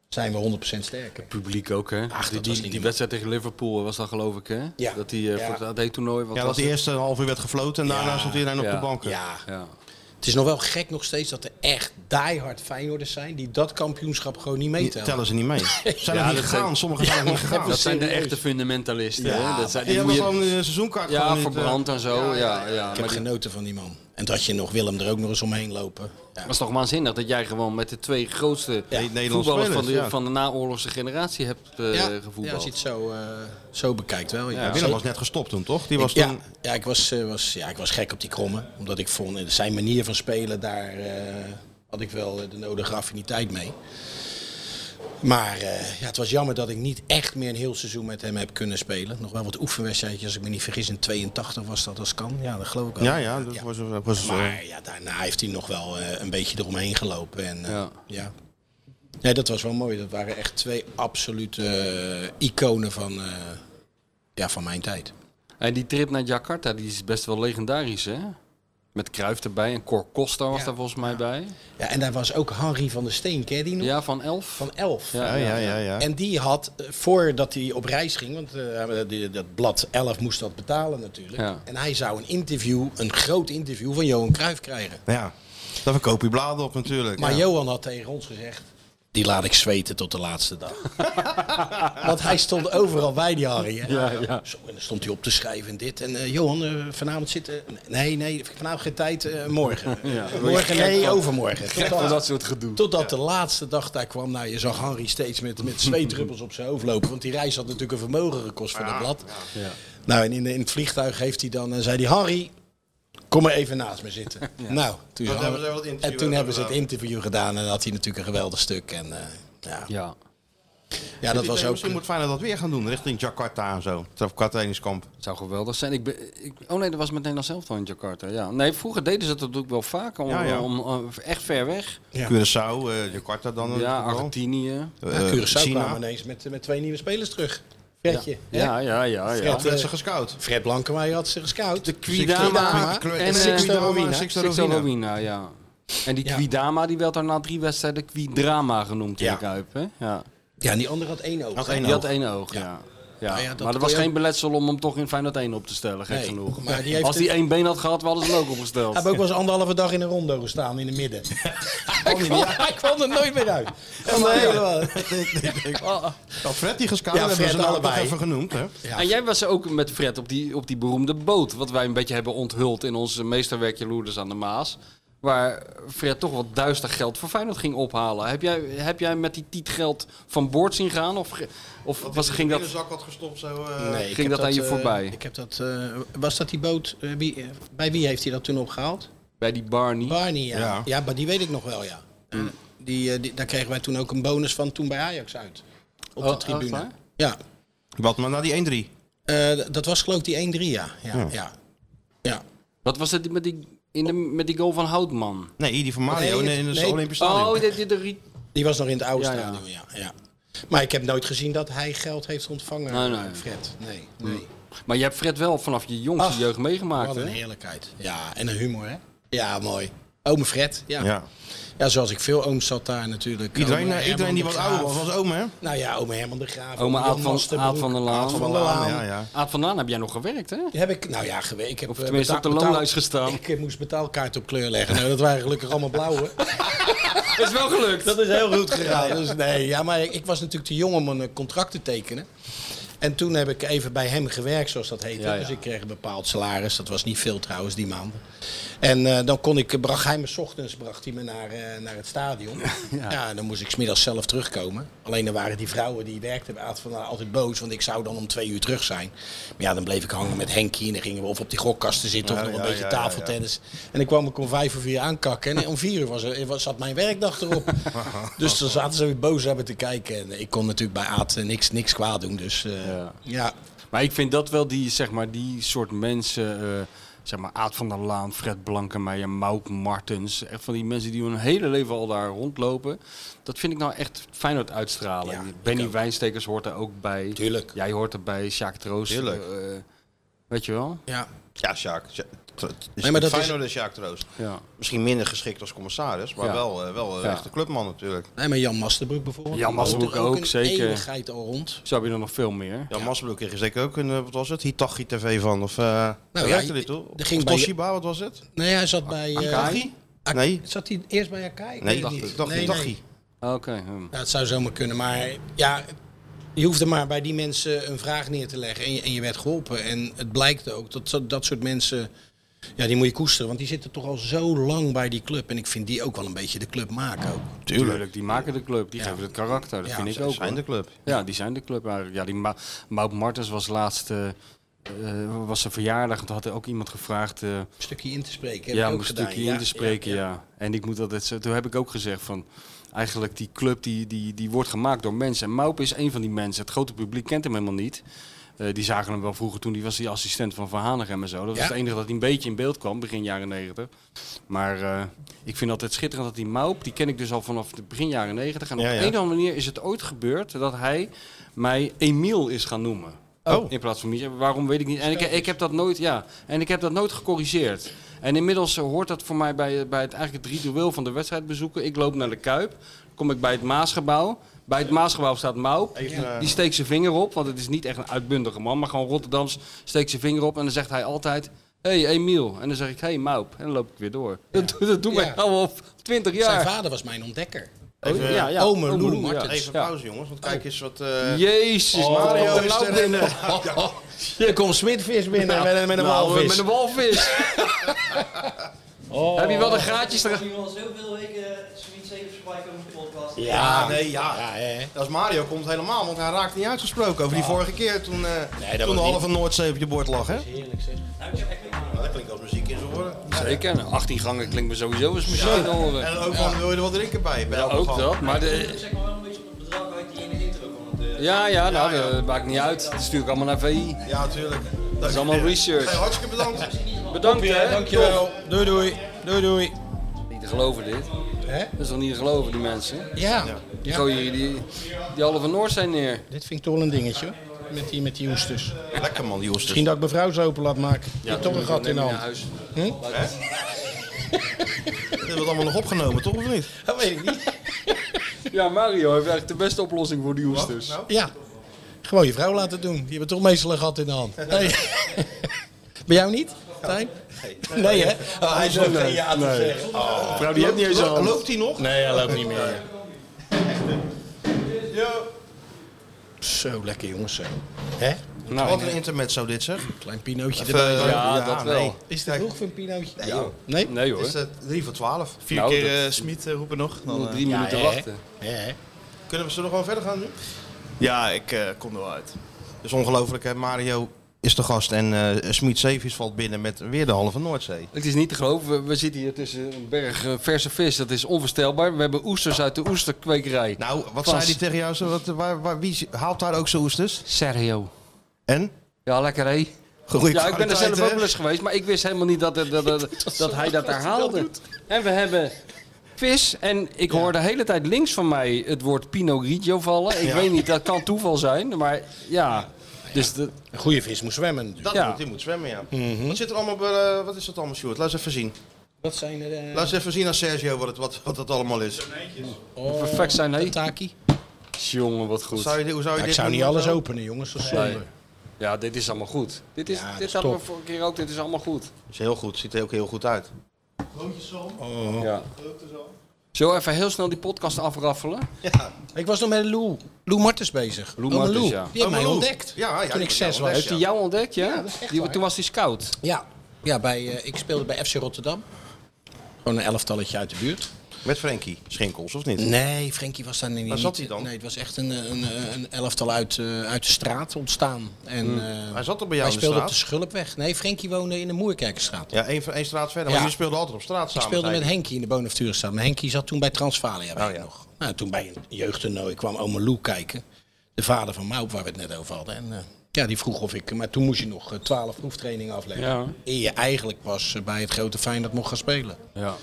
S6: zijn we 100% sterker.
S4: publiek ook, hè? die,
S6: dat
S4: die,
S6: was niet-
S4: die wedstrijd tegen Liverpool was dat geloof ik, hè?
S6: Ja.
S4: Dat die eh,
S6: Ja.
S4: voor het AD-toernooi... wat
S6: Ja,
S4: was
S6: dat die
S4: het?
S2: Eerst een half uur werd gefloten en daarna stond iedereen op de banken.
S6: Ja. Het is nog wel gek nog steeds dat er echt diehard Feyenoorders zijn die dat kampioenschap gewoon niet
S2: Die
S6: meetellen.
S2: tellen ze niet mee. Ze zijn
S4: Ja,
S2: er niet
S4: dat
S2: gegaan,
S4: zijn-
S2: sommigen zijn er niet gegaan.
S4: Dat zijn de echte fundamentalisten,
S2: Ja,
S4: hè? Dat zijn,
S2: die
S4: die
S2: hebben
S4: moet je-
S2: gewoon een seizoenkaart.
S4: Ja,
S2: gewoon niet,
S4: verbrand
S2: eh,
S4: en zo, ja. ja,
S6: Ik
S4: Maar
S6: heb
S4: die-
S6: genoten van die man. En dat je nog Willem er ook nog eens omheen lopen.
S4: Dat is toch waanzinnig dat jij gewoon met de twee grootste
S6: Nederlandse
S4: voetballers van de,
S6: spelers, ja.
S4: van de naoorlogse generatie hebt eh
S6: ja, ja,
S4: gevoetbald.
S6: als je het zo, eh, zo bekijkt wel. Ja.
S2: Ja, Willem was net gestopt toen, toch? Die
S6: Ik-
S2: was
S6: ja,
S2: toen...
S6: ja, ik was, eh, was, ja, ik was gek op die kromme. Omdat ik vond, eh, zijn manier van spelen, daar eh, had ik wel eh, de nodige affiniteit mee. Maar eh, ja, het was jammer dat ik niet echt meer een heel seizoen met hem heb kunnen spelen. Nog wel wat oefenwedstrijdjes, als ik me niet vergis. In 82 was dat als kan. Ja, dat geloof ik wel.
S2: Ja, ja, dat was... dat was
S6: Maar ja, daarna heeft hij nog wel eh, een beetje eromheen gelopen. En, eh,
S4: Ja.
S6: ja. ja. dat was wel mooi. Dat waren echt twee absolute eh, iconen van, eh, ja, van mijn tijd.
S4: En die trip naar Jakarta die is best wel legendarisch, hè? Met Kruif erbij en Cor Costa was daar volgens mij bij.
S6: Ja, en daar was ook Harry van der Steen, ken je die nog?
S4: Ja, van elf.
S6: Van elf.
S4: Ja, ja, ja, ja.
S6: En die had, eh, voordat hij op reis ging, want eh, die- dat blad 11 moest dat betalen natuurlijk.
S4: Ja.
S6: En hij zou een interview, een groot interview van Johan Cruijff krijgen.
S2: Ja, daar verkoop je bladen op natuurlijk.
S6: Maar
S2: ja.
S6: Johan had tegen ons gezegd, die laat ik zweten tot de laatste dag. Want hij stond overal bij die Harry. hè.
S4: Ja, ja.
S6: Zo, en dan stond hij op te schrijven en dit. En eh, Johan, eh, vanavond zitten... Nee, nee, vanavond geen tijd, eh, morgen. Morgen, nee, overmorgen.
S4: Gek
S6: Totdat-
S4: van dat soort gedoe.
S6: Totdat de laatste dag daar kwam, nou, je zag Henry steeds met, met zweetruppels op zijn hoofd lopen. Want die reis had natuurlijk een vermogen gekost voor dat blad.
S4: Ja.
S6: Nou, en in, in het vliegtuig heeft hij dan, en zei hij, Henry, kom maar even naast me zitten. Nou, toen
S2: Dat hebben
S6: is Henry-
S2: ze wel het interview
S6: en toen hebben ze het
S2: gedaan.
S6: interview gedaan en dan had hij natuurlijk een geweldig stuk. En, eh, ja.
S4: Ja.
S6: ja, dat
S2: Misschien-
S6: was ook...
S2: Misschien moet Feyenoord dat weer gaan doen, richting Jakarta en zo. Jakarta trainingskamp.
S4: Zou geweldig zijn. Ik ben, ik, oh nee, dat was met Nederland zelf al in Jakarta. Ja. Nee, vroeger deden ze dat natuurlijk wel vaker. Om,
S2: Ja, ja.
S4: om, om- echt ver weg.
S6: Ja.
S2: Curaçao, eh, Jakarta dan.
S4: Ja,
S2: natuurlijk wel.
S4: Argentinië.
S2: Eh,
S6: Ja, Curaçao
S2: China.
S6: kwam ineens met, met twee nieuwe spelers terug. Fredje. hè?
S4: Ja, ja, ja. ja.
S6: Fred, eh,
S2: Ze gescout.
S6: Fred Blankenwij had ze gescout. Dus De
S4: Quidama
S6: en
S4: en
S6: Sixto
S4: eh,
S6: Rovina.
S4: Sixto
S2: Sixto
S4: Rovina. ja. En die
S6: Ja.
S4: Quidama die werd daar na drie wedstrijden Quidrama genoemd in
S6: Ja.
S4: de Kuip. Hè? Ja.
S6: Ja, en die andere had één oog.
S4: Had
S6: hè?
S4: één die had één oog, ja. ja.
S6: Nou ja, dat
S4: maar er
S6: kon
S4: was
S6: je
S4: geen
S6: ook-
S4: beletsel om hem toch in Feyenoord 1 op te stellen, gek
S6: Nee,
S4: genoeg.
S6: maar die heeft
S4: Als hij
S6: het-
S4: één been had gehad, we hadden ze hem ook
S6: Hij
S4: opgesteld.
S6: heeft ook wel eens anderhalve dag in een rondo gestaan in de midden. hij, kwam, hij kwam er nooit meer uit. Van de hele-
S2: Oh, Fred die gescout,
S6: Ja,
S2: hebben
S6: Fred
S2: ze nou
S6: allebei.
S2: toch even genoemd. Hè?
S4: En jij was ook met Fred op die, op die beroemde boot. Wat wij een beetje hebben onthuld in ons meesterwerkje Loerders aan de Maas. Waar Fred toch wat duister geld voor Feyenoord ging ophalen. Heb jij, heb jij met die tiet geld van boord zien gaan? Of, ge- of was, ging dat...
S2: zak had gestopt zo.
S6: Nee, ik
S4: Ging
S6: heb
S4: dat aan je
S6: eh,
S4: voorbij?
S6: Ik heb dat, eh, was dat die boot? eh, wie, eh, bij wie heeft hij dat toen opgehaald?
S4: Bij die Barney.
S6: Barney, ja.
S4: Ja.
S6: ja. maar die weet ik nog wel, ja.
S4: Mm.
S6: Die, eh, die- daar kregen wij toen ook een bonus van toen bij Ajax uit. Op
S4: Oh,
S6: de
S4: echt
S6: tribune.
S4: waar?
S6: ja.
S2: Wat, maar na die 1-3?
S6: Eh, d- dat was geloof ik die 1-3, ja. Ja, ja. ja.
S4: Wat was het met die, in de, met die goal van Houtman?
S2: Nee, die van Mario in, in het Olympisch Stadion.
S4: Oh, de, de, de, ri-
S6: Die was nog in het oude
S4: Ja, ja.
S6: stadion, ja. ja. Maar ik heb nooit gezien dat hij geld heeft ontvangen.
S4: Nee, nee. Mm.
S6: Fred, nee. nee.
S4: Maar je hebt Fred wel vanaf je jongste
S6: Ach,
S4: jeugd meegemaakt.
S6: Wat een
S4: hè?
S6: heerlijkheid. Ja, en een humor, hè? Ja, mooi. Oom Fred, ja.
S2: Ja.
S6: ja. zoals ik veel ooms zat daar natuurlijk.
S2: Iedereen,
S6: Oom
S2: eh,
S6: Herman
S2: iedereen die
S6: de
S2: wat
S6: Graaf.
S2: ouder was, was oom, hè?
S6: Nou ja, oom Herman de Graaf.
S4: Oma
S6: oom
S4: Aad
S6: Jan
S4: van,
S6: Masterbroek,
S4: Aad van der Laan.
S6: Aad van der Laan.
S4: Ja, ja. Aad van der Laan heb jij nog gewerkt, hè?
S6: Die Heb ik, nou ja, gewe- ik heb
S4: Of
S6: eh,
S4: tenminste op de
S6: betaal-
S4: loonlijst gestaan.
S6: Ik eh, moest betaalkaart op kleur leggen. Nou, dat waren gelukkig allemaal blauwe.
S4: Dat is wel gelukt.
S6: Dat is heel goed gegaan. Dus nee, ja, maar ik, ik was natuurlijk te jong om een eh, contract te tekenen. En toen heb ik even bij hem gewerkt, zoals dat heette.
S4: Ja, ja.
S6: Dus ik kreeg een bepaald salaris. Dat was niet veel trouwens, die maanden. En eh, dan kon ik, bracht hij me 's ochtends bracht hij me naar, eh, naar het stadion. Ja. en dan moest ik smiddags zelf terugkomen. Alleen dan waren die vrouwen die werkten bij Aad van der Laan altijd boos. Want ik zou dan om twee uur terug zijn. Maar ja, dan bleef ik hangen met Henkie. En dan gingen we of op die gokkasten zitten
S2: Ja,
S6: of nog
S2: ja,
S6: een beetje
S2: ja, ja, ja.
S6: tafeltennis. En dan kwam ik om vijf of vier aankakken. En om vier uur was, er- eh, was, zat mijn werkdag erop. dus dan zaten ze weer boos hebben te kijken. En ik kon natuurlijk bij Aad eh, niks, niks kwaad doen. Dus eh, ja.
S4: Maar ik vind dat wel die, zeg maar, die soort mensen, eh, zeg maar Aad van der Laan, Fred Blankenmeijer, Mout Martens, echt van die mensen die hun hele leven al daar rondlopen. Dat vind ik nou echt fijn uit uitstralen. Benny Wijnstekers hoort er ook bij.
S6: Tuurlijk.
S4: Jij hoort erbij, Sjaak Troost.
S2: Tuurlijk.
S4: eh, weet je wel?
S6: Ja.
S2: Ja, Sjaak. Sja- t- t-
S6: Nee, maar dat is-
S2: Feyenoord en Sjaak Troost.
S4: Ja.
S2: Misschien minder geschikt als commissaris, maar
S4: Ja.
S2: wel, eh, wel een
S4: Ja.
S2: echte clubman natuurlijk.
S6: Nee, maar Jan Masterbroek bijvoorbeeld.
S4: Jan
S6: Die woont er
S4: Masterbroek ook,
S6: een
S4: zeker.
S6: eeuwigheid al rond.
S4: Zo heb je er nog veel meer.
S2: Jan Masbroek kreeg er zeker ook een, eh, wat was het, Hitachi TV van? Of eh nou,
S6: ja,
S2: werkte
S6: je-
S2: dit toch?
S6: er ging
S2: Of
S6: bij-
S2: Toshiba, wat was het?
S6: Nee, hij zat bij... eh,
S2: Akai?
S6: Ak-
S2: Nee.
S6: Zat hij eerst bij Akai? Ik
S2: Nee,
S6: weet het
S2: dacht
S6: niet.
S2: ik. Dacht- dacht hij.
S4: Oké. hm.
S6: Ja, Nou, het zou zomaar kunnen, maar ja, je hoefde maar bij die mensen een vraag neer te leggen en je, en je werd geholpen. En het blijkt ook dat zo- dat soort mensen, ja, die moet je koesteren, want die zitten toch al zo lang bij die club. En ik vind die ook wel een beetje de club maken. Ook.
S2: Tuurlijk.
S4: die maken de club, die
S6: Ja.
S4: geven het karakter. Dat
S6: Ja,
S4: vind ik
S6: ze
S4: ook.
S2: Zijn
S4: hoor.
S2: de club.
S4: Ja, die zijn de club eigenlijk. Ja, die Ma Maud Martens was laatst, eh, eh, was zijn verjaardag, en toen had er ook iemand gevraagd... eh,
S6: Een stukje in te spreken. heb
S4: ja,
S6: ik
S4: om
S6: ook
S4: een
S6: gedaan.
S4: stukje
S6: Ja,
S4: in te spreken, ja. En ik moet altijd, zo- toen heb ik ook gezegd van, eigenlijk die club die, die, die wordt gemaakt door mensen. En Maup is een van die mensen. Het grote publiek kent hem helemaal niet. Eh, die zagen hem wel vroeger toen hij was die assistent van Van Hanegem en zo. Dat was
S6: Ja.
S4: het enige dat hij een beetje in beeld kwam, begin jaren negentig. Maar eh, ik vind altijd schitterend dat die Maup, die ken ik dus al vanaf de begin jaren negentig. En op
S2: Ja, ja.
S4: een of andere manier is het ooit gebeurd dat hij mij Emiel is gaan noemen.
S2: Oh.
S4: In plaats van Michel. Waarom weet ik niet. En ik, ik, heb dat nooit, ja, en ik heb dat nooit gecorrigeerd. En inmiddels eh, hoort dat voor mij bij, bij het, eigenlijk het ritueel van de wedstrijd bezoeken. Ik loop naar de Kuip. Kom ik bij het Maasgebouw. Bij het Maasgebouw staat Maup.
S2: Even, eh,
S4: Die steekt zijn vinger op. Want het is niet echt een uitbundige man. Maar gewoon Rotterdams steekt zijn vinger op. En dan zegt hij altijd... hey, Emiel. En dan zeg ik, hey, Maup. En dan loop ik weer door. Dat, dat doe ik
S6: Ja.
S4: al op 20
S6: Zijn
S4: jaar. Oh,
S6: vader was mijn ontdekker.
S2: Even,
S4: ja, ja.
S6: Ome
S4: Ome
S6: Lou
S4: Lou, ja.
S6: Martens.
S2: Even
S4: Ja.
S2: pauze, jongens, want kijk eens wat... eh,
S4: Jezus, Mario
S2: Mario
S4: komt er
S2: is eh.
S4: nou
S2: er-
S4: binnen.
S6: Oh, Er komt Smitvis binnen met, een- met een
S4: Nou,
S6: walvis.
S4: Met een walvis. Heb je wel de gaatjes eruit?
S13: nu al zoveel weken zoiets even voorbij komen op de podcast.
S2: Ja, nee, ja.
S6: hè. Nou.
S2: Als Mario komt helemaal, want hij raakt niet uitgesproken over die vorige keer toen, eh,
S6: Nee,
S2: toen
S6: dat was
S2: de
S6: niet-
S2: halve Noordzee op je bord lag, hè?
S6: Heerlijk zeg.
S2: dat klinkt als muziek in zijn oren.
S4: Zeker, 18 gangen klinkt me sowieso als muziek in de oren.
S2: En ook van, wil je er wat drinken bij? bij
S4: Ja,
S2: elke
S4: ook
S2: gang?
S4: dat, maar de,
S13: Zeg maar wel een beetje op het bedrag uit die ene intro van het... eh,
S4: ja, ja, nou, dat maakt niet uit. Dat stuur ik allemaal naar VI.
S2: Ja, natuurlijk.
S4: Dat is allemaal
S2: Hey,
S4: research.
S2: hartstikke bedankt.
S4: Bedankt, hè.
S6: Dankjewel. Doei doei. Doei doei.
S4: Niet te geloven, dit.
S6: Hè?
S4: Dat is toch niet te geloven, die mensen?
S6: Ja.
S4: Die
S6: ja.
S4: gooien hier die, die halve Noordzee neer.
S6: Dit vind ik toch wel een dingetje. hoor. Met die, met die oesters.
S2: Lekker man, die oesters.
S6: Misschien dat ik mijn vrouw zo open laat maken. Ja, toch een gat in de hand.
S4: huis.
S6: Hm?
S2: Dat hebben we allemaal nog opgenomen, toch of niet?
S6: Dat weet ik niet.
S4: Ja, Mario heeft eigenlijk de beste oplossing voor die oesters.
S6: Ja. Gewoon je vrouw laten doen. Die hebben toch meestal een gat in de hand. Nee. Bij jou niet, Tijn? Nee, hè? Oh, hij is ook geen ja te zeggen.
S4: Vrouw, die hebt niet eens
S2: Lo-
S4: aan.
S2: Loopt hij nog?
S6: Nee, hij loopt niet meer. Zo lekker jongens, zo. Hè?
S4: Nou,
S2: Wat een intermezzo dit, zeg.
S6: Klein pinootje
S2: Even,
S6: erbij.
S2: eh,
S4: Ja, dat wel.
S2: nee.
S6: Is het
S2: Kijk,
S6: vroeg voor een pinootje?
S2: Nee, joh.
S6: Nee?
S4: Nee
S2: Het is
S4: hoor,
S2: eh, 3 voor 12.
S14: Vier
S4: Nou,
S14: keer
S4: dat-
S14: eh Smit eh, roepen nog. Dan,
S4: nog
S14: eh,
S4: drie minuten
S6: hè?
S4: wachten.
S6: Ja, hè?
S2: Kunnen we ze nog gewoon verder gaan nu?
S14: ja, ik eh, kom er wel uit.
S2: Dat is ongelooflijk, hè. Mario is de gast en eh Smit Zeevis valt binnen met weer de halve Noordzee.
S4: Het is niet te geloven. We, we zitten hier tussen een berg eh, verse vis. Dat is onvoorstelbaar. We hebben oesters uit de oesterkwekerij.
S2: Nou, wat
S4: Vast.
S2: zei hij tegen jou? Zo, wat, waar, waar, wie haalt daar ook zo oesters?
S4: Sergio.
S2: En?
S4: Ja, lekker hé.
S2: Goeie
S4: ja, ik ben er
S2: kwaliteit,
S4: zelf ook
S2: hè?
S4: wel eens geweest, maar ik wist helemaal niet dat, dat, dat, dat, dat hij dat herhaalde. En we hebben quiz. En ik hoor de hele tijd links van mij het woord Pinot Grigio vallen. Ik
S6: Ja.
S4: weet niet, dat kan toeval zijn, maar ja. Dus de,
S6: Een goede vis moet zwemmen natuurlijk.
S2: Dat
S4: Ja. Mhm.
S2: moet, die moet zwemmen, ja. Wat zit er allemaal bij, eh, wat is dat allemaal, Sjoerd? Laat eens even zien.
S6: Wat zijn er? eh,
S2: Laat eens even zien aan Sergio wat het, wat, wat het allemaal is.
S6: oh,
S4: perfect zijn hij.
S6: Taki.
S4: Jongen, wat goed.
S2: Zou je, dit- hoe zou je
S6: Ja, ik
S2: dit
S6: zou
S2: doen?
S6: niet alles openen, jongens. Dat is
S4: Nee.
S6: zonde.
S4: Ja, dit is allemaal goed. Dit, is,
S6: Ja, dat
S4: dit
S6: is
S4: hadden we
S6: top.
S4: vorige keer ook. Dit is allemaal goed.
S2: Is heel goed, ziet er ook heel goed uit.
S6: Oh.
S4: Ja. Zo even heel snel die podcast afraffelen.
S2: Ja.
S6: Ik was nog met Lou, Lou Martens bezig.
S4: Lou
S6: Oma
S4: Martens,
S6: Lou.
S4: ja.
S6: Die heeft
S2: Oma
S6: mij
S2: Lou.
S6: ontdekt.
S2: Ja, ja,
S6: toen ik
S2: die
S6: zes
S2: heeft mij
S6: was.
S4: Heeft hij jou ontdekt, ja?
S6: Ja, dat is echt
S4: Die-
S6: waar.
S4: toen was hij scout.
S6: Ja, ja bij, eh, ik speelde bij FC Rotterdam. Gewoon een elftalletje uit de buurt.
S2: Met Frenkie, Schinkels, of niet?
S6: Nee, Frenkie was daar niet.
S2: Waar zat
S6: niet-
S2: hij dan?
S6: Nee, het was echt een, eh, een, een elftal uit, eh, uit de straat ontstaan. En, eh,
S2: Hmm. Hij zat toch bij jou
S6: Hij
S2: in de
S6: speelde op
S2: straat?
S6: de Schulpweg. Nee, Frenkie woonde in de Moerkerkenstraat.
S2: Ja, één, één straat verder. Maar
S6: Ja.
S2: jullie speelden altijd op straat
S6: Ik
S2: samen. Oh,
S6: speelde met
S2: zei
S6: Henkie in de Bonaventurenstraat. Maar Henkie zat toen bij Transvalia weet ik nog. Nou, toen bij een jeugdtoernooi kwam oma Lou kijken. De vader van Maup, waar we het net over hadden. En eh, ja, die vroeg of ik... Maar toen moest je nog eh, 12 proeftrainingen afleggen.
S4: Ja.
S6: Eer je eigenlijk pas eh, bij het grote Feyenoord mocht gaan spelen.
S4: Ja.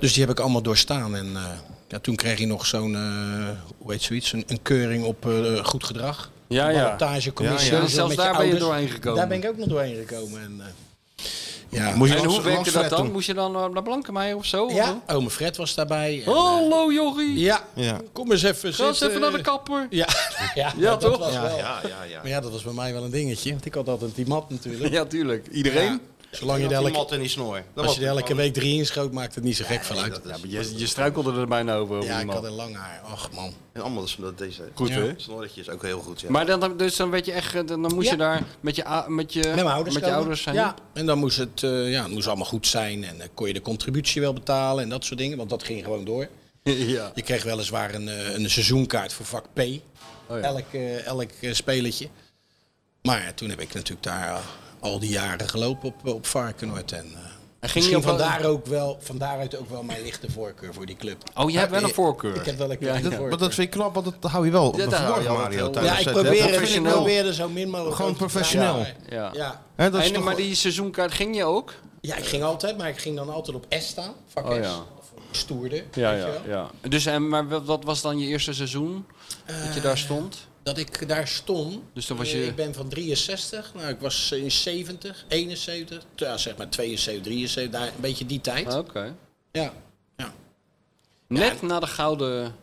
S6: Dus die heb ik allemaal doorstaan. En eh, ja, toen kreeg hij nog zo'n, eh, hoe heet zoiets, een, een keuring op eh, goed gedrag.
S4: Ja, ja.
S6: Ballotagecommissie,
S4: Ja, ja.
S6: zo
S4: Dus zelfs
S6: met
S4: daar
S6: je
S4: ben je
S6: ouders.
S4: doorheen gekomen.
S6: Daar ben ik ook nog doorheen gekomen. En, eh, ja.
S2: Moest je
S4: En
S2: langs-
S4: hoe werkte
S2: langs
S4: dat
S2: Fred
S4: dan?
S2: toen?
S4: Moest je dan eh, naar Blankenmeijer of zo? Of
S6: ja,
S4: hoe?
S6: ome Fred was daarbij.
S4: Oh.
S6: En, eh,
S4: Hallo Jorrie!
S6: ja,
S2: Ja.
S6: kom eens even
S4: Ga eens
S6: zitten.
S4: even naar de kapper.
S6: Ja, ja,
S4: Ja,
S6: dat
S4: toch?
S6: was
S2: hij.
S6: wel.
S2: Ja, ja, ja.
S6: Maar ja, dat was bij mij wel een dingetje. Want ik had altijd die mat natuurlijk.
S4: Ja, tuurlijk. Iedereen?
S6: Ja, Zolang je er
S2: Die
S6: elke,
S2: mat en die snor. Dat
S6: als je er
S2: was-
S6: elke week drie inschoot, maakt het niet zo gek van uit.
S2: dat is-
S4: Je, je struikelde er bijna over. over
S6: Ja,
S4: die
S6: ik
S4: man.
S6: had een lang haar. Ach man.
S2: En allemaal dus, dat deze
S4: Goed, hè?
S2: snorretje is ook heel goed. Ja.
S4: Maar dan- dan, dus dan, werd je echt, eh, dan dan moest
S6: Ja.
S4: je daar met je, a- met je,
S6: Met mijn ouders.
S4: met je
S6: komen.
S4: ouders zijn.
S6: Ja. En dan moest het, eh, ja, het moest allemaal goed zijn. En dan kon je de contributie wel betalen en dat soort dingen. Want dat ging gewoon door.
S4: ja. Oh
S6: Je kreeg weliswaar een, eh, een seizoenkaart voor vak P.
S4: ja.
S6: Elk, eh, elk eh, spelletje. Maar ja, toen heb ik natuurlijk daar eh, al die jaren gelopen op, op Varkenoord. En, eh,
S4: je
S6: misschien
S4: ook wel-
S6: vandaar ook wel, van daaruit ook wel mijn lichte voorkeur voor die club.
S4: Oh, jij hebt wel een voorkeur.
S6: Ik heb wel een kleine
S2: dat,
S6: voorkeur.
S2: maar dat vind ik knap, want dat hou je wel op
S4: Ja,
S2: de
S4: daar hou je
S2: verborgen,
S4: altijd
S2: Mario.
S4: wel.
S2: tijdens
S6: ja, ik
S2: het-
S6: probeer,
S2: dat
S6: het,
S2: vind
S6: ik
S2: wel-
S6: probeer er zo min mogelijk
S2: Gewoon
S6: over te
S2: professioneel.
S6: praten.
S4: Ja.
S6: Ja.
S2: Hè, dat is
S4: En,
S2: toch-
S4: maar die seizoenkaart ging je ook?
S6: Ja, ik ging altijd, maar ik ging dan altijd op S staan. Vak
S4: Oh,
S6: S.
S4: ja.
S6: Of op Stoerde. weet je wel.
S4: ja. Dus, en, maar wat, wat was dan je eerste seizoen? dat je daar
S6: Eh.
S4: stond?
S6: Dat ik daar stond.
S4: Dus dan was
S6: eh,
S4: je-
S6: Ik ben van 63. Nou, ik was in 70, 71. Ja, zeg maar 72, 73. Daar, een beetje die tijd.
S4: Oké.
S6: Ja. Ja.
S4: Net na de gouden...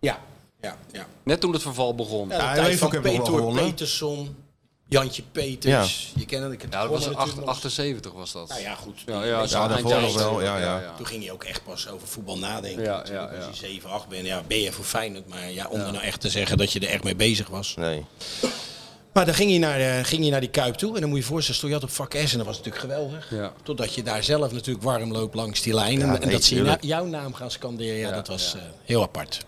S6: Ja. Ja. ja.
S4: Net toen het verval begon.
S6: ja de
S2: hij
S6: tijd
S2: heeft
S6: van
S2: ook even wel
S6: Peter
S2: gewonnen.
S6: Peterson. Jantje Peters. Je kent het. Ik heb
S4: Ja, dat was
S6: gewonnen natuurlijk
S4: acht-
S6: nog.
S4: 78 was dat.
S6: Nou ja, goed.
S4: ja, ja,
S6: Mensen
S4: zo
S6: hadden
S4: eind
S2: daarvoor
S6: tijd.
S2: nog wel, ja, ja.
S6: Toen ging je ook echt pas over voetbal nadenken.
S4: Ja,
S6: natuurlijk.
S4: ja, ja.
S6: Als je 7, 8 bent, ja, ben je voor Feyenoord. Maar ja, om er nou echt te zeggen dat je er echt mee bezig was.
S2: Nee.
S6: Maar dan ging je, naar, eh, ging je naar die Kuip toe. En dan moet je je voorstellen, stond je had op vak S. En dat was natuurlijk geweldig.
S4: Ja.
S6: Totdat je daar zelf natuurlijk warm loopt langs die lijn. en, en
S2: nee,
S6: dat ze je
S2: tuurlijk.
S6: na- jouw naam gaan scanderen. Ja, dat was eh, heel apart.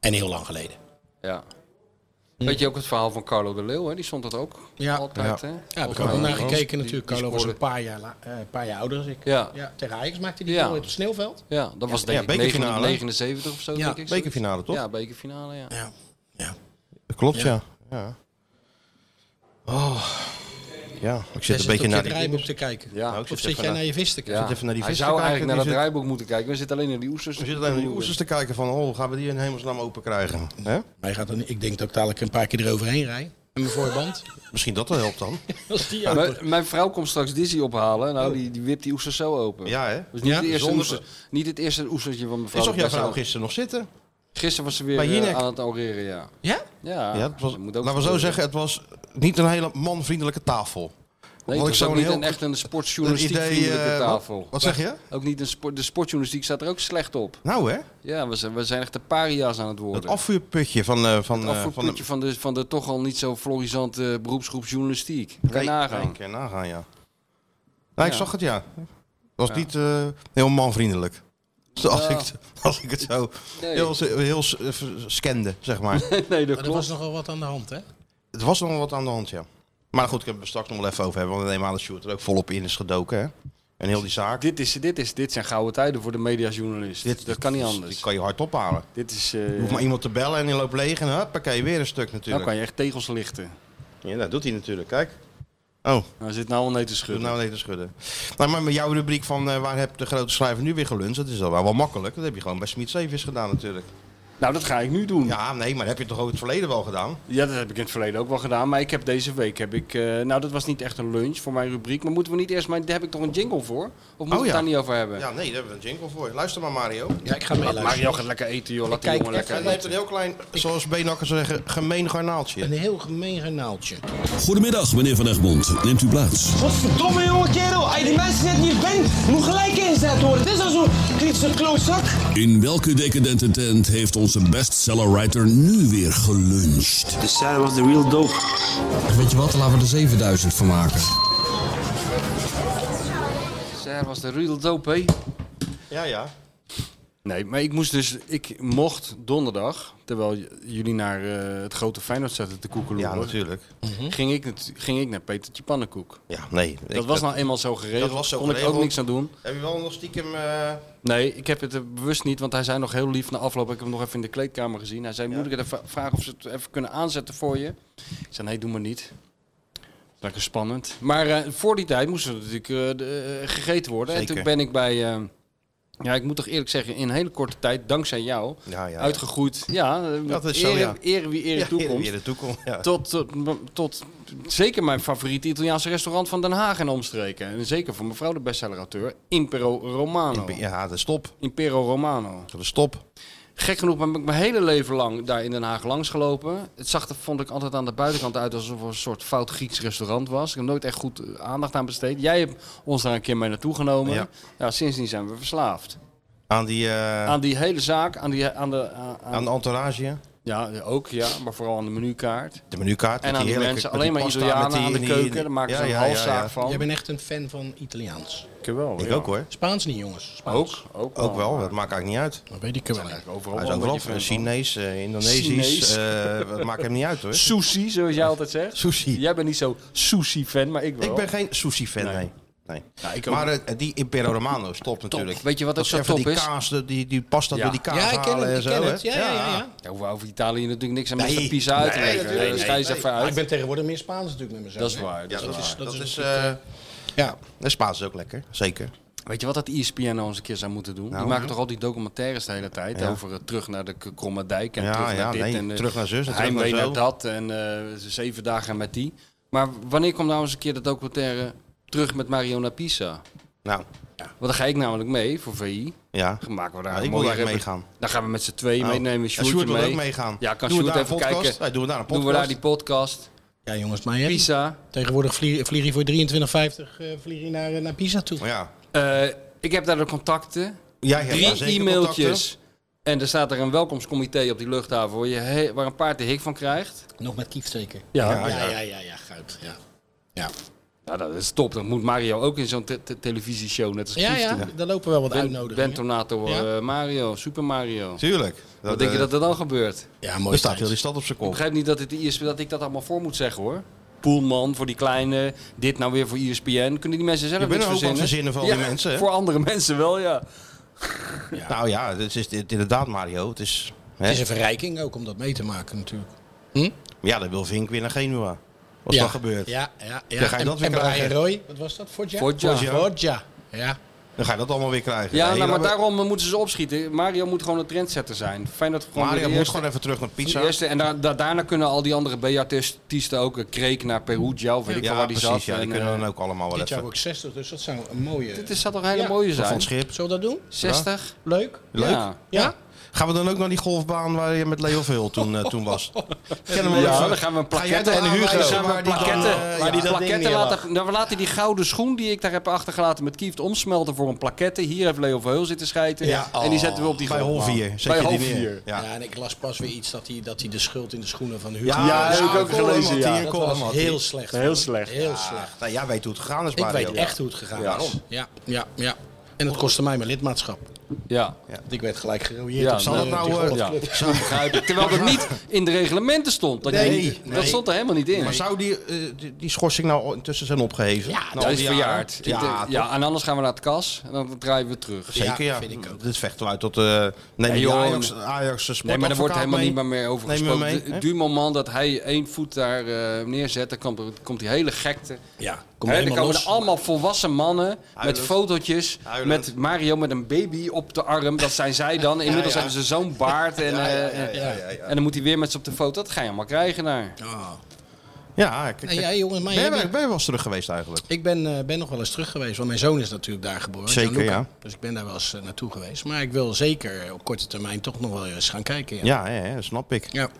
S6: En heel lang geleden.
S4: Ja. Weet je ook het verhaal van Carlo de Leeuw? Hè? Die stond dat ook
S6: Ja.
S4: altijd. Hè?
S6: Ja, heb ik ook
S4: Volgens
S6: wel
S4: mij
S6: naar
S4: die-
S6: gekeken
S4: die-
S6: natuurlijk.
S4: die
S6: Carlo was
S4: scoorde-
S6: een paar jaar, la- eh, een paar jaar ouder als ik.
S4: Ja.
S6: Tegen Ajax maakte die
S4: Ja.
S6: goal op het sneeuwveld.
S4: Ja, dat was denk ik
S2: bekerfinale.
S4: 79 of zo,
S6: Ja,
S4: denk ik. zoiets.
S2: bekerfinale, toch?
S4: Ja, bekerfinale, ja.
S6: Ja. ja.
S2: Klopt, ja. ja. Oh. Ja, ik zit een beetje naar
S6: de
S2: die...
S6: draaiboek te kijken.
S4: Ja.
S2: Nou, ik
S6: Of
S2: zit
S6: zit
S2: even
S6: jij
S2: naar-
S6: naar je vis te kijken?
S4: Ja.
S2: even naar die
S4: Hij
S2: vis te
S4: zou
S2: kijken,
S4: eigenlijk naar
S2: die
S4: dat
S2: zit-
S4: draaiboek moeten kijken. We zitten alleen naar die oesters.
S2: We zitten alleen naar die oesters te kijken van, oh, gaan we die in hemelsnaam open krijgen? Hè?
S6: Hij gaat er niet- ik denk dat ik dadelijk een paar keer eroverheen rijd. Met mijn voorband.
S2: Misschien dat wel helpt dan.
S6: Als die
S4: Ja, mijn, mijn vrouw komt straks Dizzy ophalen. Nou, die, die wipt die oesters zo open.
S2: Ja, hè?
S4: Dus niet,
S6: Ja,
S4: het eerste
S2: zonder-
S4: oester, niet het eerste oestertje van
S2: Ik
S4: mevrouw.
S2: zag jouw
S4: Bessel.
S2: vrouw gisteren nog zitten.
S4: Gisteren was ze weer
S2: Bij
S4: eh,
S2: Jinek.
S4: aan het oreren, ja.
S6: Ja?
S4: Ja,
S2: Ja, het was,
S4: dat moet
S2: laten
S4: ook
S2: we zo
S4: gebeuren.
S2: zeggen, het was niet een hele manvriendelijke tafel.
S4: Nee,
S2: Want
S4: het
S2: ik zou
S4: was ook
S2: een
S4: niet
S2: heel-
S4: een, echt een
S2: Het
S4: sportjournalistiek
S2: idee...
S4: vriendelijke
S2: eh,
S4: tafel.
S2: wat, wat zeg je?
S4: Ook niet een sport, de sportjournalistiek staat er ook slecht op.
S2: Nou, hè?
S4: Ja, we zijn, we zijn echt de paria's aan het worden.
S2: Het afvuurputje van... eh, van, eh, van
S4: Het afvoerputje van de, van de toch al niet zo florisante beroepsgroep journalistiek. Kan je
S2: Nee,
S4: nagaan.
S2: nee, kan je nagaan, ja. Nou, ik
S4: Ja.
S2: zag het, ja. Het was
S4: Ja.
S2: niet eh, heel manvriendelijk. Dus als,
S4: Ja.
S2: ik, als ik het zo
S4: Nee.
S2: heel, heel s- eh, scande, zeg maar.
S4: nee, dat
S6: Maar er was
S4: klopt.
S6: nogal wat aan de hand, hè?
S2: het was nog wel wat aan de hand, ja. Maar goed, ik heb het er straks nog wel even over hebben. Want ik neem aan dat Sjoerd er ook volop in is gedoken, hè. En heel die zaak.
S4: Dit, is, dit, is, dit zijn gouden tijden voor de mediajournalist.
S2: Dit-
S4: dat kan niet
S2: dit is-
S4: anders.
S2: Die kan je hard ophalen.
S4: Dit is... eh,
S2: Je hoeft maar iemand te bellen en die loopt leeg en huppakee, weer een stuk
S4: dan
S2: natuurlijk.
S4: kan je echt tegels lichten.
S2: Ja, dat doet hij natuurlijk, kijk. Oh.
S4: Hij zit nou al nee te schudden.
S2: Nou nee te schudden. Nou, maar met jouw rubriek van eh, waar heb de grote schrijver nu weer geluncht, dat is dan wel, wel makkelijk. Dat heb je gewoon bij Smit Zeevis gedaan natuurlijk.
S4: Nou, dat ga ik nu doen.
S2: Ja, nee, maar heb je toch ook het verleden wel gedaan?
S4: Ja, dat heb ik in het verleden ook wel gedaan. Maar ik heb deze week, heb ik, eh, nou dat was niet echt een lunch voor mijn rubriek. Maar moeten we niet eerst, maar daar heb ik toch een jingle voor? Of moeten
S2: Oh,
S4: we
S2: ja.
S4: het daar niet over hebben?
S2: Ja, nee, daar hebben we een jingle voor. Luister maar, Mario.
S6: Ja, ik ga
S4: Laat Mario gaat lekker eten joh, laat die
S2: Kijk,
S4: jongen lekker
S2: hij
S4: eten.
S2: heeft een heel klein, zoals Beenakker zou zeggen, gemeen garnaaltje. Een
S6: heel gemeen garnaaltje.
S7: Goedemiddag, meneer Van Egmond. Neemt u plaats.
S15: Godverdomme jonge kerel, als je die mensen net niet bent, moet gelijk ingezet worden. Dit is al zo'n kritische klootzak.
S7: In welke decadente tent heeft onze bestsellerwriter nu weer geluncht?
S16: De cel was de real dope. Weet je wat, laten we er 7000 van maken.
S4: Zij was de real dope, hè?
S2: Ja, ja.
S4: Nee, maar ik moest dus, ik mocht donderdag, terwijl j- jullie naar eh, het grote Feyenoord zaten te koekeloeren.
S2: Ja, natuurlijk.
S4: Ging, ik, nat- ging ik naar Petertje Pannenkoek.
S2: Ja, nee.
S4: Dat was nou eenmaal zo geregeld.
S2: Dat was zo
S4: kon ik
S2: geregeld.
S4: ook niks aan doen.
S2: Heb je wel nog stiekem... eh,
S4: Nee, ik heb het eh, bewust niet, want hij zei nog heel lief na afloop. Ik heb hem nog even in de kleedkamer gezien. Hij zei, moet ik het even vragen of ze het even kunnen aanzetten voor je? Ik zei, nee, doe maar niet. Lekker spannend. Maar eh, voor die tijd moest er natuurlijk eh, de- eh, gegeten worden.
S17: Zeker.
S4: En toen ben ik bij, eh, ja, ik moet toch eerlijk zeggen, in een hele korte tijd, dankzij jou,
S2: Ja, ja, ja.
S4: uitgegroeid. Ja, eh,
S2: Dat is zo,
S4: ere,
S2: ja.
S4: ere wie ere
S2: Ja,
S4: toekomst.
S2: ere wie ere toekomst, ja.
S4: tot, tot, tot zeker mijn favoriete Italiaanse restaurant van Den Haag en omstreken. En zeker voor mevrouw de bestsellerauteur, Impero Romano.
S2: ja, dat is top.
S4: Impero Romano.
S2: Dat is top.
S4: Gek genoeg ben ik mijn hele leven lang daar in Den Haag langsgelopen. Het zag er, vond ik altijd aan de buitenkant uit alsof het een soort fout Grieks restaurant was. Ik heb nooit echt goed eh, aandacht aan besteed. Jij hebt ons daar een keer mee naartoe genomen. Ja.
S2: Ja.
S4: sindsdien zijn we verslaafd.
S2: Aan die... eh,
S4: Aan die hele zaak, aan, die, aan de... Aan,
S2: aan de entourage, hè?
S4: Ja, ook, ja. Maar vooral aan de menukaart.
S2: De menukaart.
S4: En aan die mensen. Alleen maar Italianen aan de keuken. Daar maken ze een halszaak van.
S6: Jij bent echt een fan van Italiaans.
S4: Ik wel,
S2: Ik ook, hoor.
S6: Spaans niet, jongens. Spaans.
S4: Ook, ook,
S2: Ook wel, dat maakt eigenlijk niet uit.
S4: Oh,
S6: Dat weet ik wel.
S4: Overal
S2: Hij is overal van Chinees, eh, Indonesisch,
S4: Chinees.
S2: eh dat maakt hem niet uit hoor.
S4: Sushi, zoals jij altijd zegt.
S2: Sushi.
S4: Jij bent niet zo sushi-fan, maar ik wel.
S2: Ik ben geen sushi-fan, nee. nee.
S4: ik ook
S2: maar eh, die Impero Romano is top natuurlijk.
S4: Weet je wat ook
S2: Dat
S4: zo
S2: even
S4: top
S2: die
S4: is?
S2: Kaas, de- die, die pasta
S4: Ja.
S2: door die kaas
S4: Ja, ik ken
S2: halen
S4: het,
S2: en
S4: ik
S2: zo.
S4: ken
S2: hè?
S4: het. Ja, ja, ja, ja. Ja, we over Italië natuurlijk niks aan
S2: Nee.
S4: Mr. Pizza uit te
S2: Nee,
S4: leggen.
S2: natuurlijk
S4: Dus
S2: niet.
S4: ga je eens
S2: Nee.
S4: even
S6: Maar ik
S4: uit.
S6: ben tegenwoordig meer Spaans natuurlijk met mezelf.
S4: Dat is
S6: hè?
S4: waar, dat is waar.
S2: Dat
S6: is
S2: is,
S6: natuurlijk,
S2: eh,
S6: eh, ja.
S2: En Spaans is ook lekker, zeker.
S4: Weet je wat dat ESPN nou eens een keer zou moeten doen?
S2: Nou.
S4: die maken toch al die documentaires de hele tijd
S2: Ja.
S4: over eh, terug naar de K- Kromme Dijk en
S2: Ja,
S4: terug naar
S2: ja,
S4: dit
S2: nee,
S4: en eh,
S2: terug naar zus en terug
S4: heimwee
S2: naar zo.
S4: dat en eh, zeven dagen met die. Maar wanneer komt nou eens een keer de documentaire terug met Mariona Pisa?
S2: Nou.
S4: Want dan ga ik namelijk mee voor VI.
S2: Ja.
S4: Dan maken we daar
S2: Ja,
S4: een
S2: ik wil
S4: mooie
S2: eigenlijk
S4: rep-
S2: meegaan.
S4: Dan gaan we met z'n tweeën
S2: Oh.
S4: meenemen.
S2: Ja,
S4: Nou, Sjoerd
S2: Sjoerd wil
S4: mee.
S2: ook meegaan.
S4: Ja, kan
S2: Doen we
S4: Sjoerd
S2: daar
S4: even
S2: een podcast?
S4: kijken.
S2: Ja, doen we daar een
S4: Doen we daar die
S2: podcast?
S4: podcast.
S6: Ja, jongens, maar je
S4: Pisa.
S6: Tegenwoordig vlieg, vlieg je voor 23,50 eh vlieg je naar, eh, naar Pisa toe.
S2: Ja.
S4: Eh, ik heb daar de contacten.
S2: Jij hebt daar
S4: Drie
S2: zeker
S4: e-mailtjes. En er staat er een welkomstcomité op die luchthaven waar, je he- waar een paard de hik van krijgt.
S6: Nog met Kieft zeker?
S4: Ja.
S6: Ja, ja, ja, ja, ja, goud. Ja. Ja.
S4: Ja, dat is top. Dan moet Mario ook in zo'n te- te- televisieshow, net als
S6: Ja,
S4: Kieft
S6: ja,
S4: toen.
S6: daar lopen wel wat
S4: Ben-
S6: uitnodigingen.
S4: Bentonato eh, Mario, Super Mario.
S2: Tuurlijk.
S4: Wat
S2: eh,
S4: denk je dat er dan gebeurt?
S6: Ja,
S2: mooi. Er staat heel die stad op zijn
S4: Ik
S2: kop.
S4: begrijp niet dat, het E ESPN, dat ik dat allemaal voor moet zeggen hoor. Poelman voor die kleine, dit nou weer voor ESPN. Kunnen die mensen zelf
S2: Je bent
S4: niks
S2: een hoop aan het verzinnen voor al die
S4: Ja,
S2: mensen, hè?
S4: Voor andere mensen wel, ja.
S2: Nou ja, het is dit- inderdaad Mario. Het is, hè?
S6: Het is een verrijking ook om dat mee te maken natuurlijk.
S2: Ja, dan wil Vink weer naar Genua. Als
S6: ja.
S2: dat gebeurt.
S6: Ja, ja, ja.
S2: Dan ga je
S6: En-
S2: dat weer
S6: en
S2: krijgen. Oh,
S6: Brian Roy, wat was dat? Forja?
S4: Foggia.
S6: Foggia. Ja.
S2: Dan ga je dat allemaal weer krijgen.
S4: Ja,
S2: Nee,
S4: nou, maar
S2: laten we-
S4: daarom eh, moeten ze opschieten. Mario moet gewoon een trendsetter zijn. Fijn dat we gewoon
S2: Mario
S4: weer de
S2: moet
S4: eerste-
S2: gewoon even terug naar pizza.
S4: de eerste, en da- da- daarna kunnen al die andere B-artiesten ook een kreek naar Perugia of weet ik wel
S2: Ja,
S4: waar die
S2: precies.
S4: zat.
S2: ja, die
S4: En,
S2: kunnen
S4: eh,
S2: dan ook allemaal wel
S6: Dit jaar
S2: even.
S6: ook 60, dus dat zou een mooie...
S4: Dit is- zou toch een hele mooie
S2: Van
S4: zijn?
S2: het schip.
S6: Zullen we dat doen?
S4: 60.
S6: Leuk.
S2: Leuk.
S4: Ja.
S6: Ja?
S2: Gaan we dan ook naar die golfbaan waar je met Leo Veel toen, eh, toen was? Kennen we
S4: Ja,
S2: wel even.
S4: dan gaan we een
S2: Ga jij
S4: plakketten
S2: dan
S4: en Hugo.
S2: aanwijzen
S4: Gaan we
S2: waar die dan,
S4: plakketten,
S2: eh, ja,
S4: waar
S2: dat
S4: die
S2: ding
S4: plakketten
S2: neerlaat?
S4: laten, nou, we laten die gouden schoen die ik daar heb achtergelaten met Kieft omsmelten voor een plakketten. Hier heeft Leo Verheul zitten schijten.
S6: Ja,
S4: en die
S6: oh,
S4: zetten we op die
S2: bij
S4: golfbaan.
S2: Hol vier zet
S4: Bij
S2: je die
S4: Hol
S2: neer.
S4: vier.
S6: Ja. en ik las pas weer iets dat hij, dat hij de schuld in de schoenen van Hugo...
S2: Ja, ja, heb ik ook
S6: Koolman
S2: gelezen,
S6: had
S2: ja.
S6: hij,
S2: Dat
S6: Dat was
S2: Koolman had hij.
S6: heel slecht.
S4: Heel
S6: hoor.
S4: slecht.
S6: Heel slecht.
S2: Nou, jij weet hoe het gegaan is,
S6: Ik
S2: Mario.
S6: weet echt hoe het gegaan
S2: Ja.
S6: is. Ja, ja, ja. En het kostte mij mijn lidmaatschap.
S4: Ja.
S6: Ik werd gelijk gerouilleerd.
S4: Ja,
S6: op
S4: zal
S6: die-
S4: dat nou,
S6: die
S4: eh,
S6: golfclub.
S4: ja. Zo begrijp ik. Terwijl dat niet in de reglementen stond. Dat, je
S2: Nee,
S4: niet-
S2: nee.
S4: dat stond er helemaal niet in.
S2: Maar zou die, eh, die, die schorsing nou al intussen zijn opgeheven? Ja,
S4: dat is verjaard. Ik denk-
S2: Ja,
S4: Ja, en anders gaan we naar het kas en dan draaien we terug.
S2: Zeker, ja. Dit vecht wel uit tot... eh neem
S4: Nee,
S2: je
S4: joh,
S2: Ajax, Ajax sport
S4: Nee, maar daar wordt helemaal niet meer, meer over
S2: neem je
S4: gesproken.
S2: mee,
S4: Du-
S2: hè?
S4: du moment dat hij één voet daar eh, neerzet, dan komt, er- komt die hele gekte. Ja,
S6: komt
S4: dan
S6: helemaal
S4: komen
S6: los.
S4: er allemaal volwassen mannen
S6: Huilend.
S4: met fotootjes.
S6: Huilend.
S4: Met Mario met een baby op de arm. Dat zijn zij dan.
S6: Ja,
S4: Inmiddels
S6: ja.
S4: hebben ze zo'n baard. En,
S6: Ja, ja, ja,
S4: eh,
S6: ja, ja, ja.
S4: en dan moet hij weer met ze op de foto. Dat ga je allemaal krijgen daar.
S6: Ah.
S2: Ja, ik,
S6: Nee, jij, jongen, maar
S2: ben,
S6: jij
S2: je- ben,
S6: bent-
S2: je wel eens terug geweest eigenlijk?
S6: Ik ben, eh, ben nog wel eens terug geweest, want mijn zoon is natuurlijk daar geboren.
S2: Zeker,
S6: Gianluca.
S2: ja.
S6: Dus ik ben daar wel eens eh, naartoe geweest. Maar ik wil zeker op korte termijn toch nog wel eens gaan kijken. Ja,
S2: Ja, ja, ja, dat snap ik.
S6: Ja.
S4: In het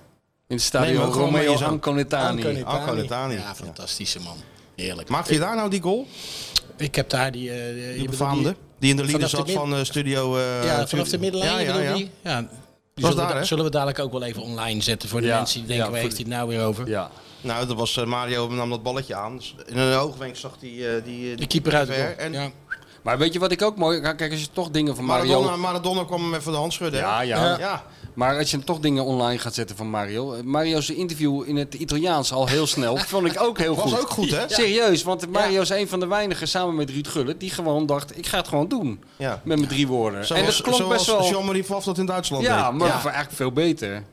S2: Nee, maar
S4: stadion
S2: gewoon met
S4: Romeo
S2: je zoon.
S4: Anconetani.
S6: Anconetani.
S2: Anconetani.
S6: Ja, fantastische man. Heerlijk.
S2: Maakte je daar nou die goal?
S6: Ik heb daar die... eh, je
S2: Die
S6: bedoelt
S2: befaamde? Die in de
S6: vanaf
S2: leader zat
S6: mid-
S2: van eh, studio... eh,
S6: ja, vanaf de
S2: studio-
S6: middenlijn
S2: Ja, ja,
S6: bedoel
S2: ja.
S6: die? Ja, die
S2: Was
S6: zullen,
S2: daar,
S6: we,
S2: hè?
S6: da- zullen we dadelijk ook wel even online zetten voor de
S2: Ja,
S6: mensen die denken,
S2: ja,
S6: waar heeft
S2: voor
S6: hij het nou weer over?
S4: Ja.
S2: Nou, dat was eh, Mario nam dat balletje aan. Dus in een hoogwenk zag hij eh, die, eh, die
S6: keeper uit de
S2: ver.
S6: goal.
S2: En
S6: Ja.
S4: Maar weet je wat ik ook mooi... Kijk, als je toch dingen van Mario...
S2: Maradona, Maradona kwam hem even de hand schudden. hè?
S4: Ja, ja.
S2: ja.
S4: Maar als je hem toch dingen online gaat zetten van Mario. eh, Mario's interview in het Italiaans al heel snel. vond ik ook heel
S2: Was
S4: goed.
S2: ook goed, hè?
S4: Serieus, want Mario is een van de weinigen samen met Ruud Gullit. die gewoon dacht: ik ga het gewoon doen.
S2: Ja.
S4: Met mijn drie woorden.
S2: Zoals,
S4: en dat klonk
S2: zoals
S4: best wel.
S2: Jean-Marie Pfaff dat in Duitsland
S4: ja,
S2: deed.
S4: maar voor eigenlijk veel beter.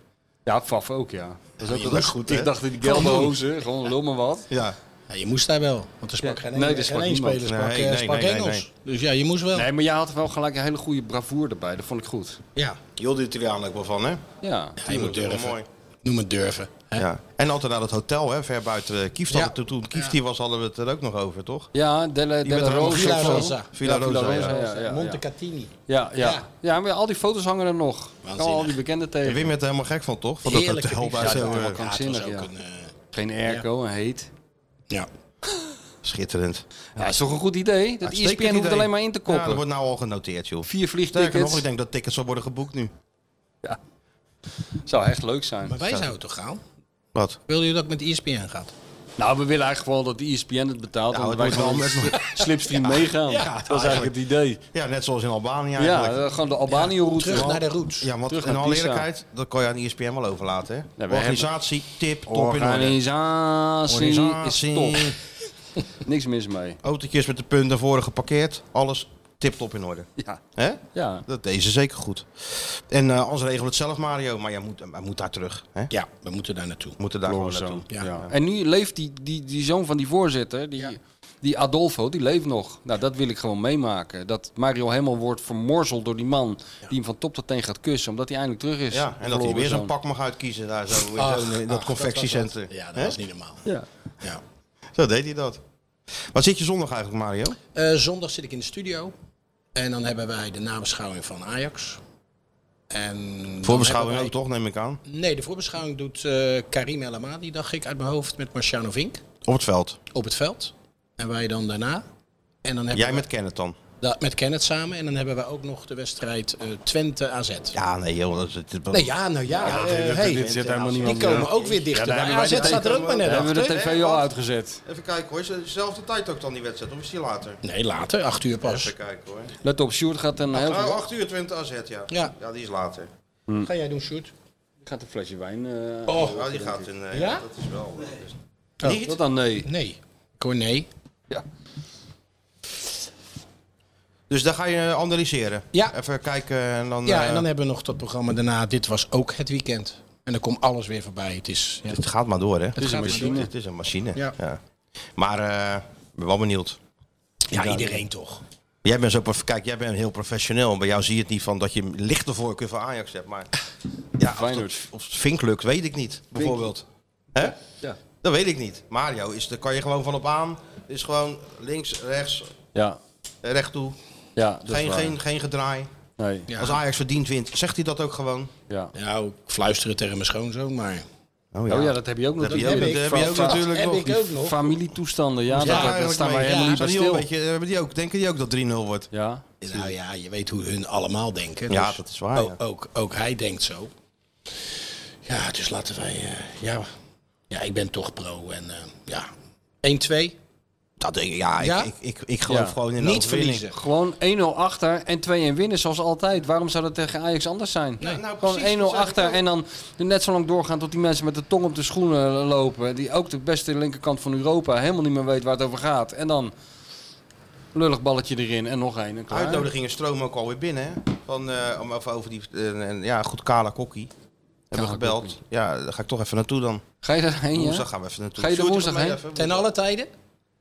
S4: Ja, Faf ook, ja. Dat is ook
S2: die
S4: wel
S2: was goed, hè?
S4: Ik dacht, die
S6: Gewoon
S4: gelbe
S6: doen.
S4: hozen, gewoon lul maar wat.
S2: Ja.
S6: Ja, je moest daar wel, want er sprak geen,
S4: nee, er
S6: nee,
S4: sprak
S6: geen één
S4: niemand.
S6: speler sprak,
S4: Nee,
S6: eh,
S4: nee,
S6: sprak
S4: nee, nee,
S6: Engels.
S4: nee.
S6: Dus ja, je moest wel.
S4: Nee, maar jij had wel gelijk een hele goede bravoure erbij. Dat vond ik goed.
S6: Ja.
S2: Heel de Italiaan ook wel van, hè?
S4: Ja.
S6: Ja, je moet
S2: Dat is wel
S6: durven.
S2: mooi.
S6: Noem het durven. Hè?
S2: Ja. En altijd naar dat hotel, hè, ver buiten eh, Kieft.
S6: Ja.
S2: hadden- Toen, toen Kieft hier was, hadden we het er ook nog over, toch?
S4: Ja, Della
S2: Die met een
S4: Rosa.
S2: Villa
S4: of zo.
S2: Rosa. Villa
S4: Ja, Villa
S2: Rosa,
S4: Rosa,
S2: ja.
S4: ja, ja, ja.
S6: Monte Catini.
S4: Ja, ja.
S6: Ja.
S4: ja. maar al die foto's hangen er nog. Kan
S6: Waanzinnig.
S4: al die bekenden
S2: En
S4: tegen.
S2: Wim werd er helemaal gek van, toch? Van dat
S6: Heerlijke
S2: hotel
S6: pizza.
S2: bij
S6: Ja,
S2: zo.
S6: dat
S2: eh,
S6: was
S4: krankzinnig,
S6: ook
S4: ja.
S6: een, eh,
S4: Geen airco, een heet.
S6: Ja.
S2: Schitterend.
S4: Ja, is toch een goed idee? Dat E
S2: Uitstekend
S4: ESPN hoeft
S2: idee.
S4: alleen maar in te
S2: Ja, dat
S4: koppen.
S2: wordt nou al genoteerd, joh.
S4: Vier
S2: Sterker nog,
S4: vliegtickets.
S2: ik denk dat tickets zal worden geboekt nu.
S4: Zou echt leuk zijn.
S6: Maar wij zouden toch gaan?
S2: Wat?
S6: Wil je dat met E ESPN gaat?
S4: Nou, we willen eigenlijk wel dat de ESPN het betaalt.
S2: Nou,
S4: want
S2: het
S4: wij
S2: moet
S4: gewoon
S2: wel
S4: met slipstream meegaan. dat was eigenlijk het idee.
S2: Ja, net zoals in Albanië
S4: Ja,
S2: eigenlijk.
S4: eh, gewoon de Albanië-route.
S6: Terug naar de
S4: route.
S6: roots.
S2: Ja, want
S4: terug
S2: in
S4: naar
S2: alle
S4: Pisa.
S2: eerlijkheid, dat kan je aan E ESPN wel overlaten. Hè?
S4: hebben-
S2: Organisatie, tip, top in orde.
S4: Organisatie is
S2: Organisatie.
S4: top. Niks mis mee.
S2: Autootjes met de punt naar voren geparkeerd. Alles tip, top in orde.
S4: Ja.
S2: Hè?
S4: Ja.
S2: Dat deze zeker goed. En eh anders regelen we het zelf, Mario. Maar jij moet, hij moet daar terug. Hè?
S6: Ja, we moeten daar naartoe.
S2: We moeten daar gewoon naartoe.
S4: Ja. En nu leeft die, die, die zoon van die voorzitter, die, die Adolfo, die leeft nog. Nou, dat wil ik gewoon meemaken. Dat Mario helemaal wordt vermorzeld door die man die hem van top tot teen gaat kussen, omdat hij eindelijk terug is.
S2: Ja, en dat hij
S4: Verloren Oh,
S2: weer zo'n
S4: zoon.
S2: pak mag uitkiezen daar zo in,
S6: Ach,
S2: zo'n- in
S6: ach,
S2: dat confectiecentrum.
S6: Ja, dat
S2: Hè?
S6: was niet normaal.
S4: Ja.
S6: Ja.
S2: Zo deed hij dat. Wat zit je zondag eigenlijk, Mario?
S6: Eh, zondag zit ik in de studio. En dan hebben wij de nabeschouwing van Ajax. En dan
S2: Voorbeschouwing ook
S6: hebben
S2: toch, neem ik aan.
S6: wij- Nee, de voorbeschouwing doet eh, Karim El Amadi, dacht ik, uit mijn hoofd met Marciano Vink
S2: Op het veld.
S6: op het veld. En wij dan daarna. En dan hebben
S2: Jij
S6: we-
S2: met Kenneth dan.
S6: da- met Kenneth samen. En dan hebben we ook nog de wedstrijd eh, Twente AZ.
S2: Ja, nee, joh. Dat, dat, dat-
S6: Nee, ja, nou ja. eh, hey, die komen ook weer dichter.
S2: daar
S6: bij
S2: hebben wij
S6: AZ
S2: de
S6: staat er ook
S2: tegenkomen.
S6: maar net eh,
S4: We hebben
S6: achter.
S4: de tv al uitgezet.
S2: Even kijken hoor, is het dezelfde tijd ook dan die wedstrijd? Of is die later?
S6: Nee, later. Acht uur pas.
S2: Even kijken hoor.
S4: Let op, Sjoerd gaat een heel
S2: Oh, 8 uur 20 AZ, ja.
S6: Ja.
S2: die is later.
S6: Ga jij doen, Sjoerd?
S4: gaat een flesje wijn. eh,
S2: Oh, die gaat in. eh, dus-
S6: Ja?
S2: Dat is wel. dat is-
S4: oh, Dat dan nee.
S6: Nee. Corné.
S4: Ja.
S2: Dus daar ga je analyseren.
S6: Ja.
S2: Even kijken en dan.
S6: Ja,
S2: eh,
S6: en dan hebben we nog dat programma daarna. Dit was ook het weekend. En dan komt alles weer voorbij. Het is... Ja.
S2: Het gaat maar door, hè? Het
S6: is een machine.
S2: Het is een machine. Ja.
S6: Ja.
S2: Maar eh, ik ben wel benieuwd.
S6: Ja, iedereen toch.
S2: Jij bent zo, prof- kijk, jij bent heel professioneel. Bij jou zie je het niet van dat je een lichte voorkeur voor Ajax hebt. Maar ja, of, dat,
S4: Feyenoord.
S2: of het Vink lukt, weet ik niet. Bijvoorbeeld. Hè?
S4: Ja.
S2: Dat weet ik niet. Mario, is, daar kan je gewoon van op aan. Is gewoon links, rechts,
S4: Ja.
S2: recht toe.
S4: Ja, dat is
S2: Geen,
S4: waar.
S2: geen, geen gedraai.
S4: Nee.
S6: Ja.
S2: Als Ajax verdient wint, zegt hij dat ook gewoon?
S4: Ja.
S6: Nou, ik fluister het tegen mijn schoonzoon, maar...
S2: Oh
S4: Oh ja, dat heb je ook nog.
S2: heb je ook, dat heb je ook natuurlijk nog.
S6: ik ook nog.
S4: Familietoestanden, ja,
S2: Ja,
S4: dat, dat,
S2: eigenlijk
S4: staan
S2: mee.
S4: wij helemaal
S2: Ja,
S4: niet bij
S2: zijn die ook
S4: stil.
S2: een beetje- hebben die ook, denken die ook dat 3-0 wordt?
S4: Ja.
S6: Nou ja, je weet hoe hun allemaal denken. dus
S2: Ja, dat is waar,
S6: Ook,
S2: ja.
S6: ook, ook hij denkt zo. Ja, dus laten wij... eh, ja, ja, ik ben toch pro. En eh, ja, 1-2.
S2: Dat denk ik, ja,
S4: Ja?
S2: Ik, ik, ik, ik geloof
S4: Ja.
S2: gewoon in de
S4: Niet
S2: overwinning.
S4: verliezen. Gewoon 1-0 achter en 2-1 winnen, zoals altijd. Waarom zou dat tegen Ajax anders zijn?
S2: nou,
S4: Gewoon 1-0 achter en dan er net zo lang doorgaan tot die mensen met de tong op de schoenen lopen. Die ook de beste linkerkant van Europa helemaal niet meer weet waar het over gaat. En dan lullig balletje erin en nog één. en klaar.
S2: Uitnodigingen stromen ook alweer binnen. hè? Van, eh, om even over die, eh, en, ja, goed, Kala Kokkie. Hebben we
S4: Kala
S2: gebeld. Ja, daar ga ik toch even naartoe dan.
S4: Ga je daarheen, ja?
S2: Woensdag gaan we even naartoe.
S4: Ga je er
S2: Sjoerd,
S4: woensdag
S2: kom mee
S4: heen?
S2: even.
S6: Ten alle tijden?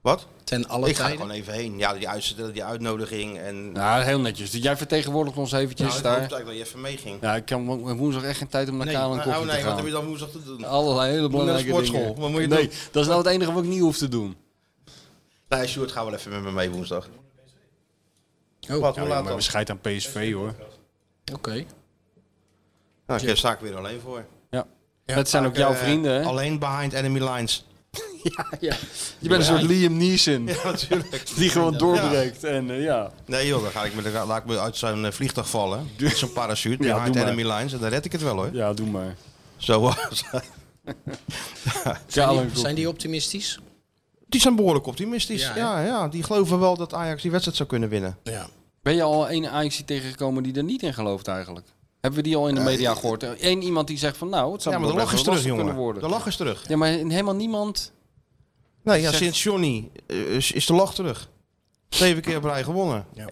S2: Wat?
S6: Ten alle
S2: ik ga er
S6: tijden?
S2: gewoon even heen. Ja, die, uit, die uitnodiging. En,
S4: Nou, heel netjes. Jij vertegenwoordigt ons
S2: Ja,
S4: eventjes
S2: Nou, ik hoopte
S4: daar.
S2: eigenlijk dat je even meeging.
S4: Ja, ik kan wo- woensdag echt geen tijd om naar
S2: Nee.
S4: Kale en
S2: Nou,
S4: Koffie
S2: oh
S4: te
S2: nee,
S4: gaan. Oh.
S2: wat heb je dan woensdag te doen?
S4: Allerlei hele
S2: Moet naar de
S4: belangrijke
S2: sportschool.
S4: dingen.
S2: Wat moet je
S4: nee,
S2: doen?
S4: dat is nou het enige wat ik niet hoef te doen.
S2: Nee, Sjoerd, ga wel even met me mee woensdag.
S6: Oh,
S2: Wat, hoe laat dan?
S17: Scheid aan PSV hoor.
S6: Oké.
S2: Nou, ik heb zaak weer alleen voor.
S4: Ja. Dat zijn ook jouw
S2: Eh,
S4: vrienden, hè?
S2: Alleen behind enemy lines.
S4: Ja. Je bent een soort Liam Neeson.
S2: Ja, natuurlijk.
S4: Die gewoon doorbreekt. En eh, ja.
S2: Nee joh, dan ga ik me, dan laat ik me uit zo'n eh, vliegtuig vallen. Met zo'n parachute,
S4: Ja,
S2: behind
S4: doe maar.
S2: enemy lines. En dan red ik het wel hoor.
S4: Ja, doe maar.
S2: Zo was
S6: Zijn die, zijn die optimistisch?
S2: Die zijn behoorlijk optimistisch. Ja,
S6: Ja, hè?
S2: ja, die geloven wel dat Ajax die wedstrijd zou kunnen winnen.
S6: Ja.
S4: Ben je al één Ajax tegengekomen die er niet in gelooft eigenlijk? Hebben we die al in de media gehoord? Eén iemand die zegt van nou, het zou
S2: Eh, Ja, maar de
S4: wel
S2: lach is
S4: best
S2: terug,
S4: wel lastig kunnen
S2: jongen.
S4: worden.
S2: De lach is terug.
S4: Ja, maar helemaal niemand...
S2: Nee, ja,
S4: Zeg-
S2: sinds Johnny eh, is, is de lach terug. Zeven keer op rij gewonnen. Ja.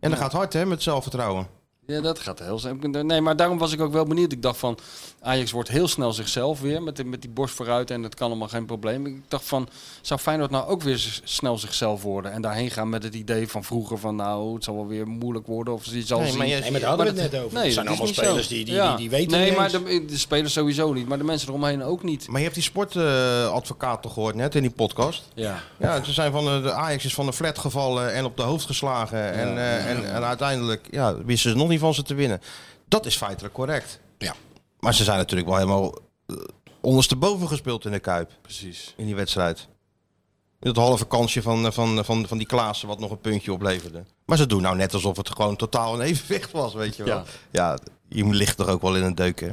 S2: En dat
S4: Ja.
S2: gaat hard hè, met zelfvertrouwen.
S4: Ja, dat gaat heel snel. Nee, maar daarom was ik ook wel benieuwd. Ik dacht van, Ajax wordt heel snel zichzelf weer met, de- met die borst vooruit en dat kan allemaal geen probleem. Ik dacht van, zou Feyenoord nou ook weer z- snel zichzelf worden en daarheen gaan met het idee van vroeger van nou, het zal wel weer moeilijk worden of ze zal
S2: Nee,
S4: zien.
S2: maar je- Nee, maar daar
S6: hadden we
S4: dat-
S6: het net over. Het zijn
S4: dat is
S6: allemaal
S4: niet
S6: spelers
S4: zo.
S6: die- die- die- die weten
S4: Nee,
S6: niet
S4: maar
S6: eens.
S4: de, de spelers sowieso niet, maar de mensen eromheen ook niet.
S2: Maar je hebt die sportadvocaat toch gehoord net in die podcast?
S4: Ja.
S2: Ja, ze zijn van de, de Ajax is van de flat gevallen en op de hoofd geslagen. en, eh, en, en uiteindelijk ja, wisten ze nog niet van ze te winnen. Dat is feitelijk correct.
S6: Ja.
S2: Maar ze zijn natuurlijk wel helemaal eh, ondersteboven gespeeld in de Kuip.
S17: Precies.
S2: In die wedstrijd. Dat halve kansje van, eh, van, van, van die Klaassen wat nog een puntje opleverde. Maar ze doen nou net alsof het gewoon totaal een evenwicht was, weet je wel. Ja,
S17: Ja.
S2: je ligt toch ook wel in een deuk, hè?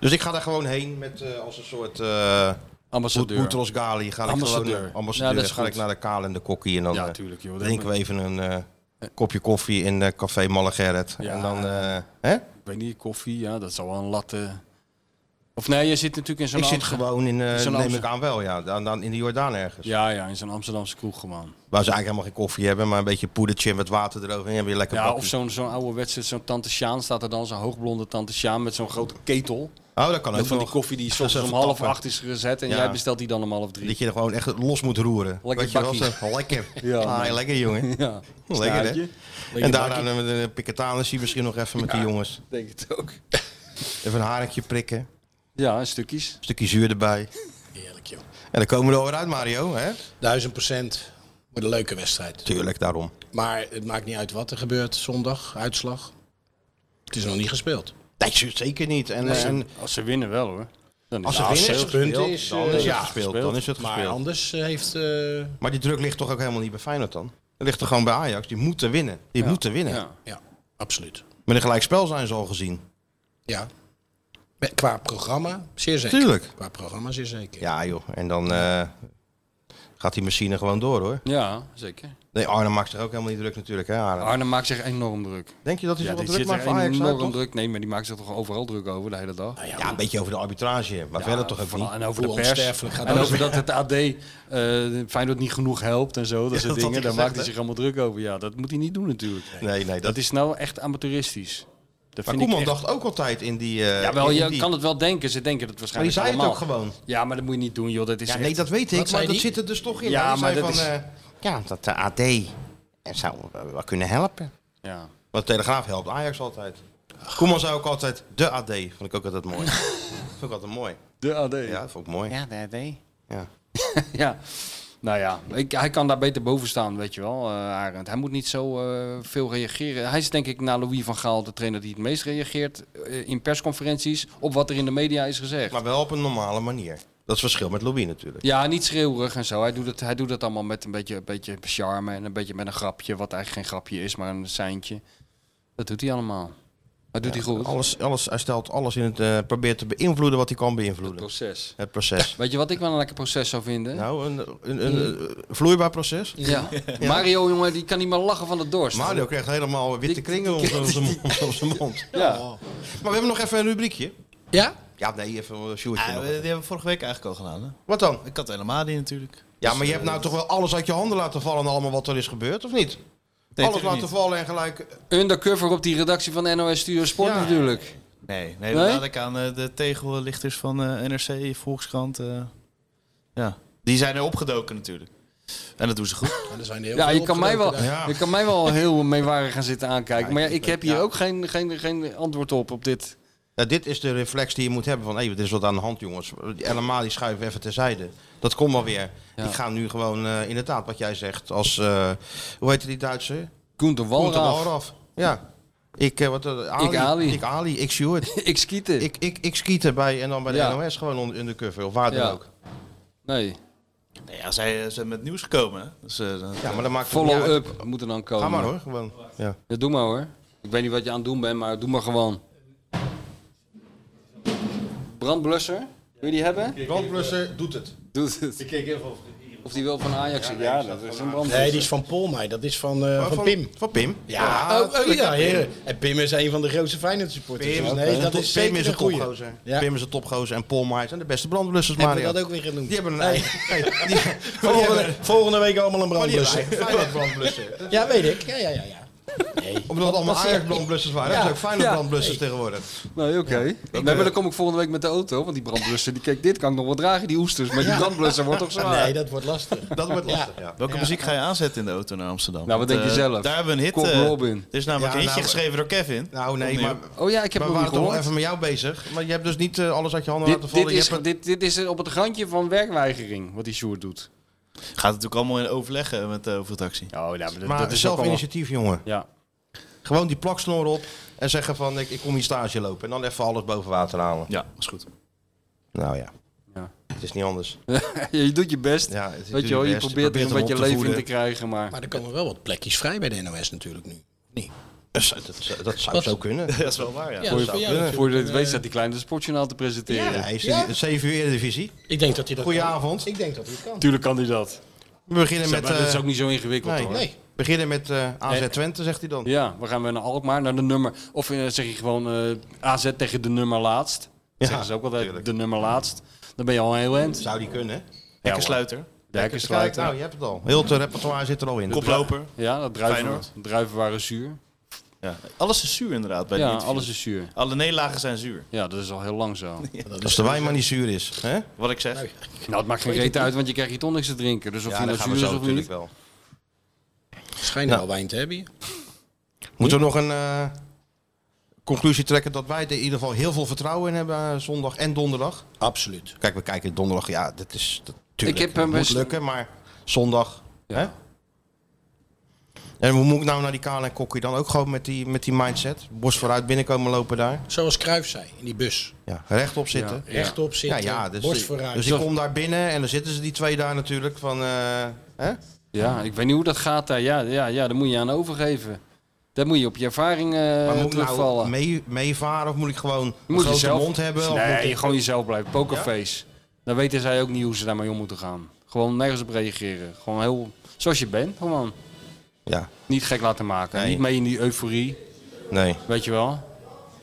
S2: Dus ik ga daar gewoon heen met eh, als een soort... eh,
S4: Ambassadeur.
S2: Boet- Boutros Gali. Ga ik
S4: Ambassadeur.
S2: Gewoon, eh, ambassadeur.
S4: Ja, dat is
S2: ga ik
S4: goed.
S2: naar de Kale en de Kokkie. En dan
S4: Ja,
S2: eh,
S4: tuurlijk, joh. Dat
S2: drinken we
S4: moet-
S2: even een eh, kopje koffie in eh, Café Malle Gerrit.
S4: Ja.
S2: En dan... eh, hè?
S4: Ik weet niet, koffie, ja, dat zal wel een latte... Of nee, je zit natuurlijk in zo'n
S2: Ik zit
S4: Amsterdam-
S2: gewoon in, eh,
S4: in zo'n
S2: neem
S4: Amsterdam-
S2: ik aan wel, ja. Dan, dan in de Jordaan ergens.
S4: Ja, ja, in zo'n Amsterdamse kroeg gewoon.
S2: Waar ze eigenlijk helemaal geen koffie hebben, maar een beetje poedertje met water eroverheen. Heb je lekker
S4: Ja,
S2: bakkie.
S4: of zo'n zo'n oude wedstrijd, zo'n tante Sjaan staat er dan, zo'n hoogblonde tante Sjaan met zo'n grote ketel.
S2: Oh, dat kan
S4: Met
S2: ook
S4: van
S2: nog.
S4: die koffie die
S2: Dat
S4: soms
S2: is
S4: om
S2: even
S4: half
S2: tappen.
S4: acht is gezet en
S2: Ja.
S4: jij bestelt die dan om half drie.
S2: Dat je er gewoon echt los moet roeren.
S4: Lekker
S2: Weet je wel,
S4: bakkie.
S2: zo, lekker.
S4: Ja.
S2: Ah, lekker jongen.
S4: Ja.
S2: Lekker hè?
S4: Staartje.
S2: en
S4: Lekker
S2: daarna
S4: bakkie.
S2: een, een piketanissie misschien nog even met die jongens.
S4: Denk het ook.
S2: Even een haringje prikken.
S4: Ja, stukjes.
S2: stukje zuur erbij.
S6: Heerlijk, joh.
S2: En dan komen we er weer uit, Mario. Hè?
S6: Duizend procent. Wordt een leuke wedstrijd.
S2: Tuurlijk, daarom.
S6: Maar het maakt niet uit wat er gebeurt zondag, uitslag. Het is nog niet gespeeld.
S2: Nee, z- zeker niet. En,
S6: Nee.
S2: eh, en
S4: Als ze winnen wel hoor. Dan is
S2: als ze
S6: Nou,
S2: winnen,
S6: zes
S2: is het
S6: punten
S2: gespeeld.
S6: is,
S2: dan is
S6: eh,
S2: het
S6: ja,
S2: gespeeld.
S4: gespeeld.
S2: Dan is het
S6: Maar
S2: gespeeld.
S6: anders eh, heeft... eh,
S2: Maar die druk ligt toch ook helemaal niet bij Feyenoord dan? Dat ligt toch gewoon bij Ajax. Die moeten winnen. Die moeten winnen.
S4: Ja.
S6: ja, absoluut.
S2: Met een gelijkspel zijn ze al gezien.
S6: Ja. Met- Qua programma, zeer zeker.
S2: Tuurlijk.
S6: Qua programma, zeer zeker.
S2: Ja joh, en dan eh, gaat die machine gewoon door hoor.
S4: Ja, zeker.
S2: Nee, Arne maakt zich ook helemaal niet druk natuurlijk hè Arne.
S4: Arne maakt zich enorm druk.
S2: Denk je dat hij
S4: ja,
S2: zich wel
S4: die
S2: druk
S4: zit
S2: maakt
S4: er
S2: voor Ajax? uit,
S4: enorm
S2: toch?
S4: druk. Nee, maar die maakt zich toch overal druk over de hele dag.
S2: Nou Ja, een beetje over de arbitrage, maar
S4: Ja,
S2: verder toch ook
S4: vooral-
S2: niet.
S4: En over de
S6: Hoe
S4: pers.
S6: onsterfelijk gaat
S4: En
S6: alles
S4: over dat het AD eh Feyenoord niet genoeg helpt en zo. Dat
S2: dat
S4: soort
S2: had
S4: dingen.
S2: hij
S4: Daar
S2: gezegd,
S4: maakt hij
S2: hè?
S4: zich allemaal druk over. Ja, dat moet hij niet doen natuurlijk.
S2: Nee, nee. Dat...
S4: Dat is nou echt amateuristisch. Dat
S2: Maar
S4: vind ik
S2: Koeman
S4: echt-
S2: dacht ook altijd in die... eh,
S4: Ja, wel,
S2: in
S4: je
S2: die-
S4: kan het wel denken. Ze denken dat
S2: Maar die
S4: waarschijnlijk
S2: zei het ook
S4: allemaal.
S2: gewoon.
S4: Ja, maar dat moet je niet doen, joh. Dat is
S2: Ja,
S4: echt-
S2: nee, dat weet ik,
S6: Wat
S2: maar
S6: zei
S2: dat
S6: die?
S2: zit er dus toch in.
S4: Ja,
S2: Hij zei
S4: maar dat
S2: van,
S4: is-
S2: eh, ja, dat de AD er zou eh, wel kunnen helpen.
S4: Ja.
S2: Want de Telegraaf helpt Ajax altijd. Koeman zei ook altijd de AD. Vond ik ook altijd mooi. vond ik altijd mooi.
S4: De AD.
S2: Ja,
S4: Ja.
S2: dat vond ik mooi.
S15: Ja, daar deed.
S4: Nou ja, ik, hij kan daar beter boven staan, weet je wel, eh Arend. Hij moet niet zo eh, veel reageren. Hij is denk ik na Louis van Gaal de trainer die het meest reageert eh, in persconferenties op wat er in de media is gezegd.
S2: Maar wel op een normale manier. Dat is het verschil met Louis natuurlijk.
S4: Ja, niet schreeuwerig en zo. Hij doet, het, hij doet het allemaal met een beetje, een beetje charme en een beetje met een grapje, wat eigenlijk geen grapje is, maar een seintje. Dat doet hij allemaal. Maar doet hij goed?
S2: Alles, alles, hij stelt alles in het, eh, probeert te beïnvloeden wat hij kan beïnvloeden. Het
S4: proces.
S2: Het proces.
S4: Weet je wat ik wel een lekker proces zou vinden?
S2: Nou, een, een, een, eh, vloeibaar proces.
S4: Ja. Mario, jongen, die kan niet meer lachen van de dorst.
S2: Mario krijgt helemaal witte kringen om om zijn mond- om zijn mond.
S4: Ja.
S2: Maar we hebben nog even een rubriekje.
S4: Ja?
S2: Ja, nee, even een
S18: Ah,
S2: shootje.
S18: we- die hebben we vorige week eigenlijk al gedaan. Hè?
S2: Wat dan?
S18: Ik had helemaal die natuurlijk. Dus,
S2: Ja, maar je
S18: eh,
S2: hebt nou toch wel alles uit je handen laten vallen en allemaal wat er is gebeurd, of niet?
S18: Nee,
S2: alles
S18: natuurlijk
S2: laten
S18: niet.
S2: vallen en gelijk...
S4: Undercover op die redactie van NOS Studio Sport
S2: Ja.
S4: natuurlijk.
S18: Nee, nee, dat laat ik aan eh, de tegellichters van eh, NRC, Volkskrant. eh, ja, die zijn er opgedoken natuurlijk. En dat doen ze goed.
S6: er zijn
S4: Ja, je kan, mij wel,
S18: Ja.
S4: je kan mij wel heel meewarig gaan zitten aankijken. maar ja, ik heb hier
S2: ja.
S4: ook geen, geen, geen antwoord op, op dit.
S2: Ja, dit is de reflex die je moet hebben van, hé, er is wat aan de hand, jongens. Helemaal die schuiven even terzijde. Dat komt wel weer.
S4: Ja.
S2: Ik ga nu gewoon, eh, inderdaad, wat jij zegt, als, eh, hoe heet die Duitse?
S4: Gunther Walraaf.
S2: Gunther Walraaf, ja. Ik, eh, wat, eh, Ali.
S4: Ik Ali.
S2: Ik Ali, ik Sjoerd.
S4: ik skieten.
S2: Ik, ik, ik skieten bij, en dan bij de
S18: Ja.
S2: NOS gewoon on- undercover, of waar dan
S18: Ja.
S2: ook.
S4: Nee.
S18: Nou ja, zij eh, zijn met nieuws gekomen. hè. Dus, eh, dat-
S2: Ja, maar dat maakt het niet uit.
S4: Follow-up moet er dan komen.
S2: Ga maar hoor, gewoon. Ja.
S4: Ja, doe maar hoor. Ik weet niet wat je aan het doen bent, maar doe maar gewoon. Brandblusser? Wil je die hebben?
S2: Brandblusser doet het.
S4: Doet het. Ik keek even of, of die wel van Ajax is. Ja, dat is een brandblusser.
S6: Nee, die is van Polmij. Dat is van, eh, van,
S2: Oh, van-
S6: Pim.
S2: Van Pim?
S6: Ja,
S2: Ja,
S6: oh, oh,
S2: tuurlijk,
S6: ja
S2: Pim.
S6: heren. En Pim is een van de grootste Feyenoord supporters.
S2: Pim,
S6: Dus nee, dat is zeker
S2: Pim is een
S6: goeie.
S2: topgozer.
S6: Ja.
S2: Pim is een topgozer en Paul Maai zijn de beste brandblussers,
S6: Hebben
S2: Mario.
S6: we dat ook weer genoemd?
S2: Die hebben een
S6: Nee.
S2: eigen... Nee, die- die
S6: Volgende,
S2: hebben-
S6: volgende week allemaal een
S2: maar die hebben eigen
S6: brandblusser.
S2: Feyenoord-brandblusser.
S6: Ja, weet ik. Ja, ja, ja. ja.
S2: Omdat het allemaal
S6: Wat zeg-
S2: Ajax-brandblussers waren. Dat
S6: Ja.
S2: zijn ook fijne
S6: Ja.
S2: brandblussers tegenwoordig.
S4: Nee, oké. Nee, maar dan kom ik volgende week met de auto, want die brandblusser, die, kijk, dit kan ik nog wel dragen, die oesters. Maar die brandblusser wordt toch zwaar.
S6: Nee, dat wordt lastig.
S2: Dat wordt lastig, ja.
S18: Welke muziek ga je aanzetten in de auto naar Amsterdam?
S4: Nou, wat denk je
S18: eh,
S4: zelf?
S18: Daar hebben we een hit.
S4: Cobb
S18: eh,
S4: Robin.
S18: Er is namelijk
S2: Ja,
S18: een hitje
S2: nou,
S18: geschreven door Kevin.
S2: Nou, nee,
S18: Opnieuw.
S2: maar...
S4: Oh ja, ik heb
S2: we
S4: hem
S2: waren
S4: niet
S2: toch wel
S4: gehoord.
S2: even met jou bezig. Maar je hebt dus niet eh, alles uit je handen laten
S4: Dit,
S2: vallen.
S4: dit,
S2: Je
S4: is,
S2: hebt een-
S4: dit, dit is op het randje van werkweigering, wat die Sjoerd doet.
S18: Gaat natuurlijk allemaal in overleggen met de overtractie.
S4: Oh, ja, dat,
S2: Maar zelf initiatief, jongen.
S4: Ja.
S2: Gewoon die plaksnor op en zeggen van, ik, ik kom hier stage lopen. En dan even alles boven water halen.
S18: Ja, is goed.
S2: Nou ja.
S4: Ja.
S2: Het is niet anders.
S4: je doet je best.
S2: Ja,
S4: Weet je wel, je probeert er een beetje leven in te krijgen, maar...
S6: Maar er komen wel wat plekjes vrij bij de NOS natuurlijk nu. Nee.
S2: krijgen. Dat, dat zou
S6: Wat?
S2: zo kunnen.
S18: Dat is wel waar, ja.
S6: Ja,
S4: Voor
S6: dat
S4: je,
S6: zou
S4: voor
S6: kunnen.
S4: je het weet staat die kleine sportjournaal te presenteren.
S2: Ja, hij is de 7 uur Eredivisie.
S6: Ik denk dat hij dat kan.
S2: Goedenavond.
S6: Ik denk dat hij het kan.
S4: Tuurlijk kan hij dat.
S2: We beginnen
S4: Zeg,
S2: met...
S4: maar dat is
S2: eh,
S4: ook niet zo ingewikkeld
S2: nee,
S4: hoor.
S2: nee. We beginnen met eh, AZ Twente, zegt hij dan.
S4: Ja, we gaan weer naar Alkmaar, naar de nummer. Of eh, zeg je gewoon eh, AZ tegen de nummer laatst. Dat
S2: Ja,
S4: zeggen ze ook altijd, de nummer laatst. Dan ben je al heel eind.
S2: Zou die kunnen.
S18: Hekkensluiter.
S2: Kijk,
S4: Dijkersluiter.
S2: nou, je hebt het al. Heel het repertoire zit er al in.
S18: Koploper.
S2: Nou,
S4: Ja, dat druiven, druiven waren zuur.
S18: Ja. Alles is zuur inderdaad bij
S4: Ja,
S18: die
S4: alles is zuur.
S18: Alle nederlagen zijn zuur.
S4: Ja, dat is al heel lang zo.
S2: Als de wijn maar niet zuur is. Hè?
S18: Wat ik zeg.
S4: Nou, het maakt geen reet uit, want je krijgt hier toch niks te drinken. Dus of je
S2: dat
S4: nou
S2: gaan we
S4: zuur
S2: zo
S4: is of
S2: natuurlijk
S4: niet.
S2: wel.
S6: Schijnt wel wijn te hebben hier.
S2: Moeten we nog een eh, conclusie trekken dat wij er in ieder geval heel veel vertrouwen in hebben eh, zondag en donderdag?
S6: Absoluut.
S2: Kijk, we kijken donderdag. Ja, dat is dat, tuurlijk,
S4: Ik heb hem
S2: het moet
S4: best-
S2: lukken, maar zondag. Hè? En hoe moet ik nou naar die Kale en Kokkie dan ook gewoon met die, met die mindset? Borst vooruit binnenkomen lopen daar.
S6: Zoals Kruijf zei, in die bus.
S2: Ja, rechtop zitten. Ja,
S6: Rechtop
S2: ja,
S6: zitten,
S2: dus,
S6: borst vooruit.
S2: Dus ik kom daar binnen en dan zitten ze die twee daar natuurlijk van... eh, hè?
S4: Ja, ik weet niet hoe dat gaat daar. Ja, ja, ja daar moet je aan overgeven. Daar moet je op je ervaring eh,
S2: Maar moet ik nou
S4: terugvallen.
S2: mee- meevaren of moet ik gewoon een
S4: moet
S2: grote
S4: jezelf-
S2: mond hebben? of moet
S4: Nee,
S2: ik-
S4: je gewoon jezelf blijven. Pokerface. Dan weten zij ook niet hoe ze daarmee om moeten gaan. Gewoon nergens op reageren. Gewoon heel... Zoals je bent, gewoon.
S2: Ja,
S4: Niet gek laten maken.
S2: Nee.
S4: Niet mee in die euforie.
S2: nee.
S4: Weet je wel?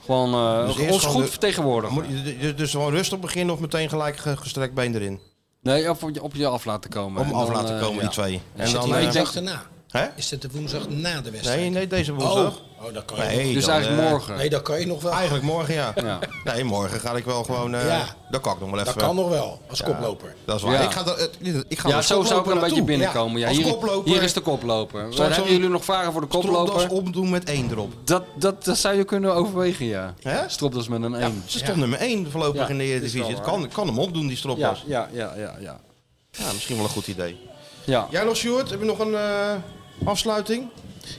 S4: Gewoon eh,
S2: Dus eerst
S4: ons
S2: gewoon
S4: goed
S2: de-
S4: vertegenwoordigen.
S2: Moet je- dus- dus gewoon rustig beginnen of meteen gelijk ge- gestrekt been erin?
S4: Nee, op, op je af laten komen.
S2: Om
S4: En
S2: af
S4: dan,
S2: laten
S4: eh,
S2: komen,
S4: ja.
S2: die twee.
S6: En
S2: En
S6: dan
S2: dan,
S6: de
S2: eh,
S6: woensdag daarna.
S2: hè?
S6: Is het de woensdag na de wedstrijd?
S2: Nee, nee, deze woensdag.
S6: Oh, oh dat kan je
S2: Nee,
S6: nog.
S4: Dus
S2: dan,
S4: eigenlijk
S2: eh,
S4: morgen.
S6: Nee, dat kan je nog wel.
S2: Eigenlijk morgen, ja.
S4: Ja.
S2: Nee, morgen ga ik wel gewoon... eh
S6: Ja.
S2: Dat kan ik nog wel
S6: Dat
S2: even.
S6: kan nog wel, als
S2: Ja,
S6: koploper.
S2: Dat is waar.
S4: Ja.
S2: Ik ga, er- eh, ik ga
S4: Ja,
S2: er
S4: zo zou ik er een beetje binnenkomen. Ja,
S2: als
S4: hier,
S2: koploper.
S4: hier is de koploper.
S2: Zo'n-
S4: Wat hebben jullie nog vragen voor de
S2: Stropdas
S4: koploper?
S2: omdoen met één erop.
S4: Dat, dat, dat zou je kunnen overwegen, ja.
S2: Hè?
S4: Stropdas met een 1.
S2: Ze stond nummer één voorlopig
S4: Ja,
S2: in de Eredivisie.
S4: is wel
S2: Het kan, kan hem opdoen, die
S4: Ja,
S2: stropdas.
S4: ja, ja, ja, ja.
S2: Ja. misschien wel een goed idee.
S4: ja.
S2: Jij nog, Sjoerd? Heb je nog een eh, afsluiting?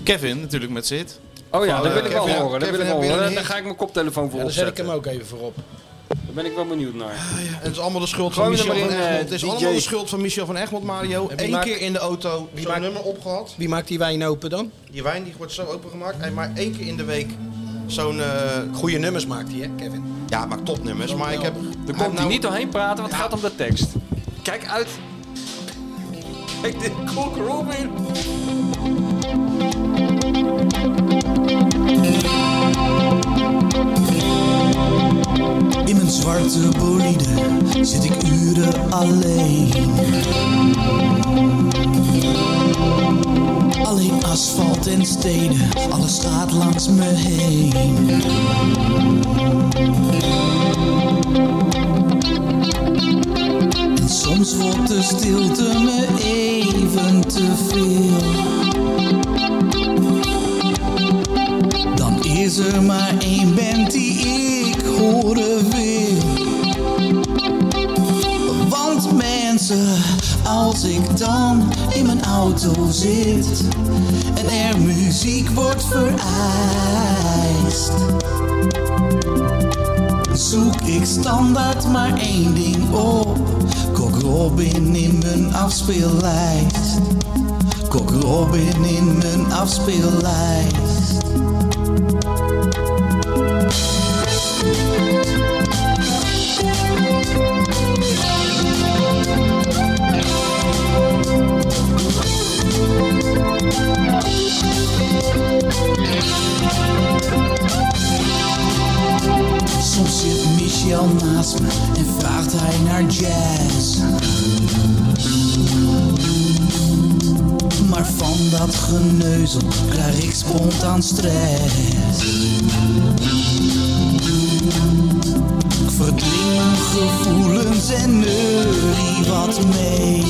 S18: Kevin natuurlijk met zit.
S4: Oh ja,
S18: Van,
S4: dat
S18: eh,
S4: wil ik wel
S2: Kevin-
S4: horen. Dat
S2: Kevin,
S4: wil ik wel
S2: heb je
S4: horen.
S2: een
S4: Daar
S2: hint?
S4: ga ik mijn koptelefoon voor
S6: Ja, dan zet ik
S4: opzetten.
S6: hem ook even voorop.
S4: Daar ben ik wel benieuwd naar.
S2: En het is allemaal de schuld van
S4: Gooi hem er
S2: Michel van
S4: maar in, eh,
S2: Egmond. Het is
S6: DJ.
S2: allemaal de schuld van Michel van Egmond, Mario.
S6: En wie
S2: Eén
S6: maakt-
S2: keer in de auto
S6: wie
S2: zo'n
S6: maakt-
S2: nummer opgehad.
S6: Wie maakt die wijn open dan?
S2: Die wijn die wordt zo opengemaakt. En maar één keer in de week zo'n... eh,
S6: Goede nummers maakt hij, hè, Kevin?
S2: Ja, maakt topnummers. Maar ik heb...
S4: Dan komt hij nou- niet doorheen praten, want het gaat om de tekst. Kijk uit. Kijk de klok Robin.
S1: In mijn zwarte bolide zit ik uren alleen. Alleen asfalt en stenen, alles gaat langs me heen. En soms wordt de stilte me even te veel. Dan is er maar één band die ik horen wil. Want mensen, als ik dan in mijn auto zit en er muziek wordt vereist, zoek ik standaard maar één ding op: Kok Robin in mijn afspeellijst. Kok Robin in mijn afspeellijst. Soms zit Michel naast me en vraagt hij naar jazz. Maar van dat geneuzel krijg ik spontaan stress. Ik verdring mijn gevoelens en neurie wat mee.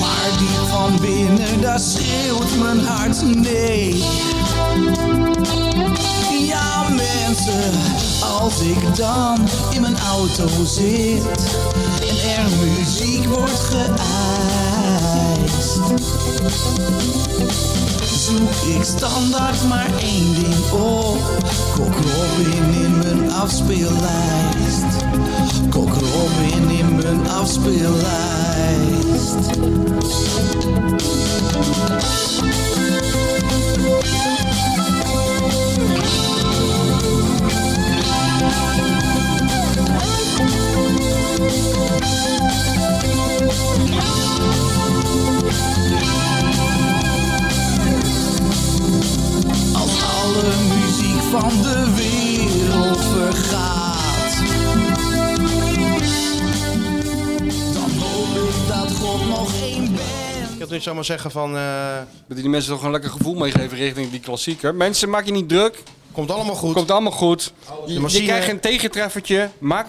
S1: Maar diep van binnen, daar schreeuwt mijn hart nee. Ja mensen, als ik dan in mijn auto zit en er muziek wordt geëist, zoek ik standaard maar één ding op. Kok Robin in mijn afspeellijst. Kok Robin in mijn afspeellijst. Als alle muziek van de wereld vergaat, dan hoop ik dat God nog één bent.
S2: Ik wil niet zomaar zeggen van... eh,
S4: Dat die mensen toch een lekker gevoel meegeven richting die klassieker. Mensen, maak je niet druk.
S2: Komt allemaal goed.
S4: Komt allemaal goed. Je, je
S2: machine-
S4: krijgt een tegentreffertje. Maak,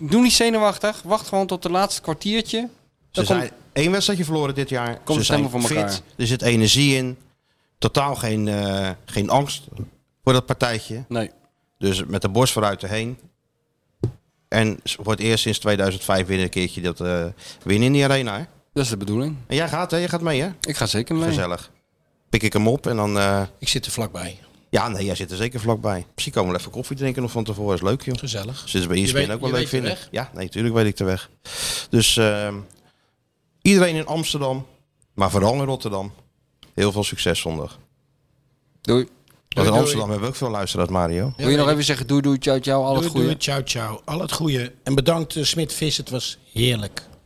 S4: doe niet zenuwachtig. Wacht gewoon tot het laatste kwartiertje. Dan
S2: Ze
S4: komt-
S2: zijn één wedstrijdje verloren dit jaar.
S4: Komt
S2: ze
S4: het
S2: zijn
S4: helemaal voor elkaar.
S2: fit. Er zit energie in. Totaal geen, eh, geen angst voor dat partijtje.
S4: Nee.
S2: Dus met de borst vooruit erheen. En ze wordt eerst sinds 2005 weer een keertje dat eh winnen in die arena. Hè?
S4: Dat is de bedoeling.
S2: En jij gaat, hè? Je gaat mee, hè?
S4: Ik ga zeker mee.
S2: Gezellig. Pik ik hem op en dan... eh,
S6: Ik zit er vlakbij.
S2: ja, nee, jij zit er zeker vlakbij. Misschien komen we wel even koffie drinken nog van tevoren. Is leuk, joh.
S6: Gezellig.
S2: Zitten ze bij
S6: Je
S2: ESPN
S6: weet-
S2: ook wel
S6: je
S2: leuk
S6: weet de
S2: vinden.
S6: weg.
S2: Ja, nee, natuurlijk weet ik de weg. Dus ehm, iedereen in Amsterdam, maar vooral in Rotterdam. Heel veel succes zondag.
S4: Doei.
S2: Want
S6: Doei,
S2: in
S6: doei.
S2: Amsterdam hebben we ook veel luisteraars, Mario.
S4: Wil je nog even zeggen doei doei, ciao ciao, al het
S6: Doei,
S4: goede.
S6: doei, ciao, ciao. Al het goede. En bedankt, eh, Smit Vis. Het was heerlijk.